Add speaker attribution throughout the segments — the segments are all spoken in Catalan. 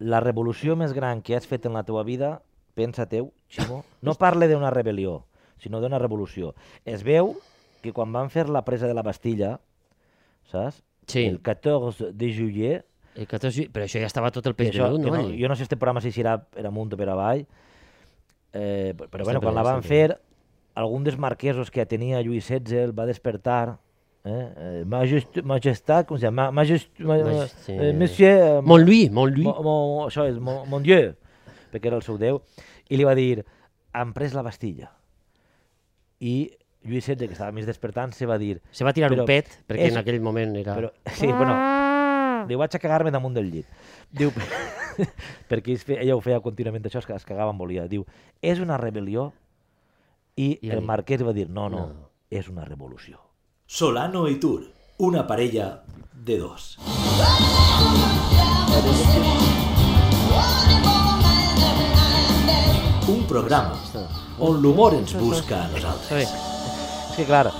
Speaker 1: La revolució més gran que has fet en la teva vida, pensa teu, Ximo, no parle d'una rebel·lió, sinó d'una revolució. Es veu que quan van fer la presa de la Bastilla, saps?
Speaker 2: Sí.
Speaker 1: El 14 de juliet,
Speaker 2: El 14 de juny- Però això ja estava tot el
Speaker 1: que
Speaker 2: peix
Speaker 1: això,
Speaker 2: pelut,
Speaker 1: que
Speaker 2: no?
Speaker 1: no,
Speaker 2: allí?
Speaker 1: jo no sé si este programa si serà per amunt o per avall, eh, però, però
Speaker 2: Estem
Speaker 1: bueno, quan la
Speaker 2: pendents,
Speaker 1: van
Speaker 2: estem
Speaker 1: fer, algun dels marquesos que tenia Lluís XVI el va despertar Eh? eh, Majest, majestat, com se diu? Ma- Majest, ma,
Speaker 2: Majest- sí.
Speaker 1: eh, monsieur... eh,
Speaker 2: Montluí, Montluí.
Speaker 1: Mo, mo, això és, mon, mon Dieu, perquè era el seu déu, i li va dir, han pres la Bastilla. I Lluís XVI, que estava més despertant, se va dir...
Speaker 2: Se va tirar
Speaker 1: Però
Speaker 2: un pet, perquè
Speaker 1: és-
Speaker 2: en aquell moment era...
Speaker 1: Però, sí, bueno, diu, vaig a cagar-me damunt del llit. Diu, perquè ells fe- ella ho feia contínuament, això es ca- es cagava en volia. Diu, és una rebel·lió? I,
Speaker 2: I
Speaker 1: I el
Speaker 2: ell-
Speaker 1: marquès va dir, no, no,
Speaker 2: No.
Speaker 1: no, és una revolució.
Speaker 3: Solano y Tour, una parella de dos. Un programa on l'humor ens busca a nosaltres.
Speaker 2: Saps?
Speaker 1: És que, clar,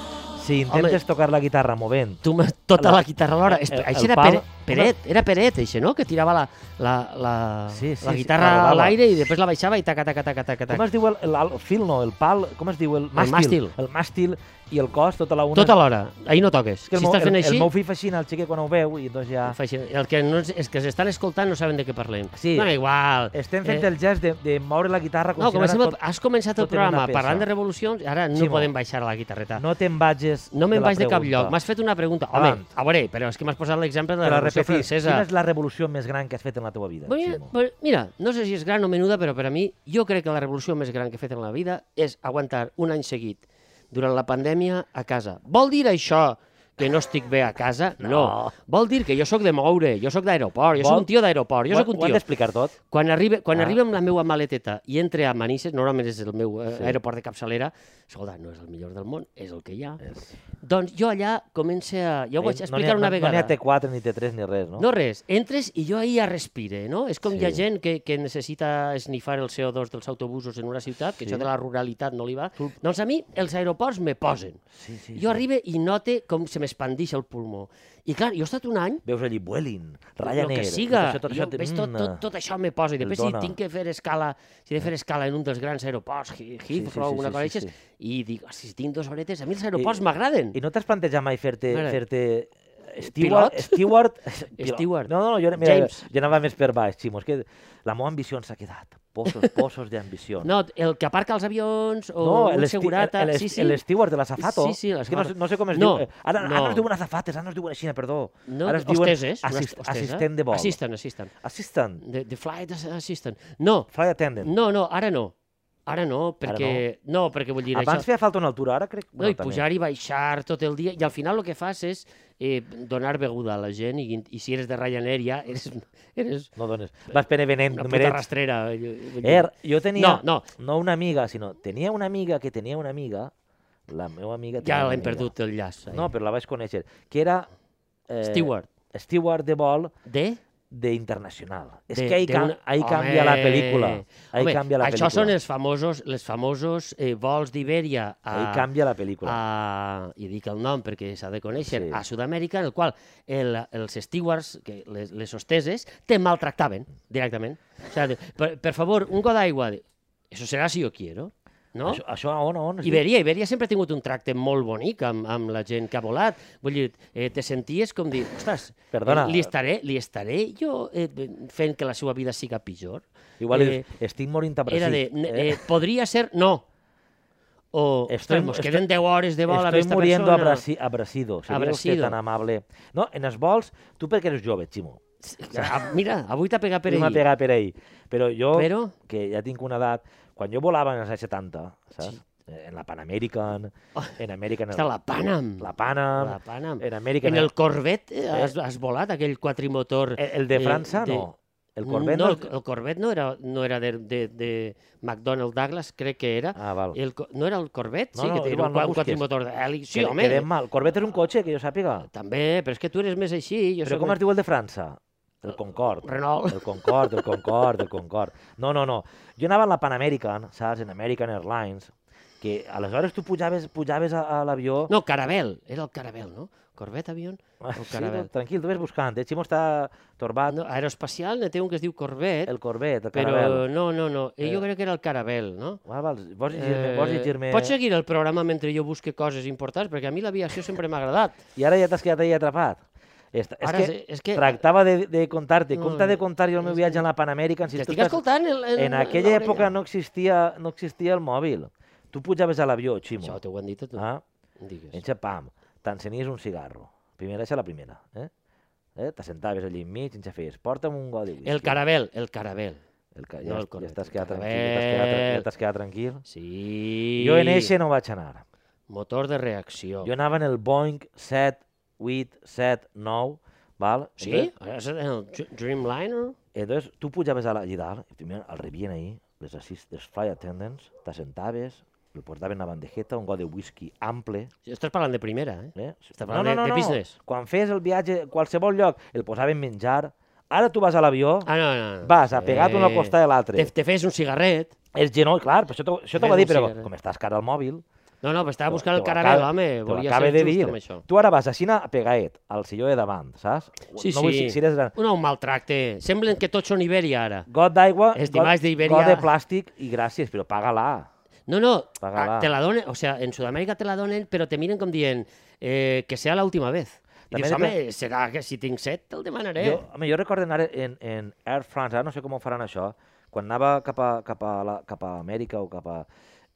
Speaker 1: si intentes Home, tocar la guitarra movent...
Speaker 2: Tu m'has tota
Speaker 1: La-
Speaker 2: la, guitarra alhora.
Speaker 1: el-
Speaker 2: Espe-
Speaker 1: el
Speaker 2: Això era
Speaker 1: pal-
Speaker 2: Pere- Peret, era Peret, això, no? Que tirava la, la, la,
Speaker 1: Sí, sí,
Speaker 2: la
Speaker 1: sí,
Speaker 2: guitarra
Speaker 1: la
Speaker 2: a
Speaker 1: rodava.
Speaker 2: l'aire i després la baixava i taca, taca, taca, taca,
Speaker 1: Com
Speaker 2: taca.
Speaker 1: es diu el, el, el fil, no, el pal, com es diu el màstil?
Speaker 2: màstil.
Speaker 1: El màstil i el cos, tota la una...
Speaker 2: Tota l'hora. Ahir no toques.
Speaker 1: És que el,
Speaker 2: si
Speaker 1: meu,
Speaker 2: estàs fent
Speaker 1: el,
Speaker 2: així...
Speaker 1: el meu fill fascina el xiquet quan ho veu i doncs ja...
Speaker 2: fa així. El que no, és, els que s'estan escoltant no saben de què parlem.
Speaker 1: Sí.
Speaker 2: No, igual. Eh,
Speaker 1: Estem fent el gest de, de moure la guitarra com
Speaker 2: No,
Speaker 1: si
Speaker 2: comencem,
Speaker 1: anara
Speaker 2: el... has començat el
Speaker 1: tot en una
Speaker 2: programa
Speaker 1: peça.
Speaker 2: parlant de revolucions i ara no
Speaker 1: Sí, mo.
Speaker 2: podem baixar la guitarreta.
Speaker 1: No
Speaker 2: No,
Speaker 1: te'n vagis
Speaker 2: no me'n
Speaker 1: la
Speaker 2: vaig de cap
Speaker 1: pregunta.
Speaker 2: lloc. M'has fet una pregunta. Home,
Speaker 1: Avant.
Speaker 2: a veure, però és que m'has posat l'exemple de la
Speaker 1: Però
Speaker 2: Revolució
Speaker 1: repetir,
Speaker 2: Francesa.
Speaker 1: Quina és la revolució més gran que has fet en la teva vida?
Speaker 2: Vull dir,
Speaker 1: Ximo?
Speaker 2: per- Mira, no sé si és gran o menuda, però per a mi jo crec que la revolució més gran que he fet en la vida és aguantar un any seguit durant la pandèmia a casa. Vol dir això que no estic bé a casa? No.
Speaker 1: No.
Speaker 2: Vol dir que jo sóc de moure, jo sóc d'aeroport, jo
Speaker 1: Vol-
Speaker 2: sóc un tio d'aeroport, jo
Speaker 1: Ho-
Speaker 2: sóc un
Speaker 1: Ho hem
Speaker 2: tio.
Speaker 1: d'explicar tot?
Speaker 2: Quan, arriba, quan
Speaker 1: Ah.
Speaker 2: ah. arriba amb la meva maleteta i entre a Manises, normalment és el meu eh,
Speaker 1: Sí.
Speaker 2: aeroport de capçalera, escolta, no és el millor del món, és el que hi ha.
Speaker 1: És...
Speaker 2: Doncs jo allà comença... a... Ja ho vaig
Speaker 1: Eh, No n'hi ha-
Speaker 2: explicar
Speaker 1: no-
Speaker 2: una vegada.
Speaker 1: No n'hi ha T4 ni T3 ni res, no?
Speaker 2: No res, entres i jo ahir a respire, no? És com sí. hi ha
Speaker 1: Sí.
Speaker 2: gent que, que necessita esnifar el CO2 dels autobusos en una ciutat, que
Speaker 1: Sí.
Speaker 2: sí. això de la ruralitat no li va.
Speaker 1: Tu-
Speaker 2: Doncs a mi els aeroports me posen.
Speaker 1: Sí, sí,
Speaker 2: Sí,
Speaker 1: sí.
Speaker 2: jo arribe i note com se m'expandix el pulmó. I clar, jo he estat un any
Speaker 1: Veus allí Vueling,
Speaker 2: el
Speaker 1: Ryanair...
Speaker 2: que siga,
Speaker 1: Tot això, tot
Speaker 2: jo
Speaker 1: això, té-
Speaker 2: veig tot,
Speaker 1: mm,
Speaker 2: tot, tot això me posa i
Speaker 1: el
Speaker 2: després si
Speaker 1: dona.
Speaker 2: tinc que fer escala si he de fer escala en un dels grans aeroports Hi- Heathrow,
Speaker 1: sí,
Speaker 2: una
Speaker 1: sí,
Speaker 2: cosa
Speaker 1: sí,
Speaker 2: així i dic, "Ah, si tinc dues horetes a mi els aeroports m'agraden
Speaker 1: I no t'has plantejat mai fer-te...
Speaker 2: Mare.
Speaker 1: Fer-te... Stewart,
Speaker 2: Pilot?
Speaker 1: Stewart, Pilot.
Speaker 2: Steward.
Speaker 1: No, no, jo, mira,
Speaker 2: James.
Speaker 1: jo anava més per baix, Ximo. És que la meva ambició s'ha quedat. Posos, posos d'ambició.
Speaker 2: no, el que aparca els avions o un
Speaker 1: esti-
Speaker 2: segurata
Speaker 1: el, el,
Speaker 2: sí, sí.
Speaker 1: el steward de l'azafato.
Speaker 2: Sí, sí,
Speaker 1: És que no, sé-
Speaker 2: l'azafato.
Speaker 1: no sé com es
Speaker 2: No,
Speaker 1: diu. Eh, Ara,
Speaker 2: no.
Speaker 1: ara es diuen azafates, ara no es diuen així, eh, perdó.
Speaker 2: No, eh?
Speaker 1: ara es diuen
Speaker 2: hosteses, una
Speaker 1: assist-
Speaker 2: hostesa.
Speaker 1: assistent de vol.
Speaker 2: Assistant, assistant.
Speaker 1: Assistant.
Speaker 2: The, the flight ass- assistant. No,
Speaker 1: Flight attendant.
Speaker 2: no, no, ara no. Ara no, perquè... no. perquè vull dir
Speaker 1: Abans
Speaker 2: això...
Speaker 1: feia falta una altura, ara crec...
Speaker 2: No, i
Speaker 1: també.
Speaker 2: pujar i baixar tot el dia. I al final el que fas és eh, donar beguda a la gent i, i si eres de Ryanair ja eres, eres
Speaker 1: No dones. Vas penevenent
Speaker 2: una puta
Speaker 1: numerets.
Speaker 2: rastrera. vull dir.
Speaker 1: Er, jo tenia...
Speaker 2: No, no.
Speaker 1: No una amiga, sinó... Tenia una amiga que tenia una amiga... La meva amiga... tenia
Speaker 2: Ja
Speaker 1: una
Speaker 2: l'hem
Speaker 1: amiga.
Speaker 2: perdut el llaç. ahí.
Speaker 1: No, però la vaig conèixer. Que era... Eh,
Speaker 2: Steward.
Speaker 1: Steward de vol
Speaker 2: De?
Speaker 1: d'internacional. És
Speaker 2: De-
Speaker 1: que ahí,
Speaker 2: de
Speaker 1: ca
Speaker 2: una-
Speaker 1: ahí
Speaker 2: Home!
Speaker 1: canvia la pel·lícula. Ahí
Speaker 2: Home,
Speaker 1: canvia la
Speaker 2: això
Speaker 1: pel·lícula.
Speaker 2: són els famosos, les famosos eh, vols d'Iberia a,
Speaker 1: Ahí canvia la pel·lícula.
Speaker 2: Ah, a, i dic el nom perquè s'ha de conèixer,
Speaker 1: Sí.
Speaker 2: sí. a Sud-amèrica, en el qual el, els stewards, que les, les hosteses, te maltractaven directament. O sigui, de- per, per favor, un got d'aigua. De- Eso será si yo quiero, no?
Speaker 1: Això, això oh, on, on? es diu?
Speaker 2: Iberia, Iberia sempre ha tingut un tracte molt bonic amb, amb la gent que ha volat. Vull dir, eh, te senties com dir, ostres,
Speaker 1: Perdona.
Speaker 2: eh, li, estaré, li estaré jo eh, fent que la seva vida siga pitjor?
Speaker 1: Igual
Speaker 2: eh,
Speaker 1: dius, estic morint a
Speaker 2: Era de,
Speaker 1: Brasil.
Speaker 2: eh, eh, podria ser, no. O,
Speaker 1: Estoy-
Speaker 2: estoy, ostres, mos
Speaker 1: estoy-
Speaker 2: queden 10 hores de vol amb
Speaker 1: Estoy
Speaker 2: esta
Speaker 1: muriendo
Speaker 2: persona.
Speaker 1: abrasi- abrasido. Seria vostè
Speaker 2: Abrasido.
Speaker 1: tan amable. No, en els vols, tu perquè eres jove, Ximo.
Speaker 2: Ah, Mira, avui t'ha pegat per
Speaker 1: Per m'ha
Speaker 2: ahir.
Speaker 1: pegat per ahir. Però jo,
Speaker 2: Però?
Speaker 1: que ja tinc una edat, quan jo volava en els anys 70, saps? Eh, En la Pan American,
Speaker 2: Oh,
Speaker 1: en American...
Speaker 2: Està la Panam.
Speaker 1: La Panam, eh,
Speaker 2: La Panam.
Speaker 1: en American...
Speaker 2: En el Corvette eh, has, has volat aquell quatrimotor...
Speaker 1: el, el de
Speaker 2: eh,
Speaker 1: França,
Speaker 2: de-
Speaker 1: no. El Corvette...
Speaker 2: No, el, el Corvette no era, no era de, de, de McDonnell Douglas, crec que era.
Speaker 1: Ah, val.
Speaker 2: El, co- no era el Corvette?
Speaker 1: No,
Speaker 2: sí,
Speaker 1: no,
Speaker 2: que
Speaker 1: igual
Speaker 2: era un,
Speaker 1: no
Speaker 2: un
Speaker 1: busques.
Speaker 2: quatrimotor d'hèlix. Eh, Sí,
Speaker 1: Que-
Speaker 2: home,
Speaker 1: Quedem mal. El Corvette és un cotxe, que jo sàpiga.
Speaker 2: també, però és que tu eres més així. Jo
Speaker 1: Però
Speaker 2: soc
Speaker 1: com es diu el de França? El Concorde.
Speaker 2: Renault.
Speaker 1: El Concorde, el Concorde, el Concorde. No, no, no. Jo anava a la Pan American, saps? En American Airlines. que aleshores tu pujaves, pujaves a, a l'avió...
Speaker 2: No, Carabel, era el Carabel, no? Corvette Avion,
Speaker 1: Ah,
Speaker 2: el
Speaker 1: sí, no,
Speaker 2: Carabel.
Speaker 1: tranquil, tu ves buscant, eh? Ximo està torbat,
Speaker 2: Ah, No, aeroespacial ne té un que es diu Corvette,
Speaker 1: el Corvette, el
Speaker 2: però
Speaker 1: Carabel.
Speaker 2: no, no, no, eh, jo
Speaker 1: Eh.
Speaker 2: crec que era el Carabel, no?
Speaker 1: Ah, val, vols llegir-me, vols llegir-me...
Speaker 2: Eh, Pots seguir el programa mentre jo busque coses importants? Perquè a mi l'aviació sempre m'ha agradat.
Speaker 1: I ara ja t'has quedat ahí atrapat. És, és,
Speaker 2: Ara
Speaker 1: que,
Speaker 2: és- és que- Mm.
Speaker 1: tractava de, de contar-te,
Speaker 2: No,
Speaker 1: com t'ha de
Speaker 2: no,
Speaker 1: contar jo el meu
Speaker 2: és
Speaker 1: viatge en la Panamèrica? Si tu
Speaker 2: T'estic
Speaker 1: estàs-
Speaker 2: escoltant el, el,
Speaker 1: En aquella
Speaker 2: l'orella.
Speaker 1: època no existia, no existia el mòbil. Tu pujaves a l'avió, Ximo.
Speaker 2: Això t'ho han dit a tu.
Speaker 1: Ah,
Speaker 2: Digues.
Speaker 1: enxa, pam, t'encenies un cigarro. Primera, això la primera. Eh? Eh? T'assentaves allà enmig, enxa feies, porta'm un got de whisky.
Speaker 2: El Carabel, el Carabel.
Speaker 1: El ca...
Speaker 2: no
Speaker 1: ja,
Speaker 2: el
Speaker 1: ja
Speaker 2: Corvette,
Speaker 1: estàs
Speaker 2: el
Speaker 1: quedat tranquil, ja t'has quedat, tra- ja t'has quedat tranquil.
Speaker 2: Sí.
Speaker 1: Jo en eixe no vaig anar.
Speaker 2: Motor de reacció.
Speaker 1: Jo anava en el Boeing 7, 8, 7, 9, val?
Speaker 2: Sí?
Speaker 1: Entonces-
Speaker 2: Has anat en el Dr- Dreamliner?
Speaker 1: Eh, Entonces, tu pujaves a la, allí dalt, i primer el rebien ahir, les, assist, les fly attendants, t'assentaves, el portaven una bandejeta, un got de whisky ample,
Speaker 2: Estàs parlant de primera, eh?
Speaker 1: Eh?
Speaker 2: Està parlant de- de business.
Speaker 1: Quan fes el viatge a qualsevol lloc, el posaven menjar. Ara tu vas a l'avió,
Speaker 2: Ah, no, no. no.
Speaker 1: vas a pegar-te un al
Speaker 2: Eh,
Speaker 1: costat de l'altre.
Speaker 2: Te, te fes un cigarret.
Speaker 1: Els genolls, clar, però això t'ho- això
Speaker 2: Fes
Speaker 1: t'ho va dir,
Speaker 2: un
Speaker 1: però
Speaker 2: cigarret.
Speaker 1: com estàs cara al mòbil...
Speaker 2: No, no, però estava buscant el
Speaker 1: te ho
Speaker 2: Carabel,
Speaker 1: acaba-
Speaker 2: home.
Speaker 1: te ho
Speaker 2: Volia
Speaker 1: acaba
Speaker 2: ser
Speaker 1: de
Speaker 2: just
Speaker 1: dir.
Speaker 2: amb això.
Speaker 1: Tu ara vas a Xina a pegaet, al silló de davant, saps?
Speaker 2: Sí,
Speaker 1: no
Speaker 2: sí.
Speaker 1: Vull, dir, si eres gran.
Speaker 2: No, un maltracte. Semblen que tots són Iberia, ara.
Speaker 1: Got d'aigua,
Speaker 2: Els
Speaker 1: got,
Speaker 2: dimarts d'Iberia.
Speaker 1: got de plàstic i gràcies, però paga-la.
Speaker 2: No, no,
Speaker 1: Paga-la.
Speaker 2: a- te la donen, o sea, en Sudamérica te la donen, però te miren com dient eh, que sea la última vez. I
Speaker 1: També
Speaker 2: dius,
Speaker 1: de
Speaker 2: home, serà que si tinc set te'l demanaré.
Speaker 1: Jo, home, jo recordo anar en, en Air France, ara no sé com ho faran això, quan anava cap a, cap a, la, cap a Amèrica o cap a...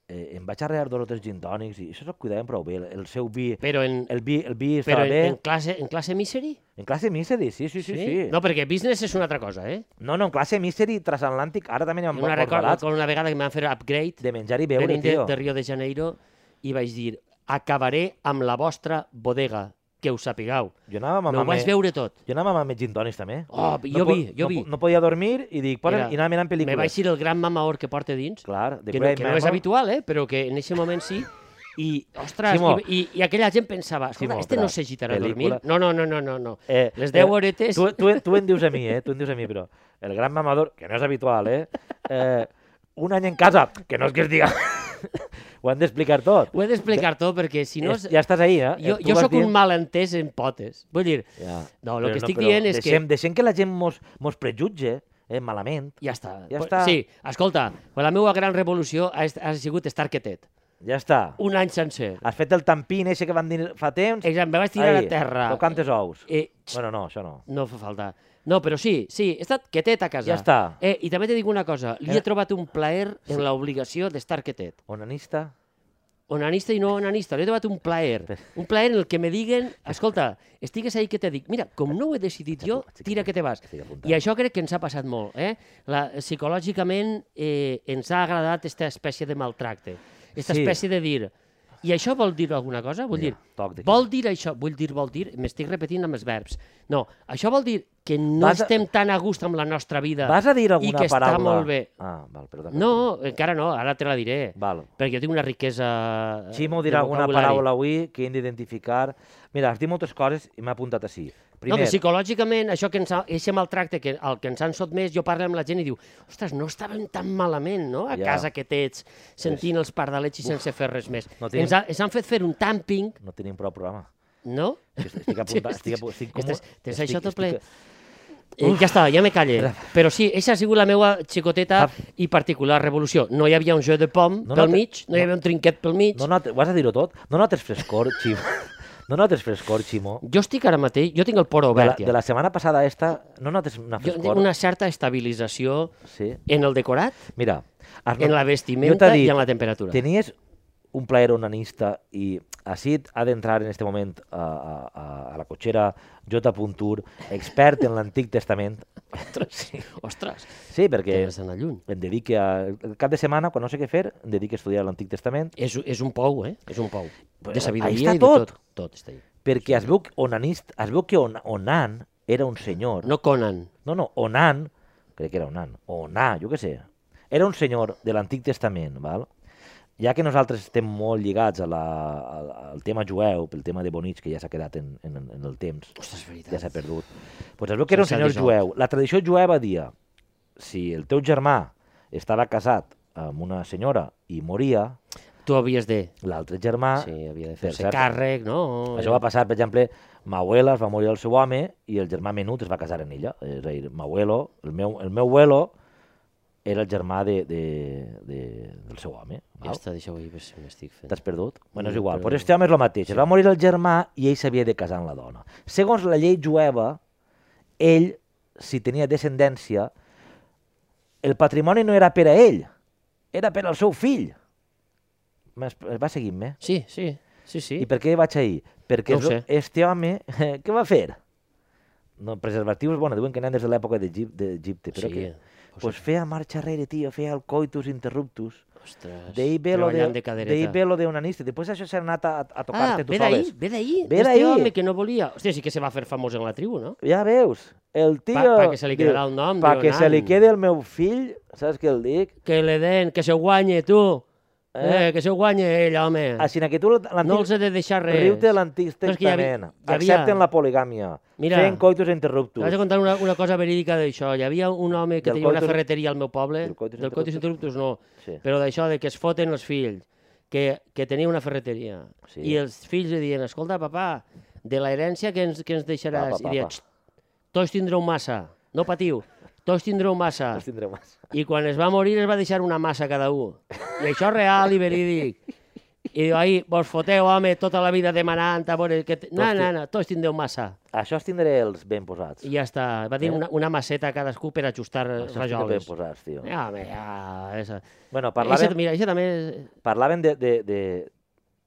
Speaker 1: Eh, em vaig arrear dos o tres gintònics i això se'l cuidaven prou bé, el, el seu vi...
Speaker 2: Però en,
Speaker 1: El vi, el vi
Speaker 2: però
Speaker 1: estava
Speaker 2: en,
Speaker 1: bé.
Speaker 2: en, classe, en classe misery?
Speaker 1: En, classe Misery, sí, sí, sí. sí?
Speaker 2: No, perquè business és una altra cosa, eh?
Speaker 1: No, no, en classe Misery transatlàntic, ara també n'hi ha
Speaker 2: Jo me la
Speaker 1: molts
Speaker 2: recordo
Speaker 1: barats
Speaker 2: com una vegada que em van fer upgrade,
Speaker 1: de menjar i beure,
Speaker 2: venint de,
Speaker 1: tio.
Speaker 2: de Rio de Janeiro, i vaig dir, acabaré amb la vostra bodega, que ho sapigueu.
Speaker 1: Jo anava amb
Speaker 2: Mamà
Speaker 1: mame...
Speaker 2: Ho vaig veure tot.
Speaker 1: Jo anava amb gintònics, també.
Speaker 2: Oh,
Speaker 1: no
Speaker 2: jo
Speaker 1: po-
Speaker 2: vi, jo
Speaker 1: no,
Speaker 2: vi.
Speaker 1: No podia dormir i dic, posa'm,
Speaker 2: Mira,
Speaker 1: i anava mirant pel·lícules.
Speaker 2: Me vaig dir el gran mamaor que porta dins,
Speaker 1: Clar, The
Speaker 2: que no,
Speaker 1: Great
Speaker 2: que no és
Speaker 1: Mammal.
Speaker 2: habitual, eh? però que en aquest moment sí. I, ostres,
Speaker 1: Simo.
Speaker 2: i, i, i aquella gent pensava, escolta,
Speaker 1: Simo,
Speaker 2: este
Speaker 1: però
Speaker 2: no s'agitarà a dormir.
Speaker 1: pel·lícula-
Speaker 2: No, no, no, no, no. no.
Speaker 1: Eh,
Speaker 2: Les 10
Speaker 1: eh,
Speaker 2: horetes...
Speaker 1: Tu, tu, tu em dius a mi, eh? Tu em dius a mi, però el gran mamador, que no és habitual, eh? eh un any en casa, que no és que es diga... Ho han d'explicar tot.
Speaker 2: Ho he d'explicar tot, perquè si no...
Speaker 1: No,
Speaker 2: És,
Speaker 1: ja estàs ahí, eh?
Speaker 2: jo
Speaker 1: Tu
Speaker 2: jo
Speaker 1: vas
Speaker 2: sóc un
Speaker 1: dient-
Speaker 2: malentès en potes. Vull dir,
Speaker 1: Ja.
Speaker 2: No, lo
Speaker 1: Però
Speaker 2: que estic
Speaker 1: però
Speaker 2: dient és que-
Speaker 1: deixem, Deixem que la gent mos, mos prejutge, eh? Malament.
Speaker 2: ja està.
Speaker 1: Ja
Speaker 2: Pues-
Speaker 1: està.
Speaker 2: Sí, escolta, pues la meva gran revolució ha, est- ha sigut estar quietet.
Speaker 1: Ja està.
Speaker 2: Un any sencer.
Speaker 1: Has fet el tampín eixe que van dir fa temps.
Speaker 2: Exacte, me vaig tirar
Speaker 1: Ahí,
Speaker 2: a terra.
Speaker 1: Tocant els ous.
Speaker 2: Eh,
Speaker 1: Bueno, no, això no.
Speaker 2: No fa falta. No, però sí, sí, he estat quietet a casa.
Speaker 1: Ja està.
Speaker 2: Eh, I també te dic una cosa, li
Speaker 1: Eh.
Speaker 2: he trobat un plaer en l'obligació d'estar quietet.
Speaker 1: Onanista?
Speaker 2: Onanista i no onanista, li he trobat un plaer. Un plaer en el que me diguen, escolta, estigues ahí que te dic, mira, com no ho he decidit jo, tira que te vas.
Speaker 1: Estic apuntant.
Speaker 2: I això crec que ens ha passat molt. Eh? La, psicològicament eh, ens ha agradat aquesta espècie de maltracte. Aquesta
Speaker 1: Sí.
Speaker 2: espècie de dir... I això vol dir alguna cosa? Vull dir,
Speaker 1: Mira, toc de
Speaker 2: vol dir això, vull dir, vol dir, m'estic repetint amb els verbs. No, això vol dir que no
Speaker 1: Vas a-
Speaker 2: estem tan a gust amb la nostra vida
Speaker 1: Vas a dir
Speaker 2: i
Speaker 1: alguna
Speaker 2: que
Speaker 1: paraula?
Speaker 2: està molt bé.
Speaker 1: Ah, val, perdó.
Speaker 2: No, encara no, ara te la diré.
Speaker 1: Val.
Speaker 2: Perquè jo tinc una riquesa... eh,
Speaker 1: Ximo
Speaker 2: de
Speaker 1: dirà alguna
Speaker 2: vocabulari.
Speaker 1: paraula avui que hem d'identificar. Mira, has dit moltes coses i m'ha apuntat així.
Speaker 2: No,
Speaker 1: Primer,
Speaker 2: que psicològicament, això que ens ha, eixe maltracte que, al que ens han sotmès, jo parlo amb la gent i diu, ostres, no estàvem tan malament, no?, a
Speaker 1: Ja.
Speaker 2: casa que tets, sentint els pardalets i sense fer res més.
Speaker 1: no
Speaker 2: No
Speaker 1: tenim-
Speaker 2: ens, ha, ens han fet fer un tamping,
Speaker 1: no tenim prou programa.
Speaker 2: no?
Speaker 1: Estic apuntant, estic, apu- estic, com...
Speaker 2: Estàs- tens
Speaker 1: estic-
Speaker 2: això tot ple?
Speaker 1: estic-
Speaker 2: Eh, ja està, ja me calle. Però sí, eixa ha sigut la meva xicoteta i particular revolució. No hi havia un joc de pom
Speaker 1: Ah. No
Speaker 2: pel
Speaker 1: notes-
Speaker 2: mig, no hi havia un trinquet pel mig.
Speaker 1: No notes, ho has de dir-ho tot? No notes frescor, Ximo? No notes frescor, Ximo?
Speaker 2: Jo estic ara mateix, jo tinc el poro
Speaker 1: De la,
Speaker 2: obert,
Speaker 1: de
Speaker 2: ja.
Speaker 1: la setmana passada a esta, no notes una
Speaker 2: Jo
Speaker 1: frescor?
Speaker 2: tinc una certa estabilització
Speaker 1: Sí.
Speaker 2: en el decorat,
Speaker 1: Mira, has
Speaker 2: en
Speaker 1: not-
Speaker 2: la
Speaker 1: jo t'he
Speaker 2: vestimenta i en la temperatura.
Speaker 1: Tenies un plaer onanista i així ha d'entrar en este moment a, a, a, a la cotxera J. Puntur, expert en l'Antic Testament.
Speaker 2: Ostres, ostres.
Speaker 1: Sí, perquè
Speaker 2: Que vas anar lluny.
Speaker 1: em dedique a... El cap de setmana, quan no sé què fer, em dedique a estudiar l'Antic Testament
Speaker 2: És, és un pou, eh? És un pou.
Speaker 1: Però ahí
Speaker 2: De
Speaker 1: està
Speaker 2: sabidoria i de
Speaker 1: tot.
Speaker 2: tot. Tot està ahí.
Speaker 1: perquè es veu que, onanist, es veu que on, Onan era un senyor.
Speaker 2: No Conan.
Speaker 1: no, no, Onan, crec que era Onan, o Onà, jo què sé. Era un senyor de l'Antic Testament, val? ja que nosaltres estem molt lligats a la, al, al tema jueu, pel tema de Bonits, que ja s'ha quedat en, en, en el temps,
Speaker 2: Ostres, és veritat.
Speaker 1: ja s'ha perdut, doncs es veu que era un
Speaker 2: Sense
Speaker 1: senyor
Speaker 2: dijous.
Speaker 1: jueu. La tradició jueva dia, si el teu germà estava casat amb una senyora i moria,
Speaker 2: tu havies de...
Speaker 1: l'altre germà...
Speaker 2: Sí, havia de
Speaker 1: per
Speaker 2: fer-se
Speaker 1: cert,
Speaker 2: càrrec, no?
Speaker 1: Això va passar, per exemple, ma abuela es va morir el seu home i el germà menut es va casar amb ella. És a dir, ma abuelo, el meu, el meu abuelo era el germà de, de, de, del seu home.
Speaker 2: Ja
Speaker 1: val?
Speaker 2: està, deixa-ho ahir, si m'estic fent.
Speaker 1: T'has perdut? Bueno, és
Speaker 2: No,
Speaker 1: igual.
Speaker 2: però-
Speaker 1: Però este home és el mateix. Es va morir el germà i ell s'havia de casar amb la dona. Segons la llei jueva, ell, si tenia descendència, el patrimoni no era per a ell, era per al seu fill. M'es- Va seguint-me?
Speaker 2: Sí, sí, sí, sí.
Speaker 1: I per què vaig ahir? Perquè
Speaker 2: No ho sé.
Speaker 1: este home, què va fer? No, preservatius, bueno, diuen que anaven des de l'època d'Egip- d'Egipte, però
Speaker 2: Sí,
Speaker 1: que...
Speaker 2: pues
Speaker 1: Pues feia marxa arrere, tio, feia el coitus interruptus.
Speaker 2: Ostres,
Speaker 1: D'ahir ve lo de,
Speaker 2: treballant de cadereta.
Speaker 1: d'ahir ve lo de unanista. Després això s'ha anat a, a
Speaker 2: Ah,
Speaker 1: tocar-te tu
Speaker 2: ve
Speaker 1: soles.
Speaker 2: d'ahir, ve d'ahir.
Speaker 1: Ve
Speaker 2: Este
Speaker 1: d'ahir.
Speaker 2: home que no volia... Hòstia, sí que se va fer famós en la tribu, no?
Speaker 1: Ja veus, el tio...
Speaker 2: pa que se li quedarà el nom,
Speaker 1: Pa
Speaker 2: diu,
Speaker 1: que se li
Speaker 2: nan.
Speaker 1: quede el meu fill, saps què el dic?
Speaker 2: Que le den, que se ho guanye, tu.
Speaker 1: Eh?
Speaker 2: Eh, que se ho guanye ell, home.
Speaker 1: Així que tu l'antic...
Speaker 2: Eh. No els he de deixar res.
Speaker 1: Riu-te de l'antic
Speaker 2: No, és que hi havia-
Speaker 1: testament.
Speaker 2: hi havia-
Speaker 1: Accepten la poligàmia.
Speaker 2: Mira.
Speaker 1: Fent coitus
Speaker 2: T'has
Speaker 1: interruptus.
Speaker 2: de contar una, una cosa verídica d'això. Hi havia un home que
Speaker 1: Del
Speaker 2: tenia una
Speaker 1: coitus-
Speaker 2: ferreteria al meu poble,
Speaker 1: del coitus
Speaker 2: del Coitus Interruptus no,
Speaker 1: Sí.
Speaker 2: però d'això de que es foten els fills, que, que tenia una ferreteria,
Speaker 1: Sí.
Speaker 2: i els fills li diuen, escolta, papà, de la herència que ens, que ens deixaràs?
Speaker 1: Papa,
Speaker 2: I deia,
Speaker 1: papa.
Speaker 2: "Xt, tots tindreu massa, no patiu, tots tindreu massa.
Speaker 1: Els tindré massa.
Speaker 2: I quan es va morir es va deixar una massa a cada un. I això és real i verídic. I diu, ahir, vos foteu, home, tota la vida demanant, a veure... Que... t- No,
Speaker 1: Tots
Speaker 2: no,
Speaker 1: ti-
Speaker 2: no, tots tindreu massa.
Speaker 1: Això els tindré els ben posats.
Speaker 2: I ja està. Va
Speaker 1: Eh?
Speaker 2: dir una, una maceta a cadascú per ajustar eh,
Speaker 1: Això els tindré ben
Speaker 2: rajoles.
Speaker 1: posats, tio.
Speaker 2: Ja, home, ja... Esa.
Speaker 1: Bueno,
Speaker 2: Eixa,
Speaker 1: parlaven,
Speaker 2: mira, eixa també... és-
Speaker 1: parlaven de, de, de,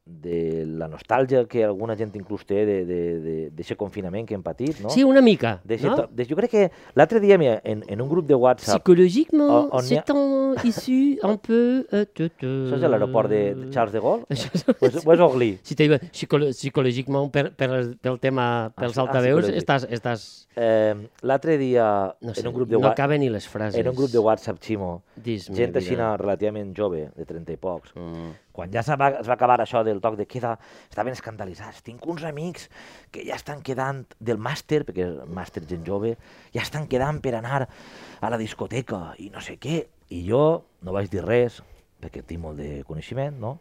Speaker 1: de la nostàlgia que alguna gent inclús té de- de- de- d'aquest confinament que hem patit, no?
Speaker 2: Sí, una mica,
Speaker 1: Deixa
Speaker 2: no?
Speaker 1: to- de, jo crec que l'altre dia, mira, en, en un grup de WhatsApp,
Speaker 2: Psicologiquement,
Speaker 1: O- on hi ha-
Speaker 2: c'est un issu un peu... Euh, te, te...
Speaker 1: això és a l'aeroport de, de Charles de Gaulle,
Speaker 2: Això és-
Speaker 1: o és, o és Ogli?
Speaker 2: Si te diuen psicolo- psicològicament per, per, pel tema, pels
Speaker 1: ah,
Speaker 2: altaveus,
Speaker 1: psicològic.
Speaker 2: estàs, estàs...
Speaker 1: Eh, l'altre dia,
Speaker 2: No sé,
Speaker 1: en un grup de
Speaker 2: no
Speaker 1: wa-
Speaker 2: caben ni les frases.
Speaker 1: en un grup de WhatsApp, Ximo,
Speaker 2: Dis-me,
Speaker 1: gent
Speaker 2: vida.
Speaker 1: així relativament jove, de 30 i pocs,
Speaker 2: Mm.
Speaker 1: quan ja se va, es va acabar això del toc de queda, estaven escandalitzats. Tinc uns amics que ja estan quedant del màster, perquè és màster gent jove, ja estan quedant per anar a la discoteca i no sé què. I jo no vaig dir res, perquè tinc molt de coneixement, no?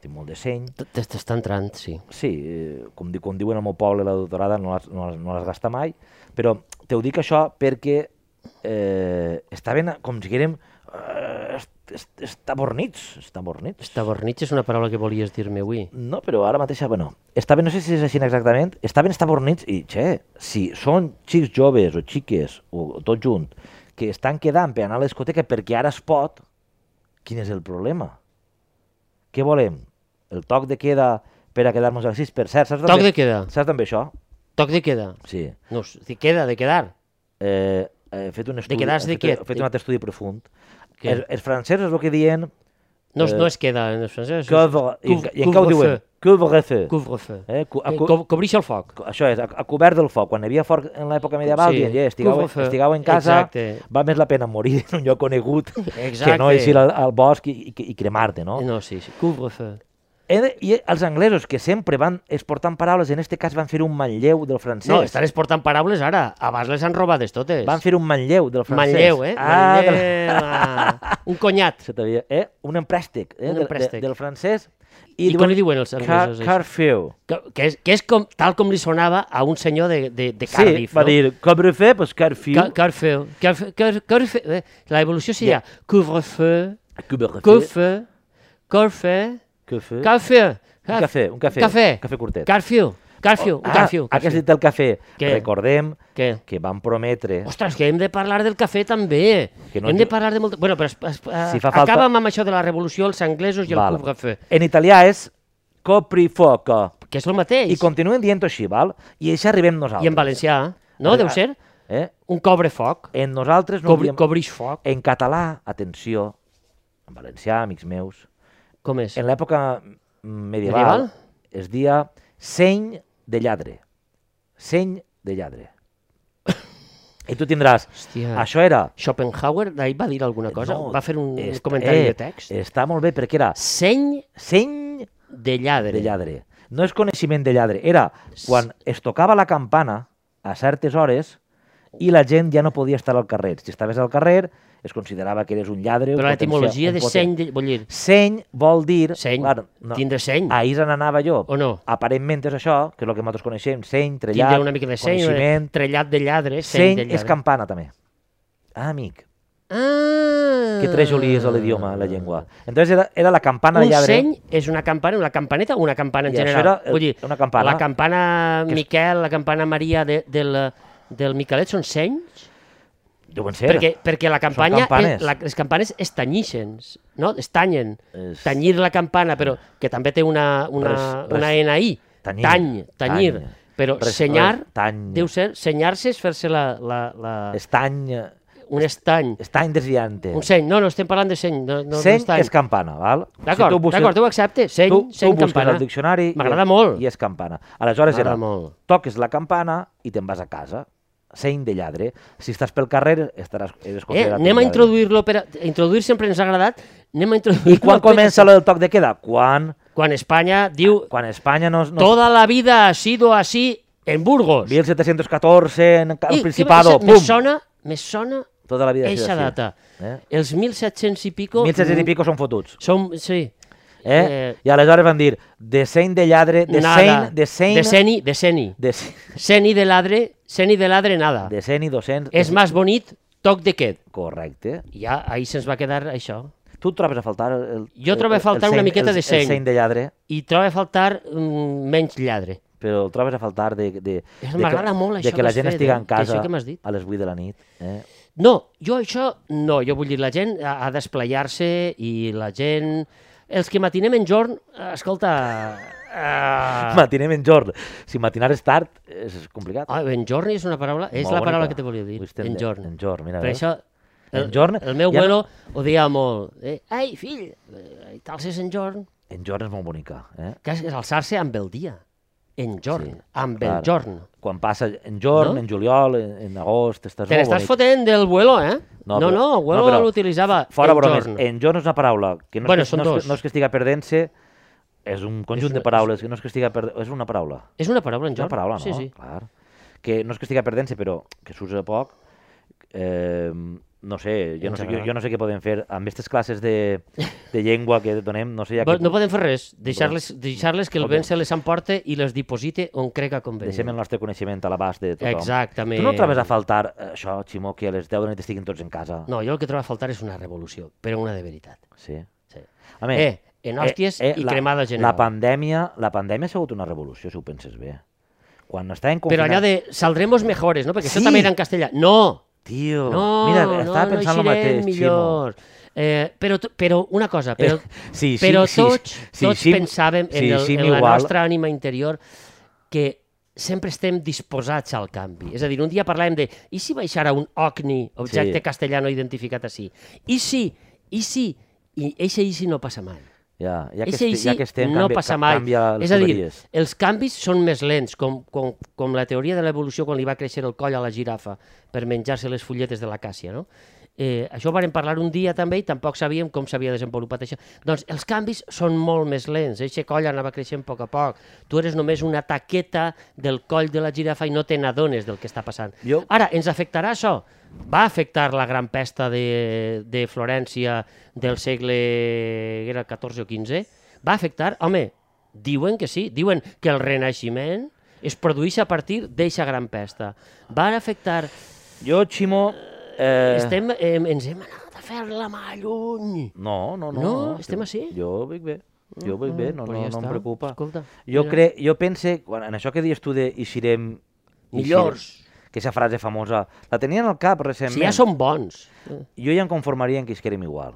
Speaker 1: Tinc molt de seny.
Speaker 2: T- t- T'està entrant, sí.
Speaker 1: Sí, eh, com, di, com diuen al meu poble, la doctorada no les, no, les, no les gasta mai, però te ho dic això perquè eh, estaven com si érem eh, est, est, estabornits, estabornits.
Speaker 2: Estabornitx és una paraula que volies dir-me avui.
Speaker 1: No, però ara mateix, bueno, estaven, no sé si és així exactament, estaven estabornits i, che, si són xics joves o xiques, o tot junt, que estan quedant per anar a l'escoteca perquè ara es pot, quin és el problema? Què volem? El toc de queda per a quedar-nos a les 6? Per cert, saps
Speaker 2: Toc de queda.
Speaker 1: Saps també això?
Speaker 2: Toc de queda.
Speaker 1: Sí.
Speaker 2: No, s- de queda, de quedar.
Speaker 1: Eh, he fet un estudi...
Speaker 2: quedar-se
Speaker 1: he fet,
Speaker 2: quiet.
Speaker 1: He fet un altre estudi profund.
Speaker 2: Què?
Speaker 1: Els, els francesos és el que diuen...
Speaker 2: No, es-
Speaker 1: Eh,
Speaker 2: no es queda en francès. és
Speaker 1: Couvre, i, en ca- i en què ho
Speaker 2: couvre-feu.
Speaker 1: diuen? Couvre-feu.
Speaker 2: Couvre-feu.
Speaker 1: Eh, cu- a
Speaker 2: Eh,
Speaker 1: cu-
Speaker 2: co- Cobrir-se el foc.
Speaker 1: Co- això és, a, a cobert del foc. Quan hi havia foc en l'època medieval,
Speaker 2: Sí,
Speaker 1: sí, dient, estigueu,
Speaker 2: couvre-feu.
Speaker 1: estigueu en casa,
Speaker 2: Exacte.
Speaker 1: va més la pena morir en un lloc conegut que
Speaker 2: Exacte.
Speaker 1: no eixir al, al bosc i, i, i cremar-te, no?
Speaker 2: No, sí, sí. Couvre-feu.
Speaker 1: He de- I els anglesos, que sempre van exportant paraules, en este cas van fer un manlleu del francès.
Speaker 2: No, estan exportant paraules ara. Abans les han robades totes.
Speaker 1: Van fer un manlleu del francès.
Speaker 2: Manlleu, eh?
Speaker 1: Ah, del-
Speaker 2: Manlleu, ah. Un conyat.
Speaker 1: se t'havia- eh? Un emprèstec, eh?
Speaker 2: Un
Speaker 1: de-
Speaker 2: emprèstec.
Speaker 1: De, del francès.
Speaker 2: I, I com li diuen els anglesos?
Speaker 1: Car,
Speaker 2: això?
Speaker 1: Carfeu.
Speaker 2: Que, que és, que és com, tal com li sonava a un senyor de, de, de Cardiff,
Speaker 1: sí, va
Speaker 2: no?
Speaker 1: dir, cobre-feu, pues carfeu.
Speaker 2: Ca- Carfeu. Carfe- car- Carfe- eh, La evolució seria couvre-feu,
Speaker 1: Couvre-feu.
Speaker 2: couvre, corfe,
Speaker 1: Couvre-feu.
Speaker 2: carfeu.
Speaker 1: Un cafè, un cafè.
Speaker 2: Cafè.
Speaker 1: Cafè curtet.
Speaker 2: Carfeu, carfeu, un carfeu.
Speaker 1: Ah, aquest dit del cafè.
Speaker 2: Què?
Speaker 1: Recordem
Speaker 2: Què?
Speaker 1: que van prometre...
Speaker 2: Ostres, que hem de parlar del cafè també.
Speaker 1: Que no
Speaker 2: hem
Speaker 1: ens-
Speaker 2: de parlar de molt... Bueno, però es, es,
Speaker 1: Si
Speaker 2: si
Speaker 1: fa
Speaker 2: fa
Speaker 1: falta-
Speaker 2: acaba'm amb això de la revolució, els anglesos i el
Speaker 1: Val.
Speaker 2: couvre-feu,
Speaker 1: En italià és coprifoco.
Speaker 2: que és el mateix.
Speaker 1: I continuem dient així, val? I això arribem nosaltres.
Speaker 2: I en valencià, no? Deu ser
Speaker 1: Eh?
Speaker 2: un cobre-foc,
Speaker 1: En nosaltres no
Speaker 2: cobri,
Speaker 1: diem...
Speaker 2: cobrix foc.
Speaker 1: En català, atenció, en valencià, amics meus,
Speaker 2: Com és?
Speaker 1: en l'època medieval,
Speaker 2: Medieval?
Speaker 1: es dia seny de lladre. Seny de lladre. I tu tindràs...
Speaker 2: Hòstia.
Speaker 1: Això era...
Speaker 2: Schopenhauer d'ahir va dir alguna cosa?
Speaker 1: No,
Speaker 2: va fer un
Speaker 1: est-
Speaker 2: comentari
Speaker 1: eh,
Speaker 2: de text?
Speaker 1: Està molt bé, perquè era
Speaker 2: Seny
Speaker 1: seny
Speaker 2: de lladre.
Speaker 1: de lladre. No és coneixement de lladre, era quan es tocava la campana a certes hores i la gent ja no podia estar al carrer. Si estaves al carrer, es considerava que eres un lladre... un
Speaker 2: Però
Speaker 1: potencial-
Speaker 2: l'etimologia
Speaker 1: un
Speaker 2: de
Speaker 1: poten-
Speaker 2: seny, de, vull dir,
Speaker 1: Seny vol dir...
Speaker 2: seny,
Speaker 1: clar, no. Ah,
Speaker 2: tindre seny,
Speaker 1: Ahir se n'anava jo.
Speaker 2: o no?
Speaker 1: Aparentment és això, que és el que nosaltres coneixem, seny, trellat,
Speaker 2: Tindre una mica de seny,
Speaker 1: coneixement...
Speaker 2: trellat de lladre, seny,
Speaker 1: Seny
Speaker 2: de lladre.
Speaker 1: és campana, també. Ah, amic,
Speaker 2: Ah!
Speaker 1: que trejoli és l'idioma, la llengua. Entonces era, era la campana de
Speaker 2: Un
Speaker 1: lladre.
Speaker 2: seny és una campana, una campaneta o una campana en
Speaker 1: I això
Speaker 2: general?
Speaker 1: era, eh,
Speaker 2: Vull dir,
Speaker 1: una campana.
Speaker 2: la campana
Speaker 1: Que és-
Speaker 2: Miquel, la campana Maria de, del, del Miquelet són senys?
Speaker 1: Deuen ser.
Speaker 2: Perquè, perquè la campanya,
Speaker 1: campanes.
Speaker 2: eh, la, les campanes es tanyixen, no? Es tanyen.
Speaker 1: És-
Speaker 2: Tanyir la campana, però que també té una, una,
Speaker 1: Res- res-
Speaker 2: una NI.
Speaker 1: Tanyir.
Speaker 2: Tany, tanyir.
Speaker 1: Tany.
Speaker 2: Però
Speaker 1: Res-
Speaker 2: senyar,
Speaker 1: res- tany.
Speaker 2: deu ser, senyar-se és fer-se la, la, la,
Speaker 1: Estany, eh,
Speaker 2: un estany,
Speaker 1: estany desviante.
Speaker 2: un seny. No, no, estem parlant de seny, no, no,
Speaker 1: seny
Speaker 2: no estany.
Speaker 1: és campana, val?
Speaker 2: D'acord,
Speaker 1: tu busques-
Speaker 2: d'acord, tu ho acceptes. Seny,
Speaker 1: tu, tu
Speaker 2: seny
Speaker 1: busques
Speaker 2: campana.
Speaker 1: al diccionari... i-
Speaker 2: M'agrada molt.
Speaker 1: I és campana. Aleshores era,
Speaker 2: M'agrada molt.
Speaker 1: toques la campana i te'n vas a casa. Seny de lladre. Si estàs pel carrer, estaràs, eres
Speaker 2: Eh,
Speaker 1: considerat
Speaker 2: anem
Speaker 1: un
Speaker 2: a
Speaker 1: lladre.
Speaker 2: introduir-lo, per a... introduir sempre ens ha agradat, anem a introduir
Speaker 1: I quan comença lo del toc de queda? Quan,
Speaker 2: Quan Espanya diu,
Speaker 1: quan Espanya no... no
Speaker 2: toda la vida ha sido así en Burgos.
Speaker 1: 1714 en el
Speaker 2: I,
Speaker 1: Principado,
Speaker 2: què va-
Speaker 1: pum!
Speaker 2: Me sona, me sona
Speaker 1: Tota la vida ha sido
Speaker 2: eixa
Speaker 1: així.
Speaker 2: data.
Speaker 1: Eh?
Speaker 2: Els 1700 i pico... mm,
Speaker 1: 1700 i pico són fotuts.
Speaker 2: Som, sí.
Speaker 1: Eh?
Speaker 2: Eh,
Speaker 1: I aleshores van dir, de seny de lladre, de
Speaker 2: nada.
Speaker 1: seny, de seny...
Speaker 2: De seni, de seni.
Speaker 1: De, se-
Speaker 2: Seni de ladre, seni de ladre nada.
Speaker 1: de seny, 200...
Speaker 2: És més bonit, toc de qued.
Speaker 1: Eh, Correcte.
Speaker 2: I Ja, ahir se'ns va quedar això.
Speaker 1: Tu trobes a faltar... El,
Speaker 2: Jo trobo a faltar una miqueta
Speaker 1: el,
Speaker 2: de seny.
Speaker 1: El seny de lladre,
Speaker 2: I trobo a faltar mm, menys lladre.
Speaker 1: però el trobes a faltar de... de, de que-
Speaker 2: M'agrada molt
Speaker 1: De
Speaker 2: això
Speaker 1: que la
Speaker 2: que has
Speaker 1: gent
Speaker 2: fet,
Speaker 1: estiga
Speaker 2: eh?
Speaker 1: en
Speaker 2: Que això
Speaker 1: casa
Speaker 2: que m'has dit.
Speaker 1: a les 8 de la nit. Eh?
Speaker 2: No, jo això no, jo vull dir, la gent ha, ha d'esplayar-se i la gent... Els que matinem en jorn, eh, escolta...
Speaker 1: Ah.
Speaker 2: Eh,
Speaker 1: Matinem en jorn. Si matinares tard és complicat.
Speaker 2: ah, en jorn és una paraula, és
Speaker 1: Molt
Speaker 2: la paraula
Speaker 1: bonica.
Speaker 2: que te volia dir,
Speaker 1: Vull estem
Speaker 2: en
Speaker 1: de-
Speaker 2: jorn.
Speaker 1: En jorn, mira.
Speaker 2: Per
Speaker 1: veus?
Speaker 2: això, el,
Speaker 1: En jorn
Speaker 2: el meu
Speaker 1: ja no-
Speaker 2: abuelo odiava molt. Eh? Ai, fill, eh, t'alces en jorn.
Speaker 1: En jorn és molt bonica. Eh?
Speaker 2: Que és alçar-se amb el dia. En jorn,
Speaker 1: Sí,
Speaker 2: sí, amb
Speaker 1: clar.
Speaker 2: el jorn.
Speaker 1: Quan passa en jorn,
Speaker 2: No?
Speaker 1: en juliol, en, en agost, estàs
Speaker 2: Te
Speaker 1: molt
Speaker 2: n'estàs
Speaker 1: bonic.
Speaker 2: fotent del abuelo, eh?
Speaker 1: No, però-
Speaker 2: No, no, no
Speaker 1: no,
Speaker 2: abuelo
Speaker 1: però
Speaker 2: l'utilitzava
Speaker 1: Fora
Speaker 2: en
Speaker 1: bromes,
Speaker 2: jorn.
Speaker 1: en jorn és una paraula que no,
Speaker 2: Bueno,
Speaker 1: és, que, no,
Speaker 2: són
Speaker 1: és,
Speaker 2: dos.
Speaker 1: que- no és que estiga perdent-se, és un conjunt
Speaker 2: És
Speaker 1: de
Speaker 2: una-
Speaker 1: paraules, que no és que estiga perdent és una paraula.
Speaker 2: És una paraula, en
Speaker 1: És una
Speaker 2: jorn?
Speaker 1: paraula, no?
Speaker 2: Sí, sí.
Speaker 1: Clar. Que no és que estiga perdent-se, però que s'usa poc. Eh, no sé, jo no
Speaker 2: Ens
Speaker 1: sé, jo,
Speaker 2: agrada.
Speaker 1: jo no sé què podem fer amb aquestes classes de, de llengua que donem, no sé ja
Speaker 2: Però
Speaker 1: que Doncs,
Speaker 2: no podem fer res, deixar-les deixar que el
Speaker 1: Ok.
Speaker 2: vent se les emporte i les diposite on crec que convé.
Speaker 1: deixem el nostre coneixement a l'abast de tothom.
Speaker 2: Exactament.
Speaker 1: Tu no trobes a faltar eh, això, Ximó, que a les 10 de la nit estiguin tots en casa?
Speaker 2: No, jo el que trobo a faltar és una revolució, però una de veritat.
Speaker 1: Sí.
Speaker 2: Sí.
Speaker 1: A més,
Speaker 2: Eh, en hòsties i
Speaker 1: la-
Speaker 2: cremada general.
Speaker 1: La pandèmia, la pandèmia ha sigut una revolució, si ho penses bé. Quan estaven
Speaker 2: Però
Speaker 1: confinats...
Speaker 2: allò de saldremos mejores, no? Perquè
Speaker 1: Sí.
Speaker 2: això també era en castellà. No!
Speaker 1: Tio,
Speaker 2: No,
Speaker 1: mira,
Speaker 2: no,
Speaker 1: estava
Speaker 2: no
Speaker 1: pensant el
Speaker 2: eixirem
Speaker 1: mateix,
Speaker 2: millors. Eh, però, to- però una cosa,
Speaker 1: Ximo.
Speaker 2: però, però tots, tots
Speaker 1: Xim-
Speaker 2: pensàvem en,
Speaker 1: sí,
Speaker 2: el,
Speaker 1: Xim
Speaker 2: en la
Speaker 1: igual,
Speaker 2: nostra ànima interior que sempre estem disposats al canvi. És a dir, un dia parlàvem de i si baixara un OCNI,
Speaker 1: Sí.
Speaker 2: objecte sí. castellà no identificat així? I si, i si, i eixe i si no passa mai.
Speaker 1: Ja, ja, que,
Speaker 2: Eixe i
Speaker 1: esti, ja
Speaker 2: si
Speaker 1: que estem,
Speaker 2: no
Speaker 1: canvia,
Speaker 2: passa
Speaker 1: ca-
Speaker 2: mai.
Speaker 1: canvia les
Speaker 2: És a dir,
Speaker 1: tuberies.
Speaker 2: els canvis són més lents, com, com, com la teoria de l'evolució quan li va créixer el coll a la girafa per menjar-se les fulletes de l'acàcia, no? Eh, això ho vàrem parlar un dia també i tampoc sabíem com s'havia desenvolupat això. Doncs els canvis són molt més lents, eixe coll anava creixent a poc a poc. Tu eres només una taqueta del coll de la girafa i no te n'adones del que està passant.
Speaker 1: Jo-
Speaker 2: Ara, ens afectarà això? Va afectar la gran pesta de, de Florència del segle era 14 o 15? Va afectar? Home, diuen que sí. Diuen que el Renaixement es produeix a partir d'eixa gran pesta. Va afectar...
Speaker 1: Jo, Ximo...
Speaker 2: Eh...
Speaker 1: Eh,
Speaker 2: Estem, eh, ens hem anat a fer la mà lluny.
Speaker 1: No, no, no.
Speaker 2: No,
Speaker 1: jo-
Speaker 2: estem així? Mm,
Speaker 1: Jo ho veig bé. Jo ho veig bé, no,
Speaker 2: Pues
Speaker 1: no,
Speaker 2: ja
Speaker 1: no em
Speaker 2: està.
Speaker 1: preocupa.
Speaker 2: Escolta,
Speaker 1: jo,
Speaker 2: mira.
Speaker 1: cre, jo pense, quan, en això que dius tu de eixirem...
Speaker 2: Millors.
Speaker 1: Que aquesta frase famosa, la tenien al cap recentment.
Speaker 2: Si ja som bons. Eh,
Speaker 1: Jo ja em conformaria en que isquérem igual.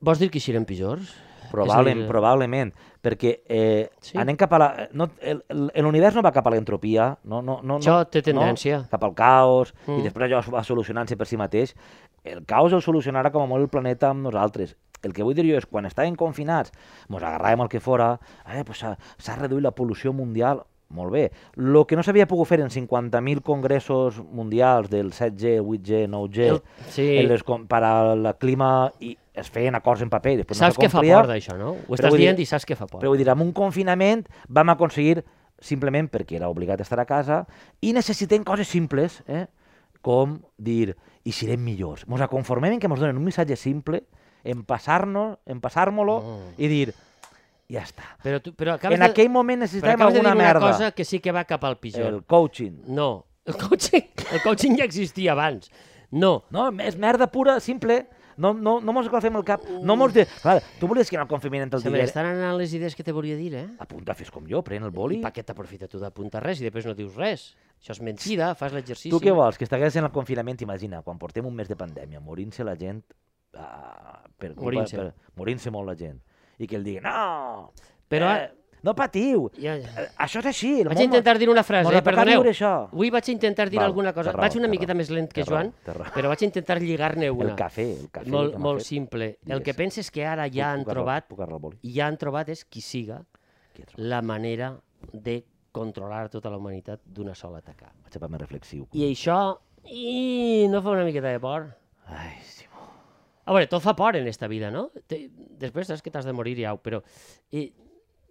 Speaker 2: Vols dir que serem pitjors?
Speaker 1: Probablement,
Speaker 2: És a dir,
Speaker 1: probablement, perquè eh, sí.
Speaker 2: Sí.
Speaker 1: anem cap a la... No, el- el- L'univers no va cap a l'entropia, no, no, no, no,
Speaker 2: Això té tendència.
Speaker 1: No, cap al caos, mm.
Speaker 2: Mm.
Speaker 1: i després allò va solucionant-se per si mateix. El caos el solucionarà com a molt el planeta amb nosaltres. El que vull dir jo és, quan estàvem confinats, mos agarràvem el que fora, eh, pues s'ha s'ha reduït la pol·lució mundial, molt bé. Lo que no s'havia pogut fer en 50.000 congressos mundials del 7G, 8G, 9G,
Speaker 2: El- sí.
Speaker 1: en les, com- per al clima, i es feien acords en paper, i després no
Speaker 2: Saps
Speaker 1: se
Speaker 2: que fa
Speaker 1: complia.
Speaker 2: por d'això, no? Ho estàs
Speaker 1: vull dir-
Speaker 2: dient i saps que fa por.
Speaker 1: Però vull dir, amb un confinament vam aconseguir, simplement perquè era obligat a estar a casa, i necessitem coses simples, eh? com dir, i serem millors. Ens conformem en que ens donen un missatge simple, en passar-nos, en passar-me-lo
Speaker 2: Mm.
Speaker 1: i dir, ja està.
Speaker 2: Però, tu, però acabes
Speaker 1: En
Speaker 2: de...
Speaker 1: aquell moment
Speaker 2: Però
Speaker 1: necessitàvem
Speaker 2: acabes de dir
Speaker 1: alguna
Speaker 2: una
Speaker 1: merda.
Speaker 2: cosa que sí que va cap al pitjor.
Speaker 1: El coaching.
Speaker 2: No, el coaching, el coaching ja existia abans. No,
Speaker 1: No, és merda pura, simple. No, no, no mos agafem el cap. No mos de... Clar, tu volies que en el confinament el
Speaker 2: se me
Speaker 1: digués...
Speaker 2: estan anant les idees que te volia dir, eh?
Speaker 1: Apunta, fes com jo, pren el
Speaker 2: I
Speaker 1: boli.
Speaker 2: per què t'aprofita tu d'apuntar res i després no dius res? Això és mentida, fas l'exercici.
Speaker 1: tu què vols? Que estigués en el confinament, imagina, quan portem un mes de pandèmia, morint-se la gent... ah, per culpa-
Speaker 2: Morint-se.
Speaker 1: per- Morint-se molt la gent. I que el digui, no,
Speaker 2: Però...
Speaker 1: eh, no patiu,
Speaker 2: Ja, ja.
Speaker 1: eh, això és així. El
Speaker 2: Vaig
Speaker 1: món-
Speaker 2: intentar dir una frase,
Speaker 1: mos
Speaker 2: eh?
Speaker 1: ha tocat
Speaker 2: perdoneu.
Speaker 1: viure això.
Speaker 2: Avui vaig intentar dir
Speaker 1: Val,
Speaker 2: alguna
Speaker 1: té
Speaker 2: cosa.
Speaker 1: raó,
Speaker 2: vaig una
Speaker 1: té
Speaker 2: miqueta
Speaker 1: raó,
Speaker 2: més lent que
Speaker 1: té raó,
Speaker 2: Joan,
Speaker 1: té raó.
Speaker 2: però vaig intentar lligar-ne una.
Speaker 1: El cafè, el cafè.
Speaker 2: molt
Speaker 1: que m'ha
Speaker 2: molt
Speaker 1: fet.
Speaker 2: simple. El
Speaker 1: Digues.
Speaker 2: que penses que ara ja han
Speaker 1: Puc agarrar-
Speaker 2: trobat,
Speaker 1: Puc agarrar el boli?
Speaker 2: i ja han trobat és qui siga
Speaker 1: Aquí he trobat.
Speaker 2: la manera de controlar tota la humanitat d'una sola atacada.
Speaker 1: Vaig a paper més reflexiu.
Speaker 2: I això... I no fa una miqueta de por?
Speaker 1: Ai, Simó.
Speaker 2: A veure, tot fa por en esta vida, no? Te, després saps que t'has de morir i au, però... Eh,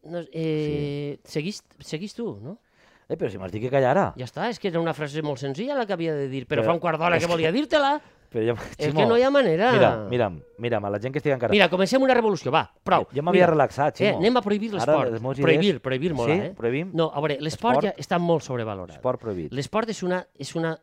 Speaker 2: no, eh, sí. seguís, seguís tu, no?
Speaker 1: Eh, però si m'has dit que callara.
Speaker 2: Ja està, és que era una frase molt senzilla la que havia de dir, però,
Speaker 1: Però
Speaker 2: fa un quart d'hora
Speaker 1: és
Speaker 2: que
Speaker 1: que-
Speaker 2: volia dir-te-la.
Speaker 1: Però jo,
Speaker 2: És que no hi ha manera.
Speaker 1: Mira, mira'm, mira'm, a la gent que estigui encara...
Speaker 2: Mira, comencem una revolució, va, prou.
Speaker 1: Jo m'havia
Speaker 2: Mira,
Speaker 1: relaxat,
Speaker 2: Eh,
Speaker 1: Ximo.
Speaker 2: anem a prohibir
Speaker 1: Ara
Speaker 2: l'esport.
Speaker 1: les meves idees-
Speaker 2: Prohibir, prohibir molt,
Speaker 1: Sí?
Speaker 2: eh?
Speaker 1: Prohibim?
Speaker 2: No, a veure, l'esport
Speaker 1: Esport?
Speaker 2: ja està molt sobrevalorat.
Speaker 1: Esport prohibit.
Speaker 2: L'esport és una... És una...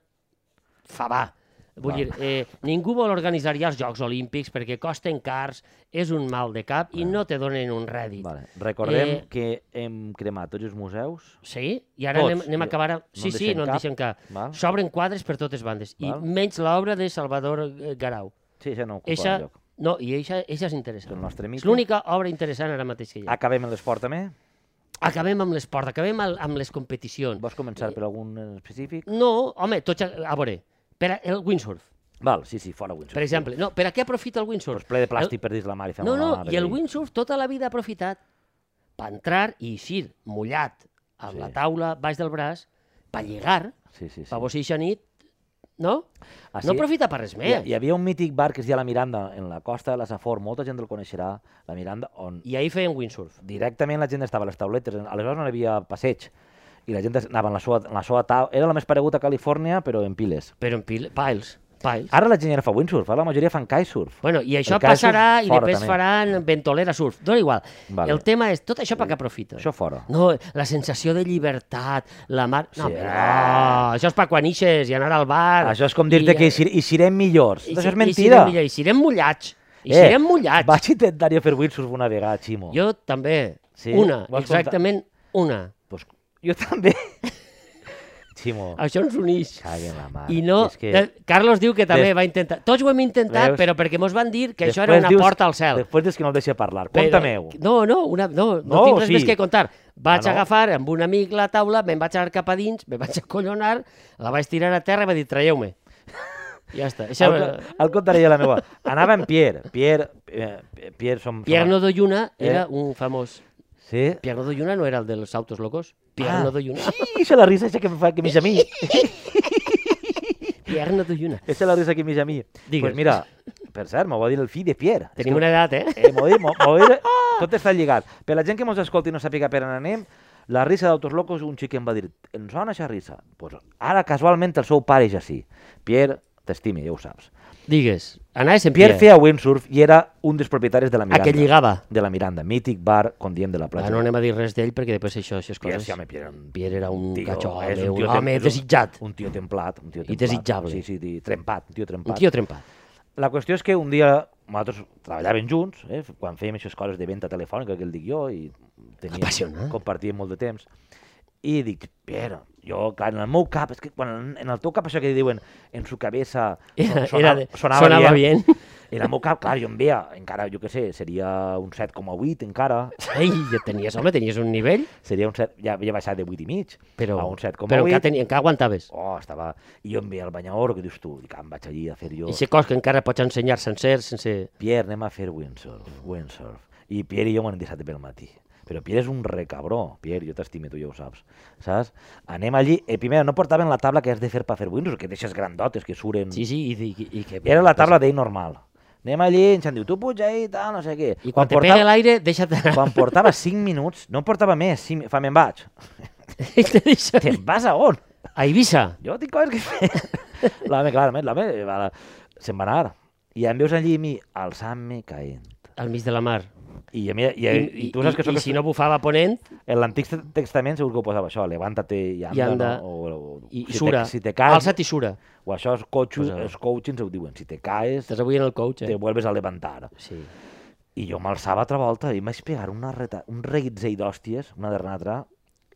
Speaker 2: Fabà. Vull
Speaker 1: Va.
Speaker 2: dir, eh, ningú vol organitzar ja els Jocs Olímpics perquè costen cars, és un mal de cap i no te donen un rèdit.
Speaker 1: Vale. Recordem
Speaker 2: Eh,
Speaker 1: que hem cremat tots els museus.
Speaker 2: Sí? I ara
Speaker 1: Tots.
Speaker 2: anem, anem a acabar... Amb...
Speaker 1: No
Speaker 2: Sí,
Speaker 1: en
Speaker 2: sí,
Speaker 1: deixem
Speaker 2: no en
Speaker 1: cap.
Speaker 2: deixem cap.
Speaker 1: Val.
Speaker 2: S'obren quadres per totes bandes. I
Speaker 1: Val.
Speaker 2: menys l'obra de Salvador eh, Garau.
Speaker 1: Sí, això no ocupa
Speaker 2: Eixa...
Speaker 1: lloc.
Speaker 2: No, i eixa, eixa és
Speaker 1: Del
Speaker 2: interessant.
Speaker 1: nostre
Speaker 2: És
Speaker 1: mite.
Speaker 2: l'única obra interessant ara mateix que hi ha.
Speaker 1: Acabem amb l'esport també.
Speaker 2: Acabem amb l'esport, acabem al, amb les competicions.
Speaker 1: Vols començar per algun en específic?
Speaker 2: Eh, No, home, tots... A a veure, per a, el windsurf,
Speaker 1: Val, sí, sí, fora Windsor.
Speaker 2: per exemple. No, per a què aprofita el windsurf?
Speaker 1: Pues ple de plàstic per dins la mar i fem
Speaker 2: No,
Speaker 1: una
Speaker 2: no,
Speaker 1: mar
Speaker 2: i el
Speaker 1: aquí.
Speaker 2: windsurf tota la vida ha aprofitat per entrar i eixir mullat amb
Speaker 1: Sí.
Speaker 2: la taula baix del braç, per lligar,
Speaker 1: Sí, sí, sí.
Speaker 2: per vos eixa nit, no?
Speaker 1: Ah, sí?
Speaker 2: No aprofita per res
Speaker 1: Hi,
Speaker 2: més.
Speaker 1: hi havia un mític bar que es deia La Miranda, en la costa de la Safor, molta gent el coneixerà, La Miranda, on
Speaker 2: I ahir feien windsurf.
Speaker 1: directament la gent estava a les tauletes, aleshores no hi havia passeig, i la gent es- anava en la seva, en la seva taula, era la més paregut a Califòrnia, però en piles.
Speaker 2: Però en pil... piles, piles.
Speaker 1: Ara la gent ja no fa windsurf, ara la majoria fan kitesurf.
Speaker 2: Bueno, i això
Speaker 1: cas és
Speaker 2: passarà i
Speaker 1: fora,
Speaker 2: després
Speaker 1: també.
Speaker 2: faran ventolera surf. Dóna igual.
Speaker 1: Vale.
Speaker 2: El tema és tot això per què aprofita.
Speaker 1: Això fora.
Speaker 2: No, la sensació de llibertat, la mar... No,
Speaker 1: Sí.
Speaker 2: però, no, això és per quan ixes i anar al bar.
Speaker 1: Això és com dir-te
Speaker 2: I- eh,
Speaker 1: que hi, sir- hi serem millors. I,
Speaker 2: i-
Speaker 1: això és
Speaker 2: i serem
Speaker 1: mentida. Eh,
Speaker 2: millor, I serem mullats. I serem mullats.
Speaker 1: Vaig intentar jo fer windsurf una vegada, Ximo. Jo,
Speaker 2: Jo també.
Speaker 1: Sí?
Speaker 2: Una,
Speaker 1: Vols contar?
Speaker 2: exactament una.
Speaker 1: pues, jo també. Ximo,
Speaker 2: Això ens uneix.
Speaker 1: cague en la mare.
Speaker 2: I no...
Speaker 1: És que...
Speaker 2: eh, Carlos diu que també
Speaker 1: Des-
Speaker 2: va intentar... Tots ho hem intentat,
Speaker 1: Veus?
Speaker 2: però perquè mos van dir que això era
Speaker 1: Després
Speaker 2: una
Speaker 1: dius-
Speaker 2: porta al cel.
Speaker 1: Després dius que no el deixa parlar.
Speaker 2: Però-
Speaker 1: Conta-me-ho.
Speaker 2: No, no, una, no, no,
Speaker 1: No,
Speaker 2: tinc res
Speaker 1: sí.
Speaker 2: més que contar. Vaig
Speaker 1: Ah, no?
Speaker 2: agafar amb un amic la taula, me'n vaig anar cap a dins, me vaig acollonar, la vaig tirar a terra i va dir, traieu-me. Ja està. Això,
Speaker 1: El, el contaré jo la meva. Anava en Pierre. Pierre, eh, Pierre som...
Speaker 2: Pierno de Lluna
Speaker 1: Eh.
Speaker 2: era un famós.
Speaker 1: Sí?
Speaker 2: Pierno de Lluna no era el dels autos locos.
Speaker 1: Ah.
Speaker 2: Pierno de Lluna.
Speaker 1: Sí, és la risa això que em fa que mig a mi.
Speaker 2: Pierno de Lluna.
Speaker 1: És la risa que mig a mi.
Speaker 2: Digues.
Speaker 1: Pues mira, per cert, m'ho va dir el fill de Pierre.
Speaker 2: Tenim una edat, eh?
Speaker 1: Eh, m'ho va dir, m'ho- m'ho va dir,
Speaker 2: Ah!
Speaker 1: tot està lligat. Per la gent que mos escolti i no sàpiga per on anem, la risa d'Autos Locos, un xic em va dir, em sona això risa? Pues ara, casualment, el seu pare ja sí. Pierre, t'estime, ja ho saps.
Speaker 2: Digues. Anaves en
Speaker 1: Pierre
Speaker 2: Pierre.
Speaker 1: feia windsurf i era un dels propietaris de la
Speaker 2: A
Speaker 1: Miranda.
Speaker 2: que lligava.
Speaker 1: De la Miranda, mític bar, com diem, de la platja.
Speaker 2: Ah, no anem a dir res d'ell perquè després això, això és
Speaker 1: Pierre,
Speaker 2: coses...
Speaker 1: sí, home, Pierre era un
Speaker 2: Pierre era un
Speaker 1: tio,
Speaker 2: catxol,
Speaker 1: és un
Speaker 2: un
Speaker 1: tio
Speaker 2: home
Speaker 1: tem- és un-
Speaker 2: desitjat.
Speaker 1: Un tio templat. Un tio
Speaker 2: I
Speaker 1: templat.
Speaker 2: desitjable.
Speaker 1: Sí, sí, di- trempat, un tio trempat.
Speaker 2: Un tio trempat.
Speaker 1: La qüestió és que un dia nosaltres treballàvem junts, eh, quan fèiem aquestes coses de venda telefònica, que el dic jo, i teníem,
Speaker 2: Apassionant.
Speaker 1: compartíem molt de temps, i dic, Pere, jo, clar, en el meu cap, és que quan en, en el teu cap això que diuen en su cabeza
Speaker 2: Era,
Speaker 1: so- sona-
Speaker 2: era de- sonava bien.
Speaker 1: En el meu cap, clar, jo em veia, encara, jo què sé, seria un 7,8 encara,
Speaker 2: Ei, ja tenies, home, tenies un nivell,
Speaker 1: seria un 7, ja havia baixat de 8 i mig,
Speaker 2: però,
Speaker 1: a un 7,8.
Speaker 2: però encara, tenia, encara aguantaves.
Speaker 1: Oh, estava... I jo em veia el banyador, que dius tu, dic, ah, em vaig allí a fer jo...
Speaker 2: I sé cos que encara pots ensenyar sencer, sense...
Speaker 1: Pierre, anem a fer windsurf, windsurf. I Pierre i jo m'han dissabte pel matí. Però Pierre és un recabró. Pierre, jo t'estime, tu ja ho saps. Saps? Anem allí... Eh, primer, no portaven la tabla que has de fer per fer windsurf, que deixes grandotes, que suren...
Speaker 2: Sí, sí, i, i, i que...
Speaker 1: Era la tabla d'ell normal. Anem allí, ens han dit, tu puja ahí, tal, no sé què.
Speaker 2: I quan, quan te portava... pega l'aire, deixa't anar.
Speaker 1: quan portava 5 minuts, no en portava més, 5... fa me'n vaig.
Speaker 2: I te deixa...
Speaker 1: Te'n vas a on?
Speaker 2: A Eivissa.
Speaker 1: Jo tinc coses que fer. L'home, clarament, l'home va- se'n va anar. I em veus allí a mi alçant-me caent.
Speaker 2: al mig de la mar.
Speaker 1: I, a mi, i, I, i, tu saps que sóc...
Speaker 2: i si no bufava a ponent,
Speaker 1: En l'antic te- testament segur que ho posava això, levántate i anda,
Speaker 2: I anda,
Speaker 1: no? o, o, o,
Speaker 2: i,
Speaker 1: si
Speaker 2: i sura.
Speaker 1: Te, si te caes,
Speaker 2: Alça't i sura.
Speaker 1: o això els coachos,
Speaker 2: Posava.
Speaker 1: els coachings ho diuen, si te caes,
Speaker 2: Estàs avui en el coach,
Speaker 1: te
Speaker 2: eh?
Speaker 1: vuelves a levantar.
Speaker 2: Sí.
Speaker 1: I jo m'alçava a altra volta i em vaig pegar una reta, un reguitzell d'hòsties, una darrere l'altra,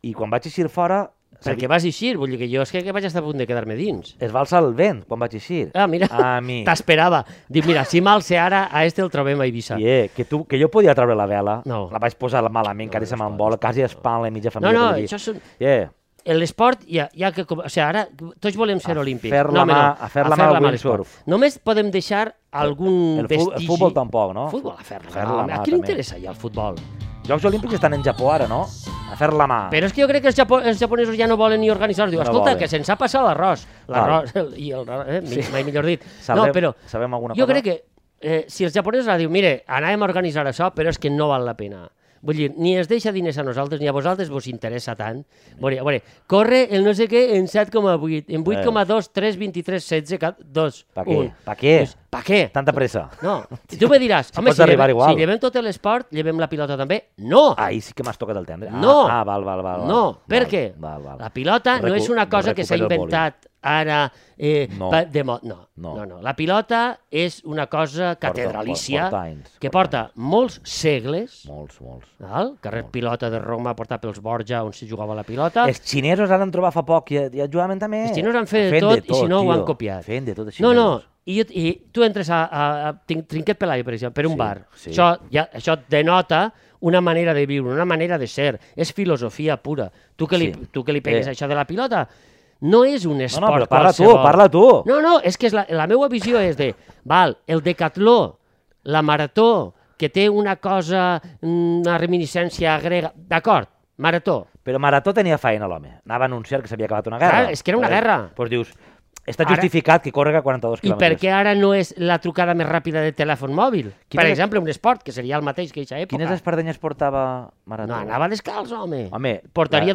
Speaker 1: i quan vaig eixir fora,
Speaker 2: Perquè vas eixir, vull dir que jo és que, que vaig estar a punt de quedar-me dins.
Speaker 1: es va alçar el vent quan vaig eixir.
Speaker 2: Ah, mira,
Speaker 1: A mi.
Speaker 2: t'esperava. Dic, mira, si m'alce ara, a este el trobem a Eivissa.
Speaker 1: Yeah, eh, que, tu, que jo podia treure la vela,
Speaker 2: No.
Speaker 1: la vaig posar malament, no, que ara se m'embola, quasi espant la mitja
Speaker 2: No,
Speaker 1: família. Eh,
Speaker 2: no,
Speaker 1: que hi havia.
Speaker 2: això és... Un...
Speaker 1: Yeah.
Speaker 2: L'esport ja, ja que... com- O sigui, ara tots volem ser
Speaker 1: A
Speaker 2: olímpics.
Speaker 1: fer la
Speaker 2: no, home,
Speaker 1: mà-
Speaker 2: no.
Speaker 1: a fer la mà al
Speaker 2: a
Speaker 1: windsurf.
Speaker 2: l'esport. Només podem deixar algun
Speaker 1: El, fu
Speaker 2: vestigi...
Speaker 1: el futbol tampoc, no?
Speaker 2: Futbol, a fer-la.
Speaker 1: Fer
Speaker 2: Fer
Speaker 1: la mà,
Speaker 2: a qui li
Speaker 1: també. Ah.
Speaker 2: interessa ja el futbol?
Speaker 1: Jocs Olímpics estan en Japó ara, no? A fer la mà.
Speaker 2: Però és que jo crec que els, japo els japonesos ja no volen ni organitzar-ho. Diu,
Speaker 1: No
Speaker 2: escolta,
Speaker 1: volen.
Speaker 2: que se'ns ha passat l'arròs. L'arròs i el... Eh, sí. Mai millor dit.
Speaker 1: Sabem-
Speaker 2: no, però
Speaker 1: sabem alguna
Speaker 2: jo
Speaker 1: cosa?
Speaker 2: crec que eh, si els japonesos ara diuen, mire, anàvem a organitzar això, però és que no val la pena. Vull dir, ni es deixa diners a nosaltres, ni a vosaltres vos interessa tant. A veure, a veure corre el no sé què en 7,8, en 8,2, 3, 23, 16, 2,
Speaker 1: Eh. Pa què?
Speaker 2: 1.
Speaker 1: Pa què?
Speaker 2: Pa què?
Speaker 1: Tanta pressa.
Speaker 2: No, I tu me diràs, home,
Speaker 1: pots
Speaker 2: si
Speaker 1: arribar
Speaker 2: llevem,
Speaker 1: igual."
Speaker 2: si llevem tot l'esport, llevem la pilota també? No!
Speaker 1: Ahir sí que m'has tocat el tendre. Ah,
Speaker 2: No.
Speaker 1: Ah, val, val, val. val.
Speaker 2: No, per
Speaker 1: Val,
Speaker 2: què?
Speaker 1: Val, val.
Speaker 2: La pilota no
Speaker 1: Recu-
Speaker 2: és una cosa que s'ha
Speaker 1: recupero el boli.
Speaker 2: inventat ara eh,
Speaker 1: No.
Speaker 2: pa- de mo... No.
Speaker 1: No.
Speaker 2: No. no, no. La pilota és una cosa catedralícia
Speaker 1: porta anys,
Speaker 2: que
Speaker 1: porta
Speaker 2: porta molts segles,
Speaker 1: Molts, molts.
Speaker 2: val? carrer pilota de Roma portat pels Borja on s'hi jugava la pilota,
Speaker 1: Els xinesos ara en trobar fa poc i, i jugaven també.
Speaker 2: els xinos han fet de tot, i si no ho han copiat.
Speaker 1: Fent de tot, els
Speaker 2: No,
Speaker 1: xinesos.
Speaker 2: no, i, jo- i tu entres a, a, a Trin- Trinquet Pelai, per exemple, per un
Speaker 1: Sí,
Speaker 2: bar.
Speaker 1: sí.
Speaker 2: Això, ja, això et denota una manera de viure, una manera de ser. És filosofia pura. Tu que li,
Speaker 1: Sí.
Speaker 2: tu que li pegues
Speaker 1: Eh.
Speaker 2: eh. això de la pilota, no és un
Speaker 1: No,
Speaker 2: esport
Speaker 1: no, però parla tu,
Speaker 2: qualsevol.
Speaker 1: parla tu.
Speaker 2: No, no, és que és la, la meva visió és de, val, el decatló, la marató, que té una cosa, mm, una reminiscència grega, d'acord, marató,
Speaker 1: Però Marató tenia feina, l'home. Anava a anunciar que s'havia acabat una guerra.
Speaker 2: Clar, és que era una
Speaker 1: Llavors-
Speaker 2: guerra.
Speaker 1: Doncs dius, està
Speaker 2: Ara-
Speaker 1: justificat que corre a 42
Speaker 2: I
Speaker 1: quilòmetres.
Speaker 2: per què ara no és la trucada més ràpida de telèfon mòbil?
Speaker 1: Quina-
Speaker 2: per exemple, un esport, que seria el mateix que aquesta època.
Speaker 1: Quines espardenyes portava Marató?
Speaker 2: No, anava descalç, home.
Speaker 1: Home,
Speaker 2: Portaria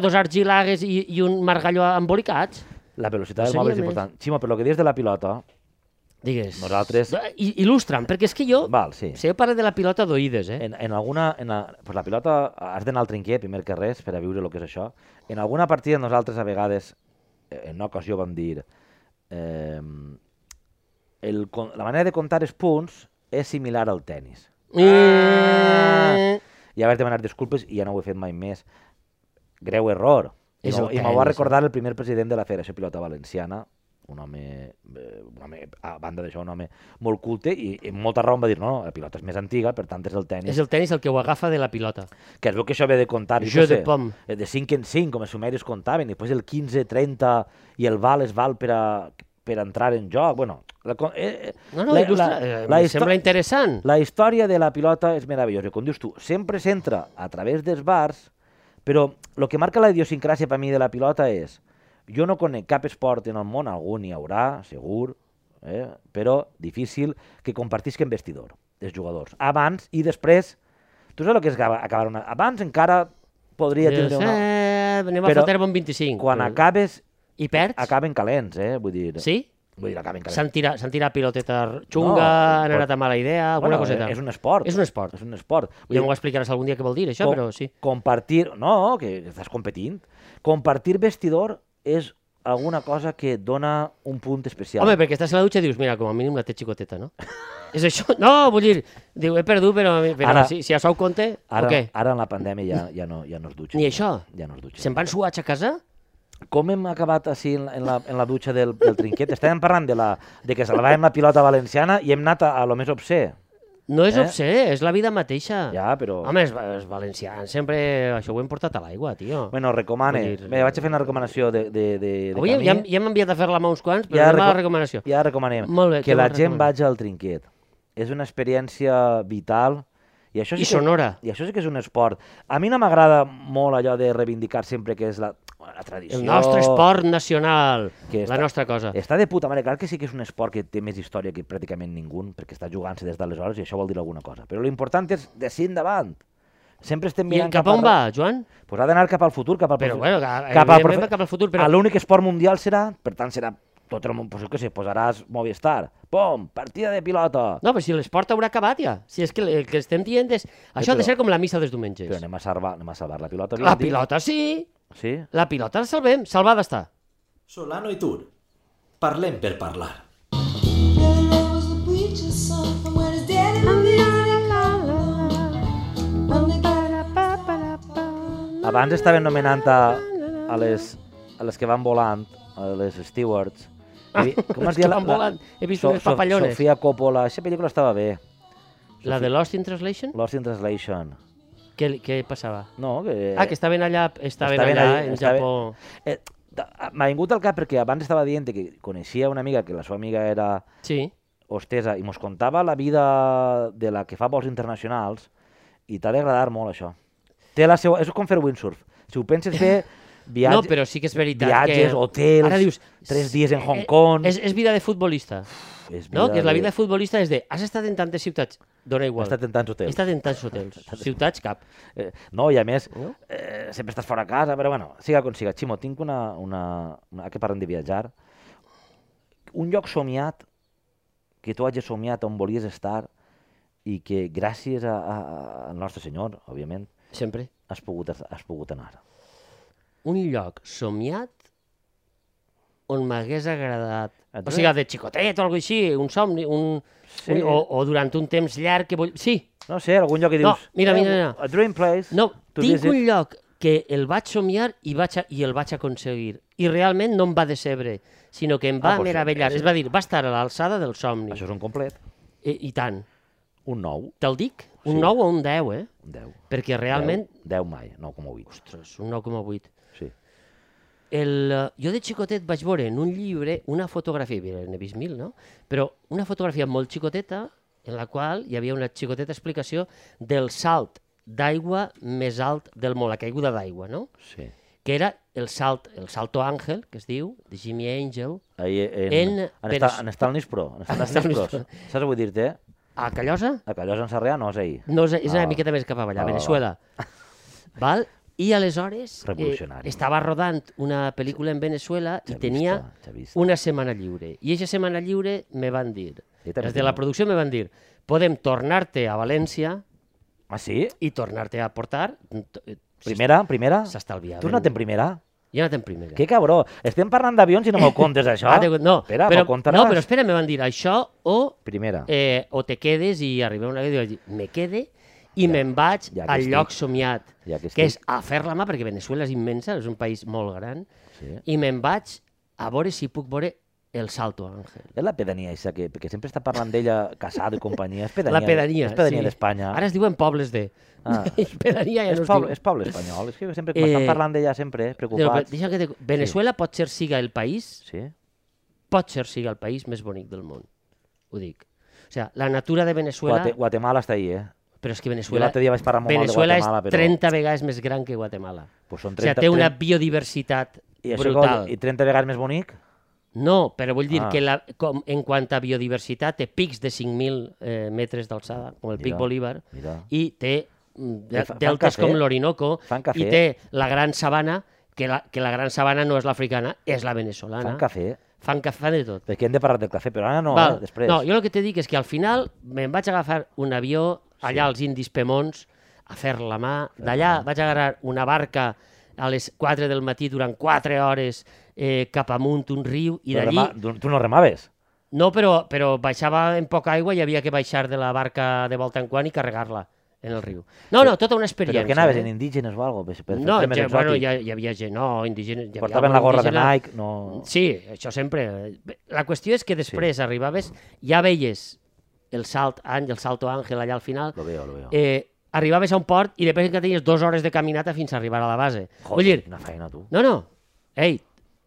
Speaker 1: la-
Speaker 2: dos argilagues i, i un margalló embolicats.
Speaker 1: La velocitat
Speaker 2: No
Speaker 1: del mòbil
Speaker 2: seria
Speaker 1: és
Speaker 2: més.
Speaker 1: important. Ximo, però el que dius de la pilota...
Speaker 2: Digues.
Speaker 1: Nosaltres-
Speaker 2: I, il·lustra'm, perquè és que jo...
Speaker 1: Val, sí.
Speaker 2: Si jo parlo de la pilota d'oïdes, eh?
Speaker 1: En, en alguna... En la, pues la pilota, has d'anar al trinquer, primer que res, per a viure el que és això. En alguna partida nosaltres a vegades, eh, en una ocasió vam dir... Eh, el, con- la manera de comptar els punts és similar al tennis. Ah!
Speaker 2: Mm.
Speaker 1: I haver demanat disculpes i ja no ho he fet mai més. Greu error. I
Speaker 2: És
Speaker 1: m'ho-
Speaker 2: el
Speaker 1: I m'ho va
Speaker 2: tennis, eh?
Speaker 1: recordar el primer president de la Federació Pilota Valenciana, un home, eh, un home, a banda d'això, un home molt culte, i, i amb molta raó em va dir, no, no, la pilota és més antiga, per tant és el tenis.
Speaker 2: És el tennis el que ho agafa de la pilota.
Speaker 1: que es veu que això ve de comptar jo
Speaker 2: Jeu
Speaker 1: què
Speaker 2: de
Speaker 1: sé,
Speaker 2: pom.
Speaker 1: eh, de 5 en 5, com els sumeris comptaven, i després el 15, 30 i el val es val per, a, per entrar en joc. Bueno, la, co- eh, eh,
Speaker 2: No, no, il·lustra. eh, em
Speaker 1: histo-
Speaker 2: sembla interessant.
Speaker 1: la història de la pilota és meravellosa, com dius tu, sempre s'entra a través dels bars, però el que marca la idiosincràsia per mi de la pilota és jo no conec cap esport en el món, algun hi haurà, segur, eh? però difícil que compartisquen vestidor els jugadors. Abans i després, tu saps el que és acaba- acabar una... Abans encara podria
Speaker 2: Dius,
Speaker 1: tindre una...
Speaker 2: eh, anem a
Speaker 1: Però
Speaker 2: fotre bon 25.
Speaker 1: Quan
Speaker 2: Però-
Speaker 1: acabes,
Speaker 2: I perds?
Speaker 1: acaben calents, eh? Vull dir,
Speaker 2: Sí?
Speaker 1: vull dir acaben calents.
Speaker 2: S'han tirat, s'han tirat piloteta
Speaker 1: No,
Speaker 2: xunga, no, han
Speaker 1: però-
Speaker 2: anat a mala idea, alguna coseta.
Speaker 1: És un esport.
Speaker 2: És un esport.
Speaker 1: És un esport. Vull
Speaker 2: Ja
Speaker 1: dir,
Speaker 2: m'ho explicaràs algun dia què vol dir, això,
Speaker 1: Com-
Speaker 2: però sí.
Speaker 1: Compartir, no, que estàs competint. Compartir vestidor és alguna cosa que et dona un punt especial.
Speaker 2: Home, perquè estàs a la dutxa i dius, mira, com a mínim la té xicoteta, no? és això? No, vull dir, diu, he perdut, però, però
Speaker 1: Ara-
Speaker 2: ara, si, si això ho compte,
Speaker 1: ara,
Speaker 2: o què?
Speaker 1: ara en la pandèmia ja, ja, no, ja no es dutxa.
Speaker 2: Ni això?
Speaker 1: Ja no es dutxa.
Speaker 2: Se'n van suats a casa?
Speaker 1: Com hem acabat així en la, en la, en la dutxa del, del trinquet? Estàvem parlant de, la, de que salvàvem la pilota valenciana i hem anat a, a lo més obscè.
Speaker 2: No és
Speaker 1: Eh?
Speaker 2: eh? obscè, és la vida mateixa.
Speaker 1: Ja, però-
Speaker 2: Ah. Home, els, els valencians sempre això ho hem portat a l'aigua, tio.
Speaker 1: Bueno, recomane.
Speaker 2: Vull dir-
Speaker 1: Bé, vaig a fer una recomanació de, de, de, de
Speaker 2: Avui ja,
Speaker 1: camí.
Speaker 2: ja, hem- ja hem enviat a fer la mà uns quants, però ja anem a
Speaker 1: reco-
Speaker 2: la recomanació.
Speaker 1: Ja recomanem.
Speaker 2: Molt bé,
Speaker 1: que
Speaker 2: què
Speaker 1: la
Speaker 2: vols
Speaker 1: gent
Speaker 2: recomanar?
Speaker 1: vagi al trinquet. És una experiència vital. I, això sí
Speaker 2: I
Speaker 1: que,
Speaker 2: sonora.
Speaker 1: I això sí que és un esport. A mi no m'agrada molt allò de reivindicar sempre que és la, la tradició.
Speaker 2: El nostre esport nacional,
Speaker 1: Que està- Eh,
Speaker 2: la nostra cosa.
Speaker 1: Està de puta mare, clar que sí que és un esport que té més història que pràcticament ningú, perquè està jugant-se des d'aleshores i això vol dir alguna cosa. Però l'important és de ser endavant. Sempre estem
Speaker 2: I
Speaker 1: mirant
Speaker 2: cap on va, Joan?
Speaker 1: Pues ha d'anar cap al futur, cap al
Speaker 2: Però,
Speaker 1: profe-
Speaker 2: bueno, ca-
Speaker 1: cap al
Speaker 2: evidentment va cap al futur, però-
Speaker 1: A L'únic esport mundial serà, per tant serà tot el món, pues, jo què sé, posaràs Movistar, pom, partida de pilota.
Speaker 2: No, però si l'esport haurà acabat ja. Si és que el que estem dient és... Això ha de
Speaker 1: però-
Speaker 2: ser com la missa dels diumenges.
Speaker 1: Però anem a salvar, anem a salvar la pilota.
Speaker 2: La
Speaker 1: havíem dit.
Speaker 2: pilota sí,
Speaker 1: Sí?
Speaker 2: la pilota la salvem, salvada està.
Speaker 3: Solano i Tur, parlem per parlar.
Speaker 1: Abans estaven nomenant a, a, les, a les que van volant, a les stewards.
Speaker 2: Ah,
Speaker 1: I-
Speaker 2: les que van volant. He vist unes papallones.
Speaker 1: Sofia Coppola, aquesta pel·lícula estava bé.
Speaker 2: La de Lost in Translation,
Speaker 1: Lost in Translation.
Speaker 2: què, què passava?
Speaker 1: No, que...
Speaker 2: Ah, que estaven allà, estaven,
Speaker 1: estaven
Speaker 2: allà,
Speaker 1: Eh, allà,
Speaker 2: en
Speaker 1: estaven-
Speaker 2: Japó.
Speaker 1: Eh, t- M'ha vingut al cap perquè abans estava dient que coneixia una amiga, que la seva amiga era
Speaker 2: Sí.
Speaker 1: hostesa, i mos contava la vida de la que fa vols internacionals, i t'ha d'agradar molt això. Té la seva... És com fer windsurf. Si ho penses bé, viatge...
Speaker 2: No, però sí que és veritat
Speaker 1: viatges,
Speaker 2: que...
Speaker 1: hotels,
Speaker 2: Ara dius,
Speaker 1: tres dies en Hong
Speaker 2: eh,
Speaker 1: Kong.
Speaker 2: És, és vida de futbolista,
Speaker 1: és
Speaker 2: no? Que és la vida
Speaker 1: de-
Speaker 2: de futbolista és de... Has estat en tantes ciutats, dona
Speaker 1: Ha
Speaker 2: igual.
Speaker 1: estat en tants
Speaker 2: He
Speaker 1: hotels.
Speaker 2: estat en tants hotels. ciutats, cap.
Speaker 1: Eh, no, i a més,
Speaker 2: No?
Speaker 1: eh, sempre estàs fora de casa, però bueno, siga com siga. Ximo, tinc una... una, una ara que parlem de viatjar, un lloc somiat que tu hagis somiat on volies estar i que gràcies a, a, a- al nostre senyor, òbviament,
Speaker 2: Sempre.
Speaker 1: has pogut, has pogut anar.
Speaker 2: Un lloc somiat on m'hagués agradat.
Speaker 1: Et
Speaker 2: O
Speaker 1: ve?
Speaker 2: sigui, de xicotet o alguna així, un somni, un...
Speaker 1: Sí.
Speaker 2: Sí. O, o durant un temps llarg que vull... Sí,
Speaker 1: No sé, algun lloc que dius...
Speaker 2: No, mira, mira,
Speaker 1: "Eh,
Speaker 2: mira.
Speaker 1: A dream place... "Eh,
Speaker 2: no,
Speaker 1: to
Speaker 2: tinc
Speaker 1: visit."
Speaker 2: un lloc que el vaig somiar i, vaig a, i el vaig aconseguir. I realment no em va decebre, sinó que em va
Speaker 1: Ah,
Speaker 2: ah,
Speaker 1: doncs,
Speaker 2: meravellar.
Speaker 1: és-
Speaker 2: Es va dir, va estar a l'alçada del somni.
Speaker 1: Això és un complet.
Speaker 2: I, I tant.
Speaker 1: Un 9,
Speaker 2: Te'l dic? Un
Speaker 1: Sí.
Speaker 2: 9 o un 10, eh?
Speaker 1: un 10.
Speaker 2: Perquè realment...
Speaker 1: 10, 10 mai, 9,8. Ostres.
Speaker 2: És un 9,8.
Speaker 1: Sí.
Speaker 2: El, eh, jo de xicotet vaig veure en un llibre una fotografia, mira, n'he vist mil, no? Però una fotografia molt xicoteta en la qual hi havia una xicoteta explicació del salt d'aigua més alt del món, la caiguda d'aigua, no?
Speaker 1: Sí.
Speaker 2: Que era el salt, el salto àngel, que es diu, de Jimmy Angel,
Speaker 1: Ahí en,
Speaker 2: En
Speaker 1: en, en,
Speaker 2: Pere-
Speaker 1: esta, en Stalnis Pro. En Stalnis
Speaker 2: Stalnis
Speaker 1: Pro.
Speaker 2: Pro.
Speaker 1: Saps què vull dir-te? eh?
Speaker 2: a Callosa,
Speaker 1: A Callós en Sarrià no és ahir.
Speaker 2: no, és, és una
Speaker 1: Ah.
Speaker 2: miqueta més cap avall,
Speaker 1: Ah, va,
Speaker 2: a
Speaker 1: va.
Speaker 2: Venezuela. Val? I aleshores eh,
Speaker 1: Revolucionari.
Speaker 2: estava rodant una pel·lícula en Venezuela i
Speaker 1: Xavista,
Speaker 2: tenia
Speaker 1: xavista.
Speaker 2: una setmana lliure. I aquesta setmana lliure me van dir,
Speaker 1: Jo també
Speaker 2: des de la
Speaker 1: tinc.
Speaker 2: producció me van dir, podem tornar-te a València
Speaker 1: Ah, sí?
Speaker 2: i tornar-te a portar... mm, eh, T-
Speaker 1: Primera, primera?
Speaker 2: S'estalviaven.
Speaker 1: Tu has anat en primera?
Speaker 2: Jo he anat en primera.
Speaker 1: Que cabró, estem parlant d'avions i no m'ho contes, això?
Speaker 2: Ah, Déu, no,
Speaker 1: Espera,
Speaker 2: però,
Speaker 1: m'ho contaràs?
Speaker 2: no, però espera, me van dir això o,
Speaker 1: Primera.
Speaker 2: eh, o te quedes i arribem a una cosa i vaig dir, me quede i me'n vaig
Speaker 1: ja que
Speaker 2: al
Speaker 1: estic.
Speaker 2: lloc somiat,
Speaker 1: Ja que
Speaker 2: que és
Speaker 1: estic.
Speaker 2: a fer la mà, perquè Venezuela és immensa, és un país molt gran,
Speaker 1: Sí.
Speaker 2: i me'n vaig a veure si puc veure el Salto Ángel.
Speaker 1: És la pedania aquesta, que, que sempre està parlant d'ella casada i companyia. És pedania,
Speaker 2: La pedania.
Speaker 1: És pedania d'Espanya.
Speaker 2: Ara es diuen pobles de... Ah.
Speaker 1: Ah.
Speaker 2: pedania ja
Speaker 1: és,
Speaker 2: no es
Speaker 1: poble,
Speaker 2: diu.
Speaker 1: és poble espanyol. És que sempre,
Speaker 2: Eh,
Speaker 1: eh... estan parlant d'ella sempre, eh,
Speaker 2: Però, però,
Speaker 1: preocupats.
Speaker 2: deixa que te... Venezuela pot ser siga el país,
Speaker 1: Sí?
Speaker 2: pot ser siga el país més bonic del món. Ho dic. O sigui, la natura de Venezuela...
Speaker 1: Guate, Guatemala està ahí, eh?
Speaker 2: Però és que
Speaker 1: Jo
Speaker 2: Venezuela...
Speaker 1: l'altre dia vaig parlar molt mal
Speaker 2: Venezuela
Speaker 1: de Guatemala,
Speaker 2: és
Speaker 1: però...
Speaker 2: 30 vegades més gran que Guatemala.
Speaker 1: Pues són
Speaker 2: o sigui,
Speaker 1: 30,
Speaker 2: té una
Speaker 1: 30
Speaker 2: biodiversitat
Speaker 1: I, això,
Speaker 2: brutal.
Speaker 1: I 30 vegades més bonic?
Speaker 2: No, però vull dir
Speaker 1: Ah.
Speaker 2: que la, com, en quant a biodiversitat té pics de 5.000 eh, metres d'alçada, com el pic
Speaker 1: Mira,
Speaker 2: Bolívar,
Speaker 1: mira.
Speaker 2: i té mm, de,
Speaker 1: Eh, fa- fan
Speaker 2: deltes
Speaker 1: cafè.
Speaker 2: com l'Orinoco,
Speaker 1: Fan cafè.
Speaker 2: i té la Gran Sabana, que la, que la Gran Sabana no és l'africana, és la
Speaker 1: Fan
Speaker 2: veneçolana.
Speaker 1: cafè?
Speaker 2: Fan cafè de tot.
Speaker 1: Perquè hem de parlar del cafè, però ara no,
Speaker 2: Val.
Speaker 1: eh? després.
Speaker 2: no, jo el que te dic és que al final me'n vaig agafar un avió allà als Indis Pemons a fer la mà. D'allà vaig agarrar una barca a les 4 del matí durant 4 hores eh, cap amunt un riu i
Speaker 1: Però
Speaker 2: d'allí...
Speaker 1: rema- tu- Tu no remaves?
Speaker 2: No, però, però baixava en poca aigua i havia que baixar de la barca de volta en quan i carregar-la en el riu. No, no, tota una
Speaker 1: Però
Speaker 2: experiència.
Speaker 1: que anaves
Speaker 2: eh?
Speaker 1: en indígenes o alguna cosa? Per, per
Speaker 2: No,
Speaker 1: fer més
Speaker 2: ja, bueno,
Speaker 1: exòtic.
Speaker 2: ja, hi havia gent, no, indígenes... hi havia
Speaker 1: Portaven
Speaker 2: algun
Speaker 1: la gorra de
Speaker 2: indígena-
Speaker 1: Nike, no...
Speaker 2: Sí, això sempre. Bé, La qüestió és que després sí. arribaves, ja veies el salt àngel, el salto àngel allà al final,
Speaker 1: Lo veo, lo veo.
Speaker 2: eh, arribaves a un port i després que tenies dues hores de caminata fins a arribar a la base.
Speaker 1: Joder,
Speaker 2: Vull dir,
Speaker 1: quina feina, tu.
Speaker 2: no, no, ei,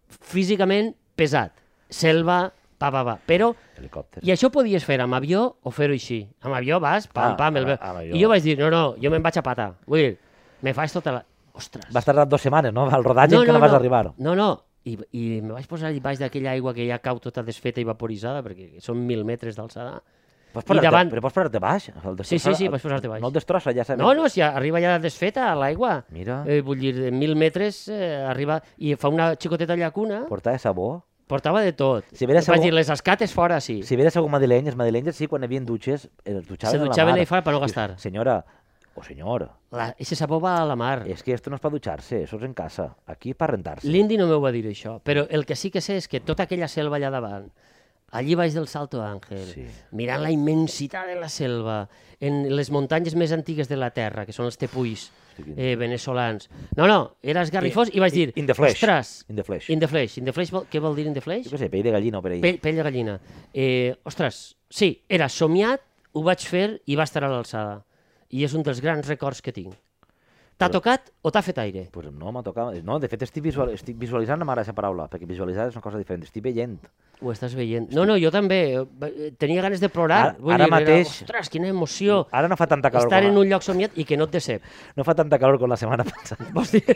Speaker 2: físicament pesat, selva, pa, pa, pa, però...
Speaker 1: Helicòpter.
Speaker 2: I això podies fer amb avió o fer-ho així. Amb avió vas, pam,
Speaker 1: Ah,
Speaker 2: pam, el...
Speaker 1: amb- amb avió.
Speaker 2: i jo vaig dir, no, no, jo me'n vaig a pata. Vull dir, me faig tota la... Ostres.
Speaker 1: Vas tardar dues setmanes, no? Al rodatge encara vas arribar.
Speaker 2: No, no, i, i me vaig posar allà baix d'aquella aigua que ja cau tota desfeta i vaporitzada, perquè són mil metres d'alçada.
Speaker 1: Pots posar-te,
Speaker 2: davant-
Speaker 1: Però pots posar-te baix? El
Speaker 2: Sí, sí, sí,
Speaker 1: destrossar-
Speaker 2: vaig posar-te baix.
Speaker 1: No el destrossa, ja sabem.
Speaker 2: No, Eh? no, si arriba ja desfeta a l'aigua.
Speaker 1: Mira.
Speaker 2: Eh, vull dir, de mil metres eh, arriba i fa una xicoteta llacuna.
Speaker 1: Portava sabó?
Speaker 2: Portava de tot.
Speaker 1: Si veres
Speaker 2: Vaig
Speaker 1: algú-
Speaker 2: dir, les escates fora, sí.
Speaker 1: Si veres algú madrileny, els madrilenys sí, quan hi havia dutxes, eh, es dutxaven a
Speaker 2: Se
Speaker 1: la
Speaker 2: dutxaven
Speaker 1: mar.
Speaker 2: ahí fora per no
Speaker 1: Dius,
Speaker 2: gastar.
Speaker 1: Senyora, o senyor,
Speaker 2: La, eixa sabó va a la mar.
Speaker 1: és que esto no és per dutxar-se, això és en casa. Aquí és per rentar-se.
Speaker 2: L'indi no m'ho va dir això, però el que sí que sé és que tota aquella selva allà davant, allí baix del Salto Ángel,
Speaker 1: Sí.
Speaker 2: sí. mirant la immensitat de la selva, en les muntanyes més antigues de la Terra, que són els tepuis eh, venezolans. No, no, era esgarrifós i vaig dir...
Speaker 1: In the flesh.
Speaker 2: Ostres,
Speaker 1: In the flesh.
Speaker 2: In the flesh. In the flesh, vol- què vol dir in the flesh?
Speaker 1: Jo què sé, pell de gallina o per ahí.
Speaker 2: Pell, pell de gallina. Eh, ostres, sí, era somiat, ho vaig fer i va estar a l'alçada. I és un dels grans records que tinc. T'ha tocat o t'ha fet aire?
Speaker 1: Pues no, m'ha tocat... No, de fet estic, visual... estic visualitzant no m'agrada aquesta paraula, perquè visualitzar és una cosa diferent, estic veient.
Speaker 2: Ho estàs veient. No, no, jo també. eh, Tenia ganes de plorar.
Speaker 1: Ara-
Speaker 2: Vull
Speaker 1: ara
Speaker 2: dir, era,
Speaker 1: mateix-
Speaker 2: Ostres, quina emoció.
Speaker 1: Ara no fa tanta calor,
Speaker 2: Estar en
Speaker 1: com,
Speaker 2: un lloc somiat i que no et decep.
Speaker 1: la... no fa tanta calor com la setmana passada.
Speaker 2: Vols dir?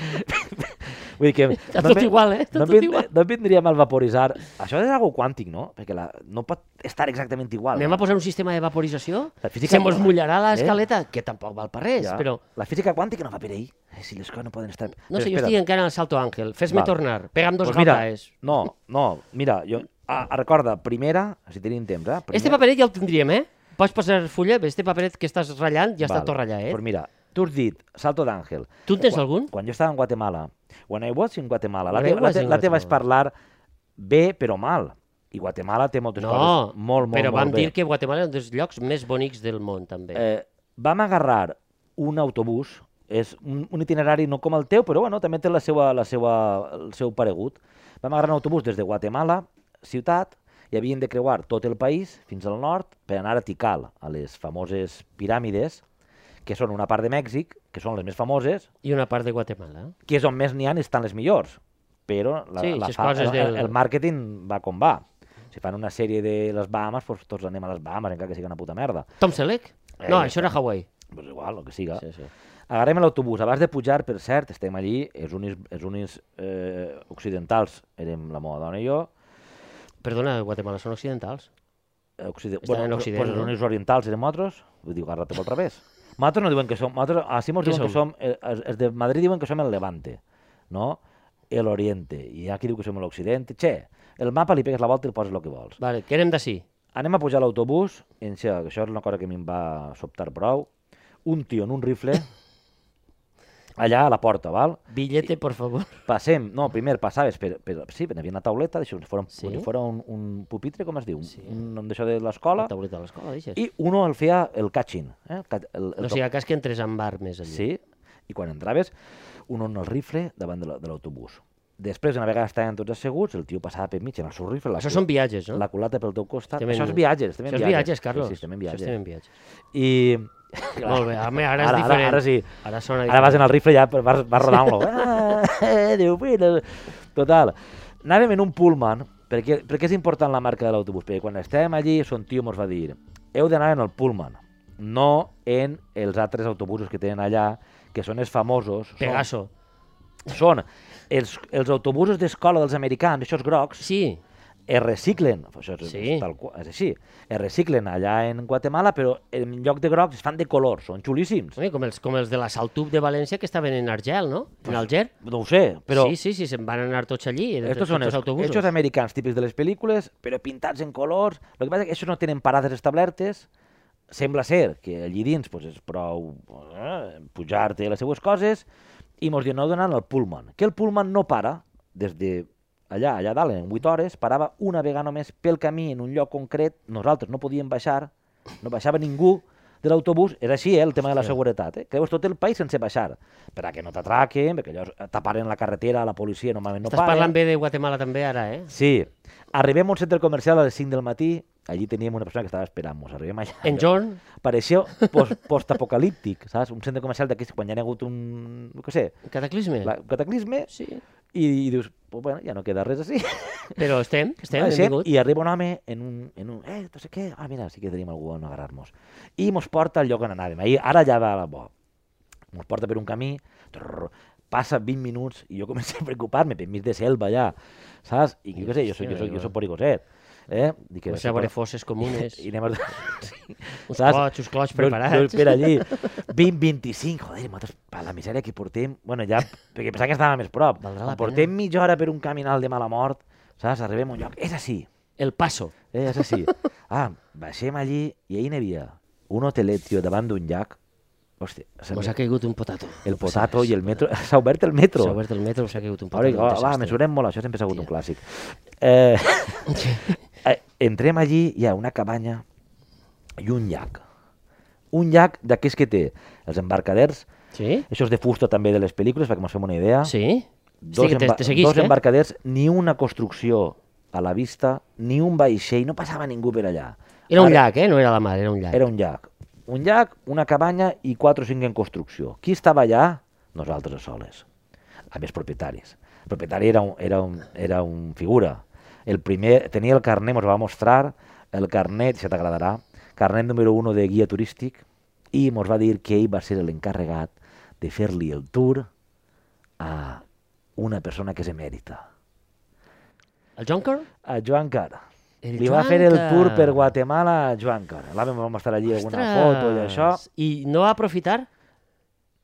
Speaker 1: Vull dir que...
Speaker 2: Està tot
Speaker 1: em-
Speaker 2: igual, eh? Està
Speaker 1: no, em
Speaker 2: tot
Speaker 1: vin-
Speaker 2: igual.
Speaker 1: no em vindria mal vaporitzar. Això és algo quàntic, no? Perquè la... no pot estar exactament igual. eh?
Speaker 2: Anem a posar un sistema de vaporització?
Speaker 1: La física-
Speaker 2: Física... Se mos mullarà
Speaker 1: Eh?
Speaker 2: l'escaleta? Que tampoc val per res,
Speaker 1: Ja.
Speaker 2: però...
Speaker 1: La física quàntica no fa per ahí. Eh, Si les coses no poden estar...
Speaker 2: No
Speaker 1: Però
Speaker 2: sé, jo
Speaker 1: espera.
Speaker 2: estic encara en el Salto Àngel. Fes-me
Speaker 1: Val.
Speaker 2: tornar. Pega'm dos eh.
Speaker 1: Pues
Speaker 2: pues
Speaker 1: mira,
Speaker 2: gataes.
Speaker 1: no, no, mira, jo... Ah, recorda, primera, si tenim temps, eh? Primer...
Speaker 2: Este paperet ja el tindríem, eh? Pots posar fulla? Este paperet que estàs ratllant ja està
Speaker 1: Val.
Speaker 2: tot ratllat, eh?
Speaker 1: Pues mira, tu has dit Salto d'Àngel.
Speaker 2: Tu en tens
Speaker 1: Quan-
Speaker 2: algun?
Speaker 1: Quan jo estava en Guatemala, when I was in Guatemala, la,
Speaker 2: When
Speaker 1: te,
Speaker 2: I
Speaker 1: la,
Speaker 2: was
Speaker 1: te,
Speaker 2: in
Speaker 1: la te vaig
Speaker 2: Guatemala.
Speaker 1: parlar bé però mal. I Guatemala té moltes
Speaker 2: No,
Speaker 1: coses molt, molt,
Speaker 2: però
Speaker 1: molt
Speaker 2: vam
Speaker 1: bé.
Speaker 2: dir que Guatemala és un dels llocs més bonics del món, també. Eh,
Speaker 1: Eh, vam agarrar un autobús, és un, un itinerari no com el teu, però bueno, també té la seva, la seva, el seu paregut. Vam agarrar un autobús des de Guatemala, ciutat, i havien de creuar tot el país fins al nord per anar a Tikal, a les famoses piràmides, que són una part de Mèxic, que són les més famoses,
Speaker 2: I una part de Guatemala.
Speaker 1: que és on més n'hi ha estan les millors. Però la,
Speaker 2: Sí,
Speaker 1: la
Speaker 2: ses
Speaker 1: fa,
Speaker 2: coses
Speaker 1: el, el,
Speaker 2: del-
Speaker 1: el màrqueting va com va. Si fan una sèrie de les Bahamas, doncs tots anem a les Bahamas, encara que sigui una puta merda.
Speaker 2: Tom Selleck?
Speaker 1: Eh,
Speaker 2: No,
Speaker 1: ja
Speaker 2: això era Hawaii.
Speaker 1: Pues igual, el que siga.
Speaker 2: Sí, sí.
Speaker 1: Agarrem l'autobús. Abans de pujar, per cert, estem allí, els unis, els unis eh, occidentals, érem la meva dona i jo,
Speaker 2: Perdona, Guatemala són occidentals.
Speaker 1: eh, occiden...
Speaker 2: Estan en Occident,
Speaker 1: pues, els
Speaker 2: no?
Speaker 1: unis orientals érem altres, vull dir, agarra-te pel revés. Nosaltres no diuen que som, nosaltres, a Simons
Speaker 2: Què
Speaker 1: diuen que
Speaker 2: som?
Speaker 1: som, eh, els- els de Madrid diuen que som el Levante, no? El Oriente, i aquí diu que som l'Occident, che, el mapa li pegues la volta i li poses el que vols.
Speaker 2: Vale, que érem d'ací.
Speaker 1: Anem a pujar a l'autobús, i en això, això és una cosa que a mi em va sobtar prou, un tio en un rifle, allà a la porta, val?
Speaker 2: Billete, por favor.
Speaker 1: Passem, no, primer passaves per, per sí, per hi havia una tauleta, d'això, si fora, un,
Speaker 2: Sí.
Speaker 1: sí? fora un, un pupitre, com es diu? Sí. Un, un d'això de l'escola,
Speaker 2: La tauleta de l'escola, deixes. I...
Speaker 1: i uno el feia el catching. Eh? El, cat- el, el
Speaker 2: No sigui cas que entres amb armes allà.
Speaker 1: Sí, i quan entraves, un on el rifle davant de la- de l'autobús. Després, una vegada estaven tots asseguts, el tio passava per mig amb el seu rifle, la,
Speaker 2: Això
Speaker 1: cul-
Speaker 2: són viatges, no?
Speaker 1: la culata pel teu costat.
Speaker 2: Estem en-
Speaker 1: Això és viatges, també
Speaker 2: Això és viatges, Carlos.
Speaker 1: Sí, sí, també en
Speaker 2: Això
Speaker 1: viatges.
Speaker 2: estem en viatges.
Speaker 1: I...
Speaker 2: Molt bé, home, ara és
Speaker 1: Ara- ara-
Speaker 2: diferent.
Speaker 1: ara sí.
Speaker 2: Ara sona
Speaker 1: Ara vas en el rifle i ja vas, vas rodant-lo. Ah, eh, Déu meu. Total. Anàvem en un pullman, perquè, perquè és important la marca de l'autobús, perquè quan estàvem allí, son tio mos va dir heu d'anar en el pullman, no en els altres autobusos que tenen allà, que són els famosos. són-
Speaker 2: Pegaso.
Speaker 1: Són, els, els autobusos d'escola dels americans, això és grocs,
Speaker 2: Sí,
Speaker 1: es reciclen, això és,
Speaker 2: Sí.
Speaker 1: sí. tal, qual- és així, es reciclen allà en Guatemala, però en lloc de grocs es fan de color, són xulíssims.
Speaker 2: home, com els, com els de la Saltub de València que estaven en Argel, no? En Alger.
Speaker 1: No ho sé, però...
Speaker 2: Però... Sí, sí, sí, se'n van anar tots allí, entre
Speaker 1: Estos
Speaker 2: tots
Speaker 1: son
Speaker 2: els autobusos.
Speaker 1: hechos americanos típicos de las películas, pero pintados en colors. Lo que pasa es que ellos no tienen paradas establertes. Sembla ser que allí dins pues, és prou eh, pujar-te les seues coses i mos diuen, no donant el Pullman. Que el Pullman no para des de allà, allà dalt, en 8 hores, parava una vegada només pel camí en un lloc concret. Nosaltres no podíem baixar, no baixava ningú de l'autobús. És així, eh, el tema de la
Speaker 2: Hòstia.
Speaker 1: seguretat. Eh? Creus tot el país sense baixar. Per a que no t'atraquen, perquè llavors taparen la carretera, la policia normalment no
Speaker 2: Estàs
Speaker 1: para.
Speaker 2: parlant bé de Guatemala també ara, eh?
Speaker 1: Sí. Arribem a un centre comercial a les 5 del matí, allí teníem una persona que estava esperant-nos. Arribem allà.
Speaker 2: En John,
Speaker 1: Pareixia pos- postapocalíptic, saps? Un centre comercial d'aquests quan hi ha hagut un... no què sé,
Speaker 2: cataclisme.
Speaker 1: la, un cataclisme,
Speaker 2: Sí,
Speaker 1: i, i dius, pues, bueno, ja no queda res així.
Speaker 2: però estem, estem,
Speaker 1: Baixem,
Speaker 2: benvingut.
Speaker 1: I arriba un home en un, en un... Eh, no sé què, ah, mira, sí que tenim algú on agarrar-nos. I mos porta al lloc on anàvem. Ahir, ara ja va a la bo. Mos porta per un camí, trrr, passa 20 minuts i jo començo a preocupar-me, per mig de selva allà, saps? I jo què sé, jo soc, jo soc, jo soc porigoset. Eh? Dic,
Speaker 2: Que
Speaker 1: això
Speaker 2: sabré
Speaker 1: per-
Speaker 2: fosses comunes,
Speaker 1: I anem a... Sí.
Speaker 2: uns
Speaker 1: Saps?
Speaker 2: clots, uns clots
Speaker 1: No, No
Speaker 2: Oh, preparats.
Speaker 1: espera allí. 20, 25, joder, nosaltres, per la misèria que portem... Bueno, ja, perquè pensava que estava més prop.
Speaker 2: Valdrà la
Speaker 1: Quan portem mitja hora per un caminal de mala mort, saps? Arribem a un lloc, és així,
Speaker 2: El passo.
Speaker 1: eh, és així. Ah, baixem allí i ahir n'hi havia un hotelet, tio, davant d'un llac. Hòstia, s'ha-
Speaker 2: Mos Pues ha caigut un potato.
Speaker 1: el potato i el metro... S'ha obert el metro.
Speaker 2: S'ha obert el metro, mos ha caigut un
Speaker 1: Ara,
Speaker 2: potato.
Speaker 1: va,
Speaker 2: un
Speaker 1: va,
Speaker 2: desastre.
Speaker 1: mesurem molt, això sempre ha sigut un
Speaker 2: Tia.
Speaker 1: clàssic. Eh, eh, entrem allí, hi ha una cabanya i un llac. Un llac d'aquests que té els embarcaders,
Speaker 2: Sí?
Speaker 1: això és de fusta també de les pel·lícules, perquè ens fem una idea.
Speaker 2: Sí? Hosti, que te,
Speaker 1: emba-
Speaker 2: te seguís,
Speaker 1: dos
Speaker 2: eh?
Speaker 1: embarcaders, ni una construcció a la vista, ni un vaixell, no passava ningú per allà.
Speaker 2: Era un
Speaker 1: Ara-
Speaker 2: llac, eh? No era la mar, era un llac.
Speaker 1: era un llac. Un llac, una cabanya i 4 o 5 en construcció. Qui estava allà? Nosaltres a soles. A més propietaris. El propietari era un, era un, era un figura. El primer, tenia el carnet, ens va mostrar, el carnet, si t'agradarà, carnet número 1 de guia turístic, i ens va dir que ell va ser l'encarregat de fer-li el tour a una persona que és emèrita.
Speaker 2: El Jonker?
Speaker 1: A Joan Cara.
Speaker 2: El
Speaker 1: Li va
Speaker 2: Joan
Speaker 1: fer el
Speaker 2: Cara.
Speaker 1: tour per Guatemala a Joan Cara. L'àvem va mostrar allí alguna foto i això.
Speaker 2: I no va aprofitar?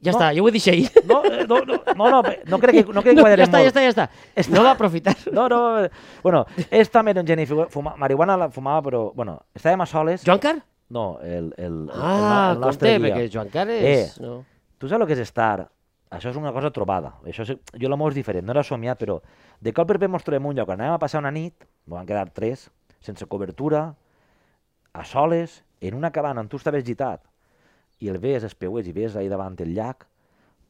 Speaker 2: Ja
Speaker 1: No.
Speaker 2: està, jo ho he dit ahir.
Speaker 1: No, eh, no, no, no, no, pe- no crec que, no crec que
Speaker 2: No, ja
Speaker 1: quadrem
Speaker 2: està, ja
Speaker 1: molt.
Speaker 2: està, ja està.
Speaker 1: Està.
Speaker 2: No va aprofitar.
Speaker 1: No, no, eh, bueno, ell també era un geni, fuma, fuma, marihuana la fumava, però, bueno, estàvem a soles.
Speaker 2: Joan Car?
Speaker 1: No, el, el, el,
Speaker 2: Ah,
Speaker 1: el, el nostre
Speaker 2: compte,
Speaker 1: guia.
Speaker 2: perquè Joan Car és...
Speaker 1: Eh.
Speaker 2: No.
Speaker 1: Tu saps el que és estar? Això és una cosa trobada. Això és, jo la mou és diferent, no era somiat, però de cop per bé mos trobem un lloc on anem a passar una nit, m'ho van quedar tres, sense cobertura, a soles, en una cabana on tu estaves gitat, i el veies, es peues i veies ahir davant el llac,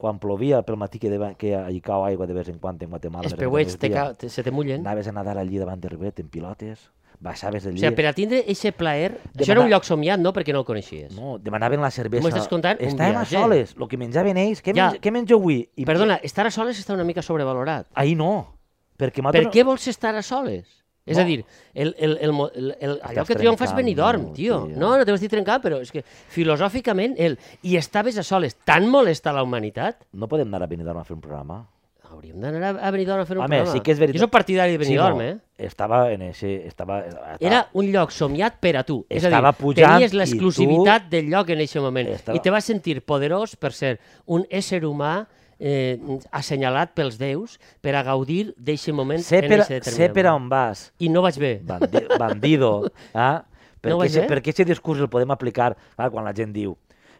Speaker 1: quan plovia pel matí que, deva, que hi cau aigua de vez en quan en Guatemala.
Speaker 2: Els
Speaker 1: de vegades al
Speaker 2: peuets te
Speaker 1: migdia,
Speaker 2: ca... te, se te mullen.
Speaker 1: Anaves a nadar allí davant del ribet en pilotes, baixaves
Speaker 2: O
Speaker 1: del
Speaker 2: sigui,
Speaker 1: llit.
Speaker 2: per a tindre aquest plaer... Això era un
Speaker 1: Demanar-
Speaker 2: lloc somiat, no? Perquè no el coneixies.
Speaker 1: No, demanaven la cervesa.
Speaker 2: M'ho estàs contant? Un
Speaker 1: Estàvem a
Speaker 2: viatge.
Speaker 1: soles, el que menjaven ells. Què,
Speaker 2: Ja.
Speaker 1: ja. menja, què menjo avui? I
Speaker 2: Perdona, estar a soles està una mica sobrevalorat.
Speaker 1: Ahir no. Perquè
Speaker 2: Per
Speaker 1: nosaltres...
Speaker 2: què vols estar a soles? És a
Speaker 1: No.
Speaker 2: dir, el, el, el, mo- el, el, allò
Speaker 1: Estàs
Speaker 2: que triomfa és
Speaker 1: trencant,
Speaker 2: Benidorm,
Speaker 1: no,
Speaker 2: tio.
Speaker 1: tio.
Speaker 2: No, no t'ho vas dir trencar, però és que filosòficament el i estaves a soles, tan molesta la humanitat,
Speaker 1: No podem anar a Benidorm a fer un programa.
Speaker 2: hauríem d'anar a, a Benidorm a fer un
Speaker 1: Home,
Speaker 2: programa.
Speaker 1: sí que és veritat.
Speaker 2: Jo soc partidari de Benidorm,
Speaker 1: no,
Speaker 2: eh?
Speaker 1: Estava en ese... Estava, eh, estava,
Speaker 2: Era un lloc somiat per a tu. És a
Speaker 1: Ah. Estava
Speaker 2: dir,
Speaker 1: pujant
Speaker 2: tenies
Speaker 1: i
Speaker 2: l'exclusivitat del lloc en aquest moment.
Speaker 1: Estava-
Speaker 2: I te vas sentir poderós per ser un ésser humà eh, assenyalat pels déus per a gaudir d'aquest moment
Speaker 1: Sé
Speaker 2: en
Speaker 1: per,
Speaker 2: aquest determinat
Speaker 1: sé per
Speaker 2: moment.
Speaker 1: on vas,
Speaker 2: I no vaig bé.
Speaker 1: bandi, bandido. Ah? Per,
Speaker 2: No ho
Speaker 1: què,
Speaker 2: vaig
Speaker 1: se-
Speaker 2: fer?
Speaker 1: per què aquest discurs el podem aplicar clar, quan la gent diu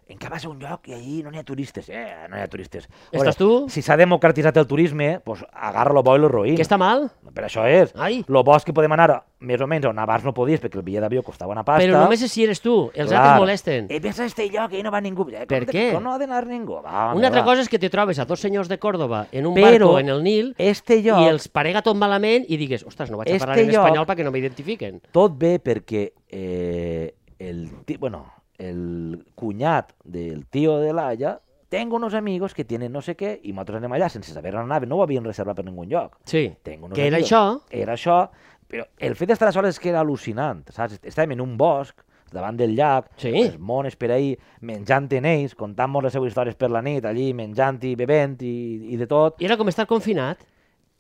Speaker 1: en què vas a un lloc i allí no n'hi ha turistes. Eh, no n'hi ha turistes.
Speaker 2: Estàs tu?
Speaker 1: Si s'ha democratitzat el turisme, pues, agarra lo bo i lo roïn.
Speaker 2: Que està mal?
Speaker 1: Per això és.
Speaker 2: Ai.
Speaker 1: Lo bo és que podem anar més o menys on abans no podies perquè el bitllet d'avió costava una pasta.
Speaker 2: Però només és si eres tu, els
Speaker 1: Clar.
Speaker 2: altres molesten.
Speaker 1: Eh, vés a este lloc, ahir no va ningú. Eh, com
Speaker 2: Per
Speaker 1: te-
Speaker 2: què?
Speaker 1: Com no ha d'anar ningú? Va, home,
Speaker 2: Una altra
Speaker 1: va.
Speaker 2: cosa és que te trobes a dos senyors de Còrdoba en un
Speaker 1: Però
Speaker 2: barco en el Nil
Speaker 1: Este lloc,
Speaker 2: i els parega tot malament i digues, ostres, no vaig a
Speaker 1: Este
Speaker 2: parlar en
Speaker 1: lloc-
Speaker 2: espanyol perquè no m'identifiquen.
Speaker 1: tot bé perquè eh, el, ti- bueno, el cunyat del tio de l'Aia tengo unos amigos que tienen no sé què i nosaltres anem allà sense saber on anaven, no ho havien reservat per ningú lloc.
Speaker 2: Sí,
Speaker 1: Tengo unos
Speaker 2: que era
Speaker 1: amigos.
Speaker 2: això,
Speaker 1: Era això, però el fet d'estar a soles és que era al·lucinant, saps? Estàvem en un bosc, davant del llac,
Speaker 2: Sí.
Speaker 1: els mones per ahir, menjant en ells, contant-nos les seues històries per la nit, allí menjant i bevent i, i de tot.
Speaker 2: era com estar confinat,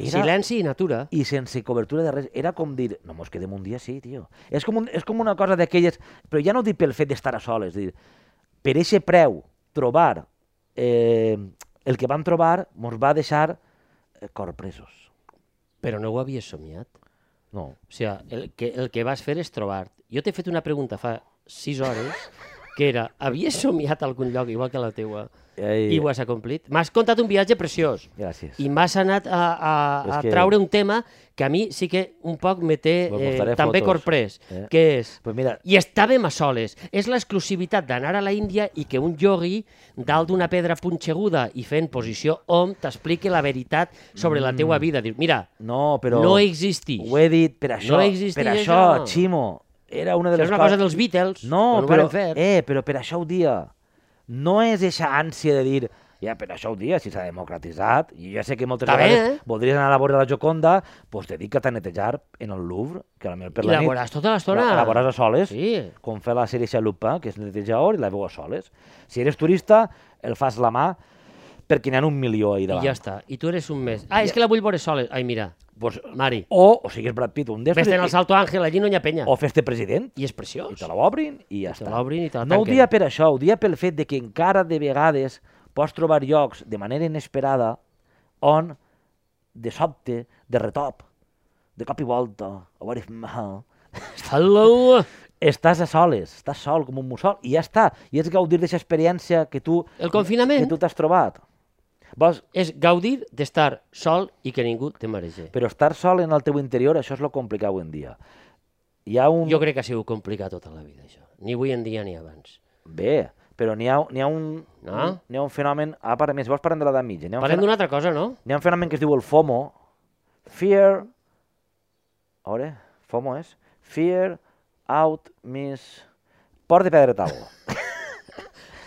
Speaker 1: Era-
Speaker 2: silenci i natura.
Speaker 1: i sense cobertura de res. Era com dir, no mos quedem un dia, sí, tio. És com, un, és com una cosa d'aquelles... Però ja no ho dic pel fet d'estar a soles, dir, per eixe preu, trobar eh, el que vam trobar mos va deixar eh, corpresos.
Speaker 2: Però no ho havies somiat.
Speaker 1: No.
Speaker 2: O sigui, el que, el que vas fer és trobar-te. Jo t'he fet una pregunta fa sis hores, que era, havies somiat a algun lloc igual que la teua
Speaker 1: Eh,
Speaker 2: i ho has acomplit? M'has contat un viatge preciós.
Speaker 1: Gràcies.
Speaker 2: I m'has anat a, a, a
Speaker 1: És que-
Speaker 2: traure un tema que a mi sí que un poc me té
Speaker 1: Vos
Speaker 2: eh,
Speaker 1: mostraré
Speaker 2: també
Speaker 1: fotos,
Speaker 2: corprès, eh?
Speaker 1: eh?
Speaker 2: que és
Speaker 1: Pues mira,
Speaker 2: i estàvem a soles. És l'exclusivitat d'anar a la Índia i que un yogui dalt d'una pedra punxeguda i fent posició om t'expliqui la veritat sobre la teua vida. Dius, mira,
Speaker 1: no, Mm. però...
Speaker 2: no existix.
Speaker 1: Ho he dit per això,
Speaker 2: No existia
Speaker 1: per això,
Speaker 2: això.
Speaker 1: Ximo. Era una de
Speaker 2: Això
Speaker 1: les
Speaker 2: és una
Speaker 1: coses-
Speaker 2: cosa dels Beatles,
Speaker 1: No,
Speaker 2: quan ho
Speaker 1: però,
Speaker 2: varen fer.
Speaker 1: eh, però per això ho dia. No és eixa ànsia de dir ja, per això ho dia, si s'ha democratitzat. I jo ja sé que moltes
Speaker 2: Està bé,
Speaker 1: vegades
Speaker 2: eh?
Speaker 1: voldries anar a la vora de la Joconda, doncs dedica't a netejar en el Louvre, que a la millor per
Speaker 2: I
Speaker 1: la
Speaker 2: la
Speaker 1: nit...
Speaker 2: veuràs tota l'estona.
Speaker 1: La, la veuràs a soles,
Speaker 2: Sí.
Speaker 1: com fa la sèrie Xa Lupin, que és netejador, i la veu a soles. Si eres turista, el fas la mà, perquè n'hi ha un milió ahir
Speaker 2: I
Speaker 1: davant.
Speaker 2: ja està. I tu eres un més. Ah, és que la vull veure soles. Ai, mira.
Speaker 1: Pues,
Speaker 2: Mari.
Speaker 1: o, o sigues Brad Pitt un d'estos
Speaker 2: Vés-te'n
Speaker 1: i-
Speaker 2: al Salto Àngel, allí no hi ha penya.
Speaker 1: o fes-te president
Speaker 2: I és
Speaker 1: i
Speaker 2: preciós.
Speaker 1: te l'obrin i ja
Speaker 2: te
Speaker 1: està.
Speaker 2: l'obrin i te la
Speaker 1: no ho
Speaker 2: tanquen.
Speaker 1: dia per això, ho dia pel fet de que encara de vegades pots trobar llocs de manera inesperada on, de sobte, de retop, de cop i volta, a veure, mal,
Speaker 2: Hello!
Speaker 1: estàs a soles, estàs sol com un mussol i ja està. I és gaudir d'aquesta experiència que tu,
Speaker 2: El
Speaker 1: que
Speaker 2: confinament
Speaker 1: tu t'has trobat. Vols,
Speaker 2: és gaudir d'estar sol i que ningú te maregi.
Speaker 1: però estar sol en el teu interior, això és lo complicat avui en dia. Hi ha un...
Speaker 2: Jo crec que ha sigut complicat tota la vida, això. Ni avui en dia ni abans.
Speaker 1: Bé, però n'hi ha, n'hi ha un...
Speaker 2: No?
Speaker 1: N'hi ha un fenomen... Ah, per més, vols parlem de l'edat mitja? N'hi ha, un
Speaker 2: Parlem
Speaker 1: fenomen-
Speaker 2: d'una altra cosa, no?
Speaker 1: n'hi ha un fenomen que es diu el FOMO. Fear... A veure, FOMO és... Fear, out, miss... Por de pedra taula.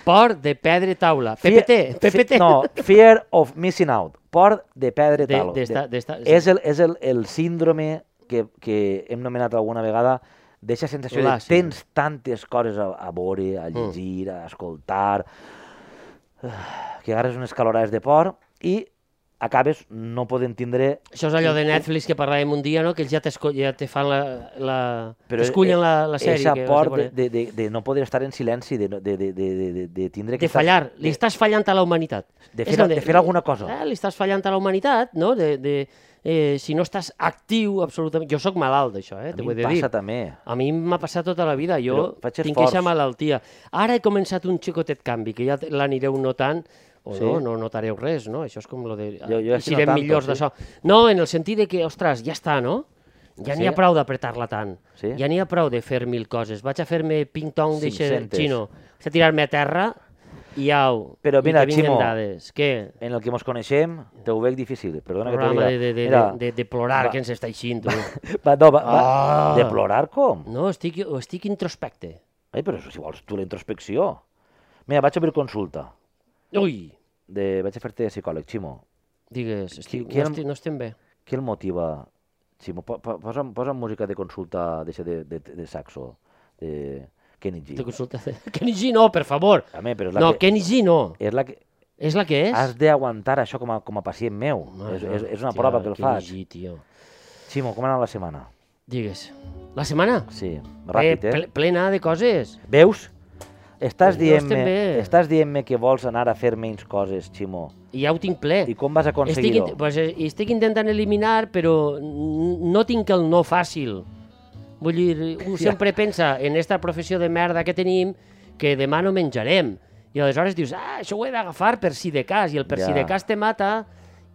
Speaker 2: Por de pedra i taula.
Speaker 1: Fear-
Speaker 2: PPT, PPT.
Speaker 1: fe- No, fear of missing out. Por de pedra
Speaker 2: De-
Speaker 1: taula.
Speaker 2: d'esta- d'esta- sí.
Speaker 1: És, el, és el, el síndrome que, que hem nomenat alguna vegada d'aquesta sensació
Speaker 2: La
Speaker 1: de tens tantes coses a, a veure, a llegir, a escoltar, que agarres unes calorades de por i acabes no podent tindre...
Speaker 2: Això és allò de Netflix que parlàvem un dia, no? Que ells ja, t'esco- ja te fan la... la...
Speaker 1: però e-
Speaker 2: T'escullen la, la sèrie.
Speaker 1: eixa
Speaker 2: que vas a
Speaker 1: por de,
Speaker 2: veure.
Speaker 1: de, de, de no poder estar en silenci, de, no- de, de, de, de, de, de tindre...
Speaker 2: de
Speaker 1: aquestes-
Speaker 2: fallar, li estàs fallant a la humanitat.
Speaker 1: de
Speaker 2: És
Speaker 1: fer-
Speaker 2: com
Speaker 1: de fer alguna cosa.
Speaker 2: Ah, li estàs fallant a la humanitat, no? De, de, eh, si no estàs actiu absolutament... Jo sóc malalt d'això, eh?
Speaker 1: A
Speaker 2: T'ho
Speaker 1: mi
Speaker 2: he
Speaker 1: em
Speaker 2: de dir.
Speaker 1: passa també.
Speaker 2: A mi m'ha passat tota la vida, jo
Speaker 1: Però faig
Speaker 2: tinc
Speaker 1: esforç.
Speaker 2: aquesta malaltia. Ara he començat un xicotet canvi, que ja t- l'anireu notant, o
Speaker 1: Sí?
Speaker 2: sí. no, no notareu res, no? Això és com lo de...
Speaker 1: Jo- jo
Speaker 2: I
Speaker 1: estic
Speaker 2: serem
Speaker 1: notant-ho,
Speaker 2: millors
Speaker 1: sí.
Speaker 2: d'això. No, en el sentit de que, ostres, ja està, no? Ja n'hi
Speaker 1: Sí.
Speaker 2: ha prou d'apretar-la tant.
Speaker 1: Sí.
Speaker 2: Ja n'hi ha prou de fer mil coses. Vaig a fer-me ping-tong d'eixe
Speaker 1: 500.
Speaker 2: xino. Vaig a tirar-me a terra i au.
Speaker 1: Però
Speaker 2: i
Speaker 1: mira,
Speaker 2: que vinguin
Speaker 1: Ximo,
Speaker 2: dades. Què?
Speaker 1: en el que mos coneixem, te ho veig difícil. Perdona que t'ho diga.
Speaker 2: Programa de, de, de,
Speaker 1: Mira,
Speaker 2: de, de plorar
Speaker 1: va.
Speaker 2: que ens està eixint, tu.
Speaker 1: Va, no, va, va.
Speaker 2: Ah.
Speaker 1: De plorar com?
Speaker 2: No, estic, estic introspecte.
Speaker 1: Ai, però si vols tu la introspecció. Mira, vaig a obrir consulta.
Speaker 2: Ui!
Speaker 1: De... Vaig a fer-te psicòleg, Ximo.
Speaker 2: Digues, estic,
Speaker 1: qui
Speaker 2: no,
Speaker 1: era-
Speaker 2: estic, no estem bé.
Speaker 1: Què el motiva? Ximo, po- po- posa'm, posa'm música de consulta de, de, de, de saxo, de Kenny G.
Speaker 2: Te consulta... Kenny G no, per favor.
Speaker 1: Home, però és la
Speaker 2: No,
Speaker 1: que...
Speaker 2: Kenny G no.
Speaker 1: És la que...
Speaker 2: És la que és.
Speaker 1: Has d'aguantar això com a, com a pacient meu.
Speaker 2: Mare
Speaker 1: és,
Speaker 2: meva,
Speaker 1: és, és una
Speaker 2: tio,
Speaker 1: prova que el
Speaker 2: Kenny
Speaker 1: faig.
Speaker 2: G, tio.
Speaker 1: Ximo, com ha anat la setmana?
Speaker 2: Digues. La setmana?
Speaker 1: Sí, ràpid, eh?
Speaker 2: ple- Plena de coses.
Speaker 1: Veus? Estàs
Speaker 2: No estem
Speaker 1: dient-me
Speaker 2: bé.
Speaker 1: estàs dient-me que vols anar a fer menys coses, Ximo.
Speaker 2: I ja ho tinc ple.
Speaker 1: I com vas
Speaker 2: Estic,
Speaker 1: aconseguir-ho?
Speaker 2: int- pues, eh, estic intentant eliminar, però n- no tinc el no fàcil. Vull dir, un sempre pensa en esta professió de merda que tenim que demà no menjarem. I aleshores dius, ah, això ho he d'agafar per si de cas, i el per si
Speaker 1: Ja.
Speaker 2: de cas te mata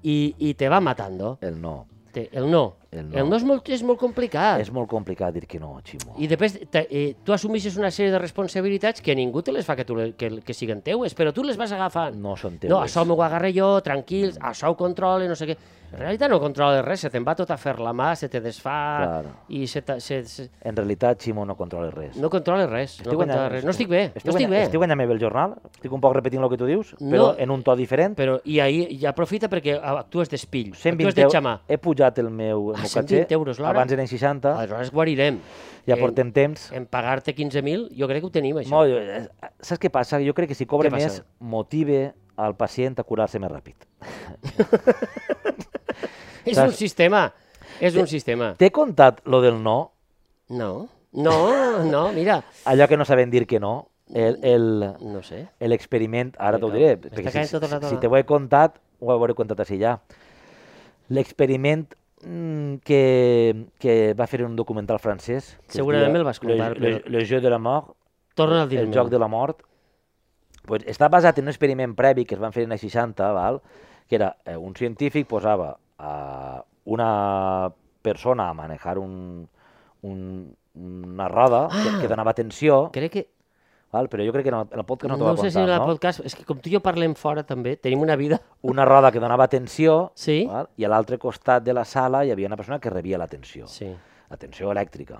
Speaker 2: i, i te va matando.
Speaker 1: El no.
Speaker 2: Té, El no.
Speaker 1: El
Speaker 2: El
Speaker 1: no.
Speaker 2: no, el no és, molt, és molt complicat.
Speaker 1: És molt complicat dir que no, Ximo.
Speaker 2: Ah. I després te, eh, tu assumixes una sèrie de responsabilitats que ningú te les fa que, tu, le- que, que siguen teues, però tu les vas agafant.
Speaker 1: No són teues.
Speaker 2: No, això m'ho agarré jo, tranquils,
Speaker 1: Mm.
Speaker 2: això ho controle, no sé què. En realitat no controles res, se te'n va tot a fer la mà, se te desfà
Speaker 1: Claro.
Speaker 2: i se, te- se, se,
Speaker 1: En realitat, Ximo no controles res.
Speaker 2: no controles res. no controles res. No estic bé, no estic bé.
Speaker 1: Estic guanyant bé el jornal? Estic un poc repetint el que tu dius,
Speaker 2: No.
Speaker 1: però en un to diferent.
Speaker 2: Però, i, ahir, I aprofita perquè actues d'espill, actues
Speaker 1: 120
Speaker 2: de
Speaker 1: eu-
Speaker 2: xamà.
Speaker 1: e- He pujat el meu, el
Speaker 2: Ah,
Speaker 1: meu
Speaker 2: 120 euros l'hora? Ah, eh,
Speaker 1: Abans eren 60,
Speaker 2: Aleshores guarirem.
Speaker 1: ja
Speaker 2: En-
Speaker 1: portem temps.
Speaker 2: En pagar-te 15.000, jo crec que ho tenim, això.
Speaker 1: No, jo- eh, saps què passa? Jo crec que si cobra
Speaker 2: Què passa?
Speaker 1: més, motive al pacient a curar-se més ràpid.
Speaker 2: és
Speaker 1: saps?
Speaker 2: un sistema, és un sistema.
Speaker 1: T'he contat lo del no?
Speaker 2: No, no, no, mira,
Speaker 1: allò que no saben dir que no, el, el,
Speaker 2: no sé.
Speaker 1: l'experiment, ara
Speaker 2: Vinga,
Speaker 1: t'ho diré,
Speaker 2: m'està
Speaker 1: perquè si,
Speaker 2: caient tota la
Speaker 1: si
Speaker 2: dona.
Speaker 1: te ho he contat, ho hauré contat així ja. L'experiment mm, que, que va fer un documental francès... que es
Speaker 2: Segurament
Speaker 1: deia
Speaker 2: me'l vas contar,
Speaker 1: Le, le,
Speaker 2: però-
Speaker 1: le jeu de la mort,
Speaker 2: Torna a
Speaker 1: el
Speaker 2: dir-me.
Speaker 1: joc de la mort, pues està basat en un experiment previ que es van fer en els 60, val? que era eh, un científic posava a una persona a manejar un, un, una roda ah. que, que donava tensió.
Speaker 2: Crec que...
Speaker 1: Val? Però jo crec que en el, en el podcast no
Speaker 2: No,
Speaker 1: t'ho va
Speaker 2: sé
Speaker 1: contar,
Speaker 2: si en el
Speaker 1: no?
Speaker 2: podcast... És que com tu i jo parlem fora també, tenim una vida...
Speaker 1: Una roda que donava tensió
Speaker 2: Sí.
Speaker 1: val? i a l'altre costat de la sala hi havia una persona que rebia la tensió,
Speaker 2: Sí.
Speaker 1: la tensió elèctrica.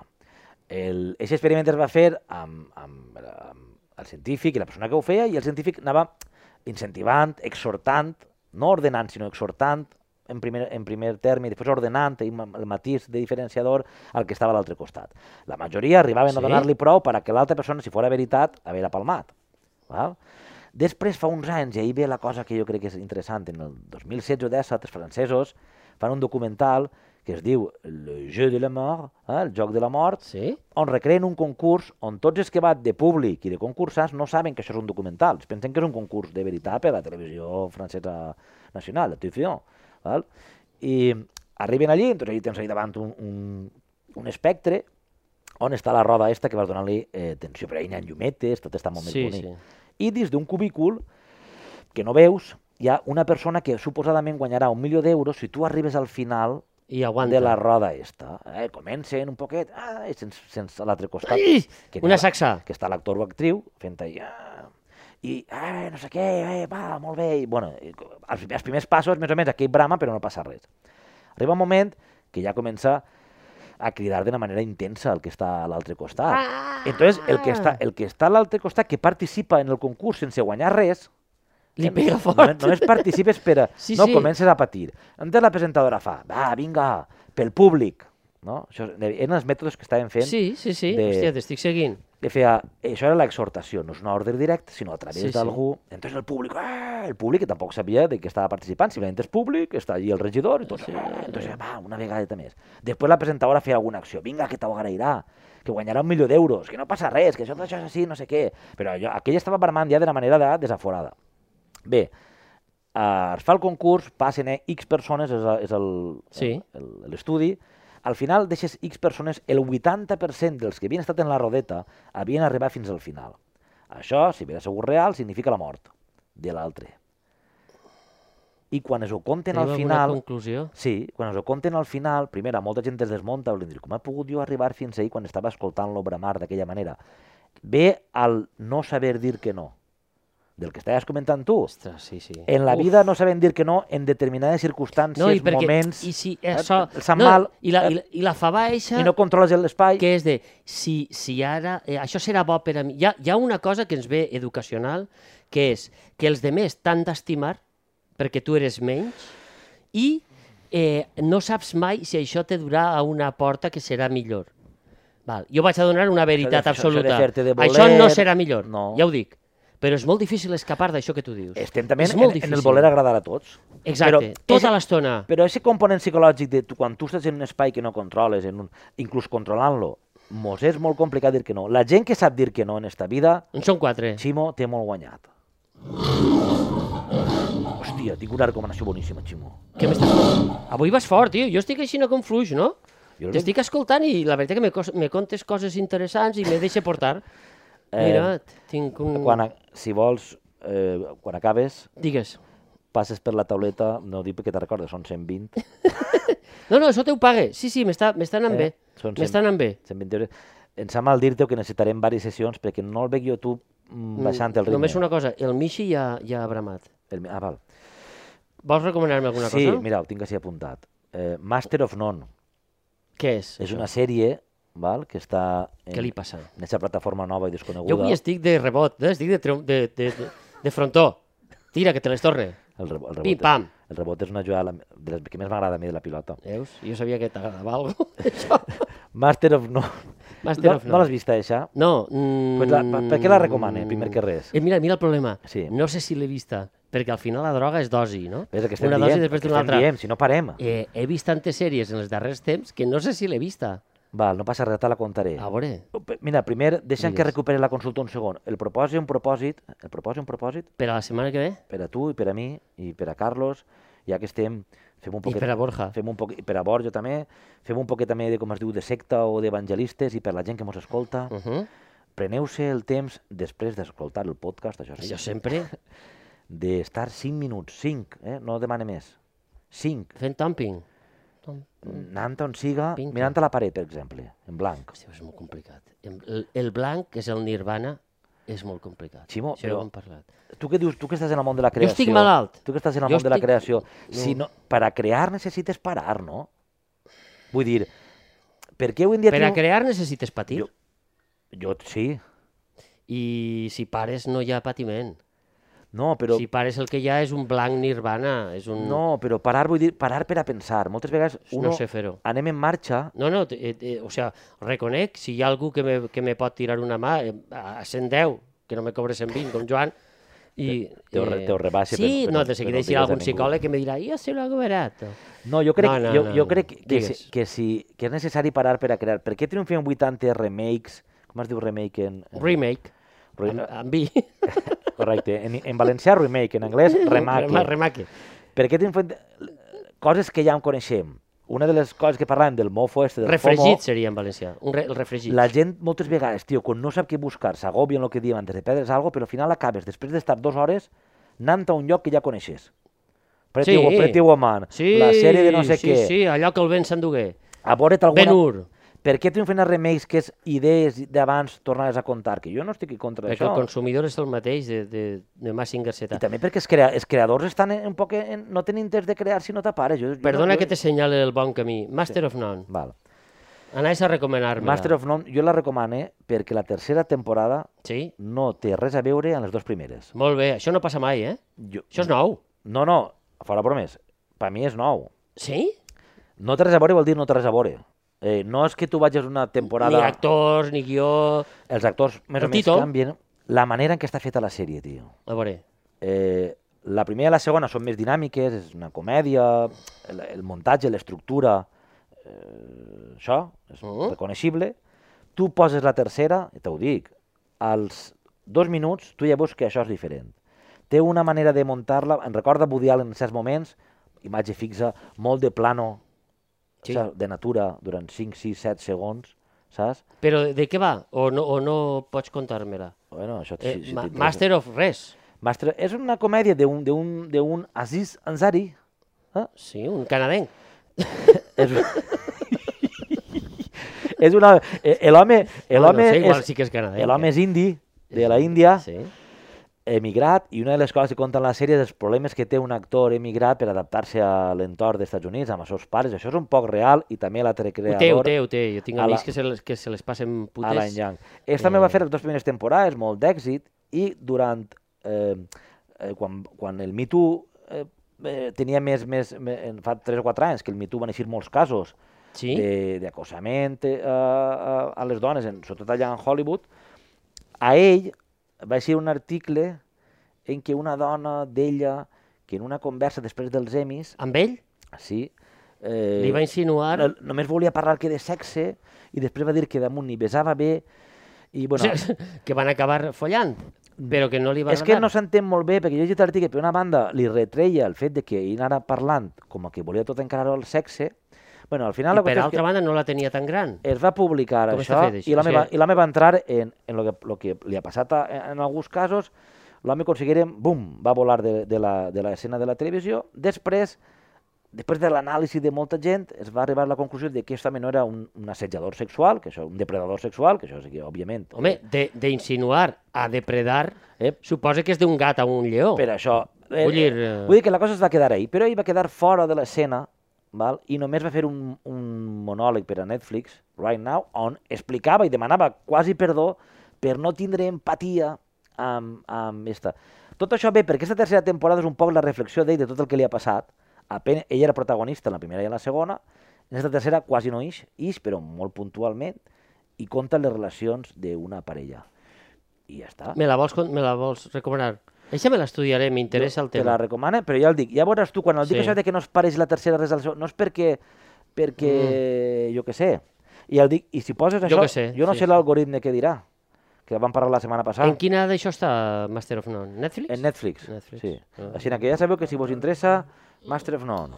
Speaker 1: El, aquest experiment es va fer amb, amb, amb el científic i la persona que ho feia i el científic anava incentivant, exhortant, no ordenant, sinó exhortant en primer, en primer terme i després ordenant i ma- el matís de diferenciador al que estava a l'altre costat. La majoria arribaven
Speaker 2: Sí?
Speaker 1: a donar-li prou per a que l'altra persona, si fora veritat, haguera palmat. Val? Després, fa uns anys, i ahir ve la cosa que jo crec que és interessant, en el 2016 o 17, els francesos fan un documental que es diu Le jeu de la mort, eh, el joc de la mort,
Speaker 2: Sí?
Speaker 1: on recreen un concurs on tots els que van de públic i de concursants no saben que això és un documental. Es pensen que és un concurs de veritat per a la televisió francesa nacional, la TF1. Val? I arriben allí, doncs allí tens allà davant un, un, un espectre on està la roda esta que vas donant-li eh, tensió, però hi ha llumetes, tot està molt
Speaker 2: Sí,
Speaker 1: més bonic.
Speaker 2: sí.
Speaker 1: I dins d'un cubícul que no veus, hi ha una persona que suposadament guanyarà un milió d'euros si tu arribes al final
Speaker 2: I aguanta.
Speaker 1: de la roda esta. Eh? Comencen un poquet, ah, i sense, sense a l'altre costat.
Speaker 2: Ai!
Speaker 1: que n'hi ha
Speaker 2: Una
Speaker 1: la-
Speaker 2: saxa.
Speaker 1: Que està l'actor o actriu fent allà... I, eh, no sé què, eh, va, molt bé. I, bueno, i, co- els, primers- els primers passos, més o menys, aquí brama, però no passa res. Arriba un moment que ja comença a cridar d'una manera intensa el que està a l'altre costat.
Speaker 2: Ah!
Speaker 1: Entonces, el que està, el que està a l'altre costat, que participa en el concurs sense guanyar res,
Speaker 2: Li
Speaker 1: que
Speaker 2: pega
Speaker 1: no-
Speaker 2: fort.
Speaker 1: Només, només participes per a...
Speaker 2: Sí,
Speaker 1: Sí, no
Speaker 2: sí.
Speaker 1: comences a patir. Entonces la presentadora fa, va, vinga, pel públic. No? Això, eren els mètodes que estaven fent.
Speaker 2: Sí, sí, sí.
Speaker 1: de-
Speaker 2: Hòstia, t'estic seguint.
Speaker 1: Que feia, això era l'exhortació, no és una ordre directa, sinó a través
Speaker 2: Sí,
Speaker 1: sí,
Speaker 2: sí.
Speaker 1: d'algú. Entonces el públic, eh, el públic que tampoc sabia de què estava participant, simplement és públic, està allí el regidor, i tot, sí, eh, entonces, va, una vegada més. Després la presentadora feia alguna acció, vinga, que t'ho agrairà, que guanyarà un milió d'euros, que no passa res, que això, això és així, no sé què. Però allò, aquella estava parlant ja d'una manera de, desaforada. Bé, eh, es fa el concurs, passen eh, X persones, és, a- és el-
Speaker 2: Sí.
Speaker 1: el- l'estudi, al final deixes X persones, el 80% dels que havien estat en la rodeta havien arribat fins al final. Això, si bé segur real, significa la mort de l'altre. I quan es ho compten
Speaker 2: Tenim
Speaker 1: al
Speaker 2: alguna
Speaker 1: final...
Speaker 2: conclusió?
Speaker 1: Sí, quan es ho compten al final, primera, molta gent es desmunta, volen dir, com ha pogut jo arribar fins ahir quan estava escoltant-lo bramar d'aquella manera? Ve al no saber dir que no, del que estaves comentant tu.
Speaker 2: Ostres, sí, sí.
Speaker 1: En la
Speaker 2: Uf.
Speaker 1: vida no saben dir que no en determinades circumstàncies,
Speaker 2: no, i perquè,
Speaker 1: moments...
Speaker 2: I si
Speaker 1: eh,
Speaker 2: això...
Speaker 1: et sap mal,
Speaker 2: I la,
Speaker 1: eh,
Speaker 2: i la, i la fava eixa,
Speaker 1: i no controles l'espai.
Speaker 2: que és de... Si, si ara... Eh, això serà bo per a mi. Hi ha, hi ha una cosa que ens ve educacional, que és que els demés t'han d'estimar perquè tu eres menys i eh, no saps mai si això te durà a una porta que serà millor. Val. Jo vaig a donar una veritat
Speaker 1: fer- això de
Speaker 2: absoluta.
Speaker 1: fer-te de
Speaker 2: això no
Speaker 1: voler,
Speaker 2: serà millor,
Speaker 1: no.
Speaker 2: ja ho dic. Però és molt difícil escapar d'això que tu dius.
Speaker 1: Estem també
Speaker 2: És
Speaker 1: en,
Speaker 2: molt
Speaker 1: en el
Speaker 2: difícil.
Speaker 1: voler agradar a tots.
Speaker 2: Exacte,
Speaker 1: Però
Speaker 2: tota
Speaker 1: és-
Speaker 2: l'estona.
Speaker 1: Però aquest component psicològic de tu, quan tu estàs en un espai que no controles, en un, inclús controlant-lo, mos és molt complicat dir que no. La gent que sap dir que no en esta vida,
Speaker 2: En són quatre.
Speaker 1: Ximo té molt guanyat. Hòstia, tinc una recomanació boníssima, Ximo.
Speaker 2: Què m'estàs fent? Avui vas fort, tio. Jo estic així no com fluix, no?
Speaker 1: Jo
Speaker 2: T'estic escoltant i la veritat que me, cos- me contes coses interessants i me deixa portar.
Speaker 1: Eh,
Speaker 2: Mira, tinc un...
Speaker 1: Quan, a, si vols, eh, quan acabes,
Speaker 2: Digues.
Speaker 1: passes per la tauleta, no dic perquè te recordes, són 120,
Speaker 2: No, no, això te ho pague. Sí, sí, m'està m'està anant
Speaker 1: Eh,
Speaker 2: bé.
Speaker 1: són cent-
Speaker 2: M'està anant bé.
Speaker 1: 120 euros. Em sap mal dir-te que necessitarem diverses sessions perquè no el veig jo tu mm, baixant el ritme.
Speaker 2: Només una cosa, el Michi ja, ja ha bramat.
Speaker 1: El... mi- Ah, val.
Speaker 2: Vols recomanar-me alguna
Speaker 1: sí,
Speaker 2: cosa?
Speaker 1: mira, ho tinc així apuntat. Eh, Master of None
Speaker 2: Què és?
Speaker 1: és una sèrie val, que està en,
Speaker 2: Què li passa?
Speaker 1: en aquesta plataforma nova i desconeguda.
Speaker 2: Jo avui estic de rebot, eh? estic de, triom- de, de, de, de frontó. Tira, que te les torne.
Speaker 1: El, rebo- el,
Speaker 2: Pim,
Speaker 1: rebot,
Speaker 2: pam.
Speaker 1: el rebot és una jugada la- de les que més m'agrada a mi de la pilota.
Speaker 2: Veus? Jo sabia que t'agradava alguna cosa.
Speaker 1: Master of None.
Speaker 2: Master
Speaker 1: no,
Speaker 2: of
Speaker 1: No
Speaker 2: None.
Speaker 1: l'has vist, això?
Speaker 2: No. Mm,
Speaker 1: Pues la- per- per què la recomana, primer que res?
Speaker 2: Eh, mira, mira el problema.
Speaker 1: Sí.
Speaker 2: No sé si l'he vista, perquè al final la droga és dosi, no?
Speaker 1: Ves el que estem
Speaker 2: una dosi
Speaker 1: dient,
Speaker 2: després
Speaker 1: que
Speaker 2: d'una
Speaker 1: estem
Speaker 2: altra.
Speaker 1: dient, si no parem.
Speaker 2: Eh, he vist tantes sèries en els darrers temps que no sé si l'he vista.
Speaker 1: Val, no passa res, te la contaré.
Speaker 2: A veure,
Speaker 1: Pe- Mira, primer, deixa'm que
Speaker 2: Digues.
Speaker 1: recuperi la consulta un segon. El propòsit, un propòsit, el propòsit, un propòsit,
Speaker 2: per a la setmana que ve
Speaker 1: per a tu i per a mi i per a Carlos, ja que estem, fem un
Speaker 2: i
Speaker 1: poquet...
Speaker 2: per a Borja.
Speaker 1: Fem un poquet, per a Borja també, fem un poquet també de, com es diu, de secta o d'evangelistes i per la gent que mos escolta.
Speaker 2: Uh -huh.
Speaker 1: Preneu-se el temps, després d'escoltar el podcast, això sí,
Speaker 2: Jo sempre
Speaker 1: d'estar 5 minuts, 5, eh? no demane més, 5,
Speaker 2: fent dumping. Tom-
Speaker 1: anant on siga,
Speaker 2: Vinga.
Speaker 1: mirant a la paret, per exemple, en blanc.
Speaker 2: Hòstia, és molt complicat. El, el blanc, que és el nirvana, és molt complicat.
Speaker 1: Ximo,
Speaker 2: Això ja ho
Speaker 1: però-
Speaker 2: hem parlat.
Speaker 1: Tu que dius, tu que estàs en el món de la
Speaker 2: Jo
Speaker 1: creació.
Speaker 2: estic malalt.
Speaker 1: Tu que estàs en el
Speaker 2: Jo
Speaker 1: món de la
Speaker 2: estic-
Speaker 1: creació.
Speaker 2: no.
Speaker 1: Si no, per a crear necessites parar, no? Vull dir, per què avui en dia...
Speaker 2: Per a
Speaker 1: teniu-
Speaker 2: crear necessites patir.
Speaker 1: Jo- Jo sí.
Speaker 2: I si pares no hi ha patiment.
Speaker 1: No, però...
Speaker 2: Si pares el que hi ha és un blanc nirvana, és un...
Speaker 1: No, però parar vull dir parar per a pensar. Moltes vegades uno
Speaker 2: no sé fer-ho.
Speaker 1: anem en marxa
Speaker 2: No, no, eh, eh, o sea, reconec, si hi ha algú que me, que me pot tirar una mà eh, a 110, que no me cobre 120, com Joan, I,
Speaker 1: Te ho re- te ho rebaixa,
Speaker 2: Sí,
Speaker 1: però-
Speaker 2: no,
Speaker 1: però-
Speaker 2: de seguida
Speaker 1: però no
Speaker 2: hi ha
Speaker 1: digues a
Speaker 2: algun
Speaker 1: ningú.
Speaker 2: psicòleg que me dirà, jo sé lo barato.
Speaker 1: No, jo crec,
Speaker 2: No, no,
Speaker 1: jo,
Speaker 2: no,
Speaker 1: jo
Speaker 2: no.
Speaker 1: crec que,
Speaker 2: Digues.
Speaker 1: si- que, si, que és necessari parar per a crear. Per què triomfen 80 remakes? Com es diu remake en... en
Speaker 2: Remake,
Speaker 1: Re-
Speaker 2: amb, amb vi.
Speaker 1: Correcte. En, en valencià, remake. En anglès, remake.
Speaker 2: Rema- Remake.
Speaker 1: Per què triomfen coses que ja en coneixem? Una de les coses que parlàvem del mofo este, del
Speaker 2: Refregit
Speaker 1: FOMO,
Speaker 2: seria en valencià, un re, el refregit.
Speaker 1: la gent moltes vegades, tio, quan no sap què buscar, s'agobia en el que diem antes de perdre's alguna però al final acabes, després d'estar dues hores, anant a un lloc que ja coneixes. Pretty,
Speaker 2: Sí.
Speaker 1: sí. Pretty Woman,
Speaker 2: Sí,
Speaker 1: la sèrie de no sé
Speaker 2: sí,
Speaker 1: què,
Speaker 2: Sí, allò que el vent s'endugué.
Speaker 1: a veure't alguna...
Speaker 2: Ben Hur.
Speaker 1: Per què triomfen els remakes que és idees d'abans tornades a contar? Que jo no estic en contra
Speaker 2: Perquè
Speaker 1: d'això.
Speaker 2: el consumidor és el mateix de, de, de Massinger Zeta.
Speaker 1: I també perquè els, crea els creadors estan en- un poc... En... no tenen interès de crear si no t'apares. Jo, jo
Speaker 2: Perdona
Speaker 1: no, jo...
Speaker 2: que t'assenyale el bon camí. Master of None.
Speaker 1: Val.
Speaker 2: Anaves a recomanar-me.
Speaker 1: Master of None, jo la recomano eh, perquè la tercera temporada
Speaker 2: Sí?
Speaker 1: no té res a veure amb les dues primeres.
Speaker 2: Molt bé, això no passa mai, eh?
Speaker 1: Jo...
Speaker 2: Això és nou.
Speaker 1: No, no, fora bromes. Per mi és nou.
Speaker 2: Sí?
Speaker 1: No té res a veure vol dir no té res a veure. Eh, no és que tu vagis una temporada...
Speaker 2: Ni actors, ni guió...
Speaker 1: Els actors més
Speaker 2: El
Speaker 1: o menys
Speaker 2: títol.
Speaker 1: canvien. La manera en què està feta la sèrie, tio.
Speaker 2: A veure,
Speaker 1: Eh, la primera i la segona són més dinàmiques, és una comèdia, el, el muntatge, l'estructura, eh, això, és
Speaker 2: Mhm.
Speaker 1: reconeixible. Tu poses la tercera, i t'ho dic, als dos minuts tu ja veus que això és diferent. Té una manera de muntar-la, em recorda Woody Allen en certs moments, imatge fixa, molt de plano, sí.
Speaker 2: Sí.
Speaker 1: saps? de natura, durant 5, 6, 7 segons, saps?
Speaker 2: però de què va? O no, o no pots contar-me-la?
Speaker 1: Bueno, això,
Speaker 2: Eh,
Speaker 1: si, si
Speaker 2: ma-
Speaker 1: t'interessa.
Speaker 2: Master of res.
Speaker 1: Master, és una comèdia d'un- d'un d'un Aziz Ansari, eh?
Speaker 2: Sí, un canadenc.
Speaker 1: És, és una... eh, L'home
Speaker 2: Ah,
Speaker 1: l'home
Speaker 2: no sé, igual
Speaker 1: és,
Speaker 2: sí que és canadenc. eh?
Speaker 1: l'home és indi, de la Índia,
Speaker 2: Sí.
Speaker 1: emigrat, i una de les coses que conta en la sèrie és els problemes que té un actor emigrat per adaptar-se a l'entorn dels Estats Units, amb els seus pares. Això és un poc real i també l'altre
Speaker 2: Ho té, ho
Speaker 1: creador,
Speaker 2: té, ho té. Jo tinc
Speaker 1: A la-
Speaker 2: amics que se les, que se les passen putes.
Speaker 1: Alan Yang. Ells també va fer les dues primeres temporades, molt d'èxit, i durant... Eh, eh, quan, quan el Me Too eh, eh, tenia més, més, més, en fa 3 o 4 anys, que el Me Too van eixir molts casos,
Speaker 2: Sí?
Speaker 1: de- d'acosament eh, a, a les dones, en, sobretot allà en Hollywood, a ell va ser un article en què una dona d'ella, que en una conversa després dels Emis,
Speaker 2: Amb ell?
Speaker 1: sí, eh,
Speaker 2: Li va insinuar...
Speaker 1: no, només volia parlar que de sexe i després va dir que damunt ni besava bé i bueno,
Speaker 2: O sigui, que van acabar follant, però que no li va
Speaker 1: és que no
Speaker 2: agradar.
Speaker 1: s'entén molt bé, perquè jo he llegit l'article, per una banda li retreia el fet de que ell anara parlant com a que volia tot encarar el sexe, bueno, al final
Speaker 2: I
Speaker 1: la
Speaker 2: per
Speaker 1: qüestió és
Speaker 2: altra
Speaker 1: que...
Speaker 2: banda no la tenia tan gran.
Speaker 1: es va publicar
Speaker 2: Com
Speaker 1: això,
Speaker 2: està fet, això?
Speaker 1: i l'home
Speaker 2: O
Speaker 1: va,
Speaker 2: sigui-
Speaker 1: i l'home va entrar en, en lo que, lo que li ha passat a, en alguns casos, l'home considerem, bum, va volar de, de la- de l'escena de, de la televisió, després després de l'anàlisi de molta gent, es va arribar a la conclusió de que aquest home no era un, un assetjador sexual, que això, un depredador sexual, que això sí que, òbviament...
Speaker 2: Home, de- d'insinuar a depredar,
Speaker 1: eh,
Speaker 2: suposa que és d'un gat a un lleó.
Speaker 1: per això... eh,
Speaker 2: Vull dir,
Speaker 1: eh,
Speaker 2: eh,
Speaker 1: vull dir que la cosa es va quedar ahí, però ell va quedar fora de l'escena val? i només va fer un, un monòleg per a Netflix, Right Now, on explicava i demanava quasi perdó per no tindre empatia amb, amb esta. Tot això bé, perquè aquesta tercera temporada és un poc la reflexió d'ell de tot el que li ha passat. Apen ell era protagonista en la primera i en la segona, en aquesta tercera quasi no ix, ix però molt puntualment, i conta les relacions d'una parella. I ja està.
Speaker 2: Me la vols, con- me la vols recomanar? Eixa me l'estudiaré, m'interessa el
Speaker 1: Te la
Speaker 2: tema.
Speaker 1: recomana, però ja el dic. Ja veuràs tu, quan el dic
Speaker 2: Sí.
Speaker 1: això de que no es pareix la tercera res al seu... No és perquè... perquè... jo què sé. I el dic, i si poses
Speaker 2: Mm. Jo
Speaker 1: això,
Speaker 2: què sé,
Speaker 1: jo no
Speaker 2: sí,
Speaker 1: sé
Speaker 2: sí.
Speaker 1: l'algoritme que dirà, que vam parlar la setmana passada.
Speaker 2: En quina d'això està Master of None? Netflix?
Speaker 1: En Netflix.
Speaker 2: Netflix.
Speaker 1: Sí.
Speaker 2: Ah.
Speaker 1: Així que ja sabeu que si vos interessa, Master of None.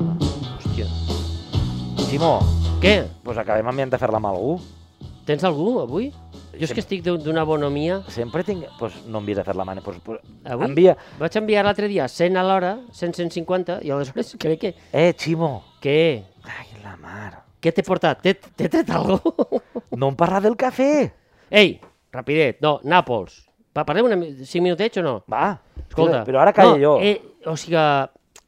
Speaker 2: Hòstia.
Speaker 1: Simó,
Speaker 2: Què?
Speaker 1: pues acabem amb de fer-la amb algú.
Speaker 2: Tens algú avui? Jo és que estic d'un- d'una bonomia...
Speaker 1: Sempre tinc... Pues no envies a fer-la mà. Pues, pues,
Speaker 2: Avui?
Speaker 1: envia...
Speaker 2: Vaig enviar l'altre dia 100 a l'hora, 100, 150, i aleshores crec que...
Speaker 1: Eh, Ximo!
Speaker 2: Què?
Speaker 1: Ai, la mar.
Speaker 2: Què t'he portat? T'he t'he tret alguna
Speaker 1: No em parla del cafè!
Speaker 2: Ei, rapidet, no, Nàpols. Va, parlem una, mi- cinc minutets o no?
Speaker 1: Va,
Speaker 2: Escolta,
Speaker 1: Però ara calla
Speaker 2: no,
Speaker 1: jo.
Speaker 2: Eh, o sigui,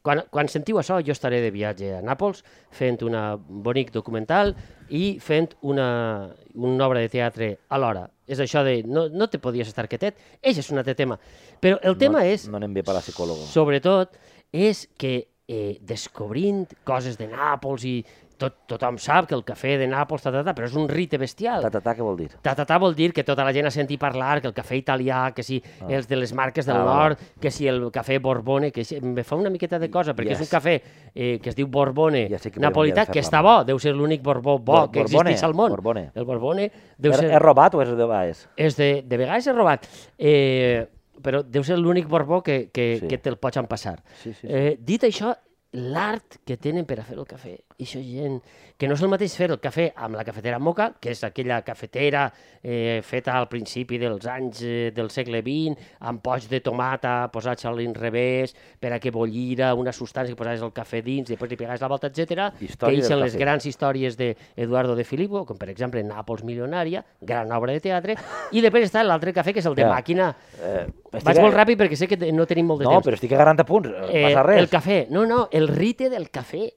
Speaker 2: quan, quan sentiu això, jo estaré de viatge a Nàpols fent una bonic documental i fent una, una obra de teatre alhora. És això de no, no te podies estar quietet, és és un altre tema. Però el tema és,
Speaker 1: No anem bé per la psicòloga.
Speaker 2: sobretot, és que eh, descobrint coses de Nàpols i tot, tothom sap que el cafè de Nàpols, ta, ta, ta, però és un rite bestial.
Speaker 1: Tatatà, què vol dir?
Speaker 2: Tatatà vol dir que tota la gent ha sentit parlar que el cafè italià, que si ah. els de les marques del
Speaker 1: Ah,
Speaker 2: ah,
Speaker 1: vale.
Speaker 2: nord, que si el cafè Borbone, que si... me fa una miqueta de cosa, perquè
Speaker 1: Yes.
Speaker 2: és un cafè eh, que es diu Borbone
Speaker 1: Ja sé que
Speaker 2: napolità,
Speaker 1: podríem ja
Speaker 2: que està
Speaker 1: fer-la.
Speaker 2: bo, deu ser l'únic Borbó bo
Speaker 1: Bor-
Speaker 2: que
Speaker 1: Borbone,
Speaker 2: existeix al món.
Speaker 1: Borbone.
Speaker 2: El Borbone deu
Speaker 1: És,
Speaker 2: ser...
Speaker 1: Er, és robat o és de baix?
Speaker 2: És de, de vegades és robat, eh, però deu ser l'únic Borbó que, que,
Speaker 1: Sí.
Speaker 2: sí. que te'l pots empassar.
Speaker 1: Sí, sí, sí.
Speaker 2: Eh, dit això, l'art que tenen per a fer el cafè, i això gent, que no és el mateix fer el cafè amb la cafetera moca, que és aquella cafetera eh, feta al principi dels anys eh, del segle XX, amb poig de tomata posats a l'inrevés, per a que bollira una substància que posaves el cafè dins, després li pegaves la volta, etc.
Speaker 1: Història
Speaker 2: que ixen
Speaker 1: del
Speaker 2: les
Speaker 1: cafè.
Speaker 2: grans històries d'Eduardo de Filippo, com per exemple Nàpols milionària, gran obra de teatre, i després està l'altre cafè, que és el de
Speaker 1: Ja.
Speaker 2: màquina.
Speaker 1: Eh, estic
Speaker 2: Vaig
Speaker 1: a-
Speaker 2: molt ràpid perquè sé que te- no tenim molt de
Speaker 1: No,
Speaker 2: temps.
Speaker 1: però estic a 40 punts. Eh, passa res.
Speaker 2: El cafè. No, no, el rite del cafè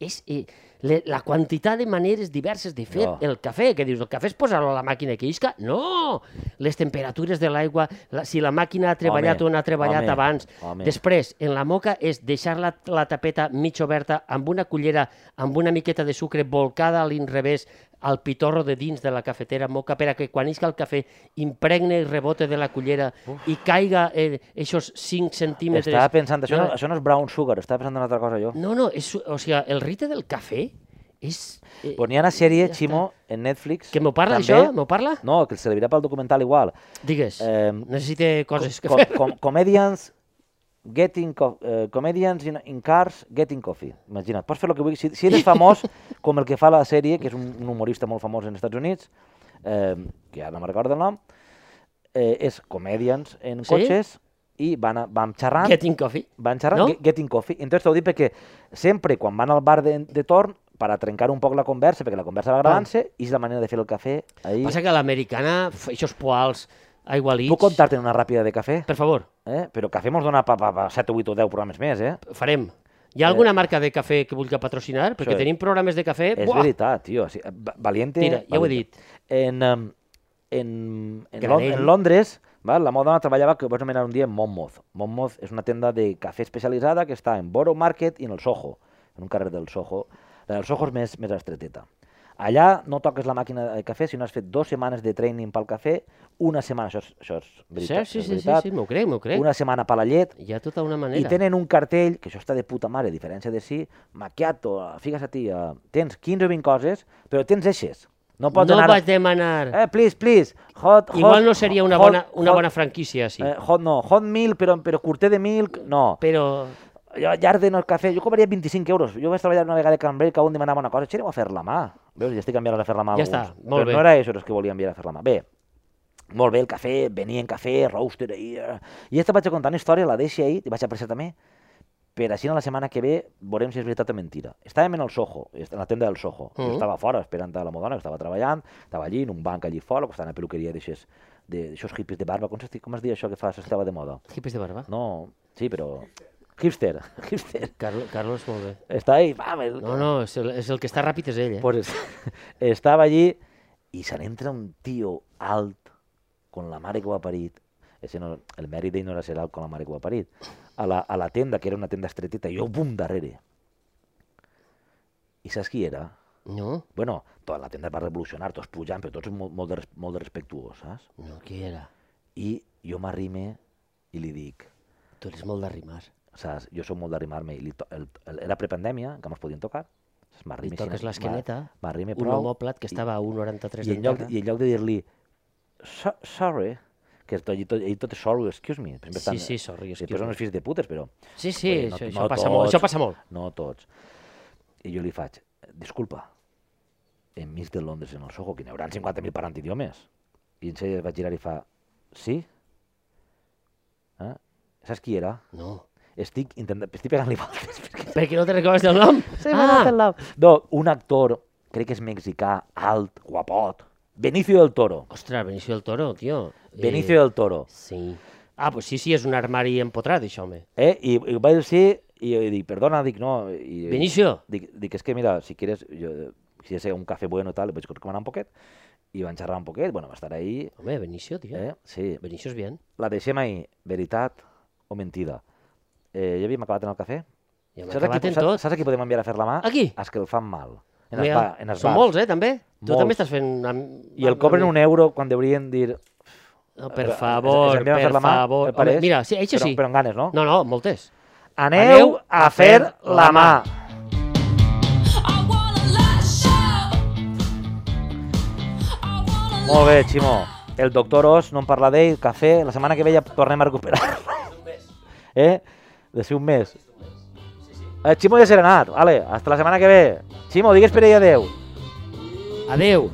Speaker 2: és eh, le, la quantitat de maneres diverses de fer
Speaker 1: No.
Speaker 2: no. el cafè, que dius, el cafè és posar-lo a la màquina que isca? No! Les temperatures de l'aigua, la, si la màquina ha treballat
Speaker 1: Home,
Speaker 2: o no ha treballat
Speaker 1: home,
Speaker 2: abans.
Speaker 1: home.
Speaker 2: Després, en la moca és deixar la, la tapeta mig oberta amb una cullera, amb una miqueta de sucre volcada a l'inrevés al pitorro de dins de la cafetera moca per a que quan isca el cafè impregne i rebote de la cullera Uf. i caiga eh, esos 5 centímetres.
Speaker 1: Estava pensant, això no,
Speaker 2: No,
Speaker 1: això no és brown sugar, estava pensant en una altra cosa jo.
Speaker 2: no, no, és, o sigui, el rite del cafè és... Eh,
Speaker 1: Però n'hi ha una sèrie,
Speaker 2: ja
Speaker 1: Ximo, en Netflix...
Speaker 2: que m'ho parla,
Speaker 1: també-
Speaker 2: això? M'ho parla?
Speaker 1: No, que el servirà pel documental igual.
Speaker 2: Digues, eh,
Speaker 1: Ehm,
Speaker 2: necessite coses que
Speaker 1: Com,
Speaker 2: fer.
Speaker 1: com, comedians getting co eh, comedians in, in cars getting coffee. Imagina't, pots fer el que vulguis. Si, si eres famós, com el que fa la sèrie, que és un, un humorista molt famós als Estats Units, eh, que ara no me'n recordo el nom, eh, és comedians en
Speaker 2: Sí?
Speaker 1: cotxes i van, a, van xerrant
Speaker 2: Getting coffee.
Speaker 1: van xerrar
Speaker 2: No?
Speaker 1: no? Getting Coffee. Entonces t'ho dic perquè sempre quan van al bar de, de torn per a trencar un poc la conversa, perquè la conversa va agradant-se, i és la manera de fer el cafè. Ahí...
Speaker 2: Passa que a l'americana, f- aixòs poals, aigua lits...
Speaker 1: Puc contar-te una ràpida de cafè?
Speaker 2: Per favor,
Speaker 1: Eh? Però cafè mos dona pa, pa, pa 7 o 8 o 10 programes més, eh?
Speaker 2: farem. Hi ha alguna marca de cafè que vulgui patrocinar? Perquè
Speaker 1: Sí.
Speaker 2: tenim programes de cafè...
Speaker 1: És
Speaker 2: Eh, Buah!
Speaker 1: veritat, tio. Sí, va- valiente...
Speaker 2: Tira, ja ho he
Speaker 1: valiente. En, em, en, en, Lon
Speaker 2: Granell.
Speaker 1: en Londres, val, la meva dona treballava, que ho vaig anomenar un dia, en Monmouth. Monmouth és una tenda de cafè especialitzada que està en Borough Market i en el Soho, en un carrer del Soho. La del Soho és més, més estreteta. Allà no toques la màquina de cafè si no has fet dues setmanes de training pel cafè, una setmana, això és, això és veritat,
Speaker 2: sí,
Speaker 1: és
Speaker 2: sí, sí,
Speaker 1: veritat,
Speaker 2: sí, m'ho crec, m'ho crec.
Speaker 1: una setmana per la llet,
Speaker 2: Hi ha tota una
Speaker 1: i
Speaker 2: manera.
Speaker 1: tenen un cartell, que això està de puta mare, a diferència de si, macchiato, fiques a ti, eh, tens 15 o 20 coses, però tens eixes. No pots
Speaker 2: No
Speaker 1: anar...
Speaker 2: vaig demanar...
Speaker 1: Eh, please, please, hot, hot...
Speaker 2: Igual no seria una
Speaker 1: hot-
Speaker 2: bona, una
Speaker 1: hot-
Speaker 2: bona franquícia, sí.
Speaker 1: Eh, hot no, hot milk, però, però curter de milk, no.
Speaker 2: Però...
Speaker 1: Jo, Yarden, el cafè, jo cobraria 25 euros. Jo vaig treballar una vegada a Cambrai que un demanava una cosa, xereu a fer la mà. Veus, ja estic enviant a fer la mà a
Speaker 2: Ja
Speaker 1: alguns.
Speaker 2: està, molt
Speaker 1: però
Speaker 2: bé.
Speaker 1: no era això els que volia enviar a fer la mà. Bé, molt bé, el cafè, venia en cafè, roaster, i, eh, i aquesta vaig a contar una història, la deixi ahir, i vaig apreciar també, per així la setmana que ve veurem si és veritat o mentira. Estàvem en el Soho, est- en la tenda del Soho. Mm. Jo
Speaker 2: Mhm.
Speaker 1: estava fora esperant a la Modona, que estava treballant, estava allí, en un banc allí fora, que està una peluqueria d'aixòs de, d'aixòs hippies de barba. Com, s'esti- com es diu això que fa, s'estava de moda?
Speaker 2: Hipes de barba.
Speaker 1: No, sí, però... Hipster, hipster.
Speaker 2: Carlos, Carlos, molt bé.
Speaker 1: Està ahí, va, el...
Speaker 2: No, no, és el, és el que està ràpid és ell, eh?
Speaker 1: Pues es- estava allí i se n'entra un tio alt con la mare que ho ha parit. Ese no, el mèrit d'ell no era ser alt con la mare que ho ha parit. A la, a la tenda, que era una tenda estreteta, i jo, bum, darrere. I saps qui era?
Speaker 2: No,
Speaker 1: Bueno, tota la tenda es va revolucionar, tots pujant, però tots molt, molt, de, res- molt de respectuós, saps?
Speaker 2: no, qui era?
Speaker 1: I jo m'arrime i li dic,
Speaker 2: Tu eres molt d'arrimar.
Speaker 1: saps? Jo sóc molt d'arrimar-me. i li to- el- el- Era prepandèmia, que mos podien tocar. Saps? M'arrime
Speaker 2: Li
Speaker 1: així,
Speaker 2: toques
Speaker 1: m'ar-
Speaker 2: l'esqueneta,
Speaker 1: m'arrime
Speaker 2: un
Speaker 1: prou,
Speaker 2: homòplat que
Speaker 1: i-
Speaker 2: estava a
Speaker 1: I
Speaker 2: 1,93 de
Speaker 1: en, lloc,
Speaker 2: terra.
Speaker 1: I en lloc de dir-li "So- sorry, que tot, i tot, i tot és sorry, excuse me. Sempre
Speaker 2: Sí, sí, sorry,
Speaker 1: excuse
Speaker 2: excuse
Speaker 1: me. Són
Speaker 2: me.
Speaker 1: uns fills de putes, però
Speaker 2: Sí, sí,
Speaker 1: Bé, no-
Speaker 2: això,
Speaker 1: no
Speaker 2: això, passa molt,
Speaker 1: tots.
Speaker 2: això passa molt.
Speaker 1: no tots. I jo li faig, disculpa, enmig de Londres, en el Soho, que n'hi haurà 50.000 parlant idiomes. I en sèrie es va girar i fa, sí? Eh? Saps qui era?
Speaker 2: No.
Speaker 1: Estic, intentant, estic pegant-li voltes perquè
Speaker 2: Perquè no te recordes del nom? ah,
Speaker 1: No, un actor, crec que és mexicà, alt, guapot, Benicio del Toro.
Speaker 2: ostres, Benicio del Toro, tio. Eh,
Speaker 1: Benicio del Toro.
Speaker 2: Sí. Ah, pues sí, sí, és un armari empotrat, això, home.
Speaker 1: Eh? I, i vaig dir, i, i dic, perdona, dic, no. I,
Speaker 2: Benicio.
Speaker 1: Dic, dic, és que mira, si quieres, jo, si és un cafè bueno i tal, vaig recomanar un poquet, i van xerrar un poquet, bueno, va estar ahí,
Speaker 2: Home, Benicio, tio.
Speaker 1: eh? Sí.
Speaker 2: Benicio és bien.
Speaker 1: La deixem ahí, veritat o mentida. Eh, ja havíem acabat en el cafè?
Speaker 2: Ja hem
Speaker 1: Saps a qui
Speaker 2: acabat
Speaker 1: po-
Speaker 2: en
Speaker 1: saps-
Speaker 2: tot.
Speaker 1: Saps a qui podem enviar a fer la mà?
Speaker 2: A qui?
Speaker 1: Els que el fan mal. En els, ba, en els
Speaker 2: Són
Speaker 1: bars.
Speaker 2: molts, eh, també? Tu
Speaker 1: Molts.
Speaker 2: també estàs fent... Amb...
Speaker 1: I el cobren un euro quan deurien dir...
Speaker 2: No, per
Speaker 1: Es- es
Speaker 2: favor,
Speaker 1: envien a
Speaker 2: per
Speaker 1: fer la mà,
Speaker 2: favor.
Speaker 1: el pareix,
Speaker 2: Home, mira, sí, això
Speaker 1: però,
Speaker 2: sí.
Speaker 1: Però amb ganes, no?
Speaker 2: No, no, moltes.
Speaker 1: Aneu a fer la mà.
Speaker 4: I wanna lash out. I wanna
Speaker 1: Molt bé, Ximo. El doctor Os, no en parla d'ell, cafè, la setmana que ve ja tornem a recuperar-lo. Eh? De ser un mes. Eh, Ximo ja serà anat, vale, hasta la setmana que ve. Ximo, digues per ell adeu.
Speaker 2: Adeu.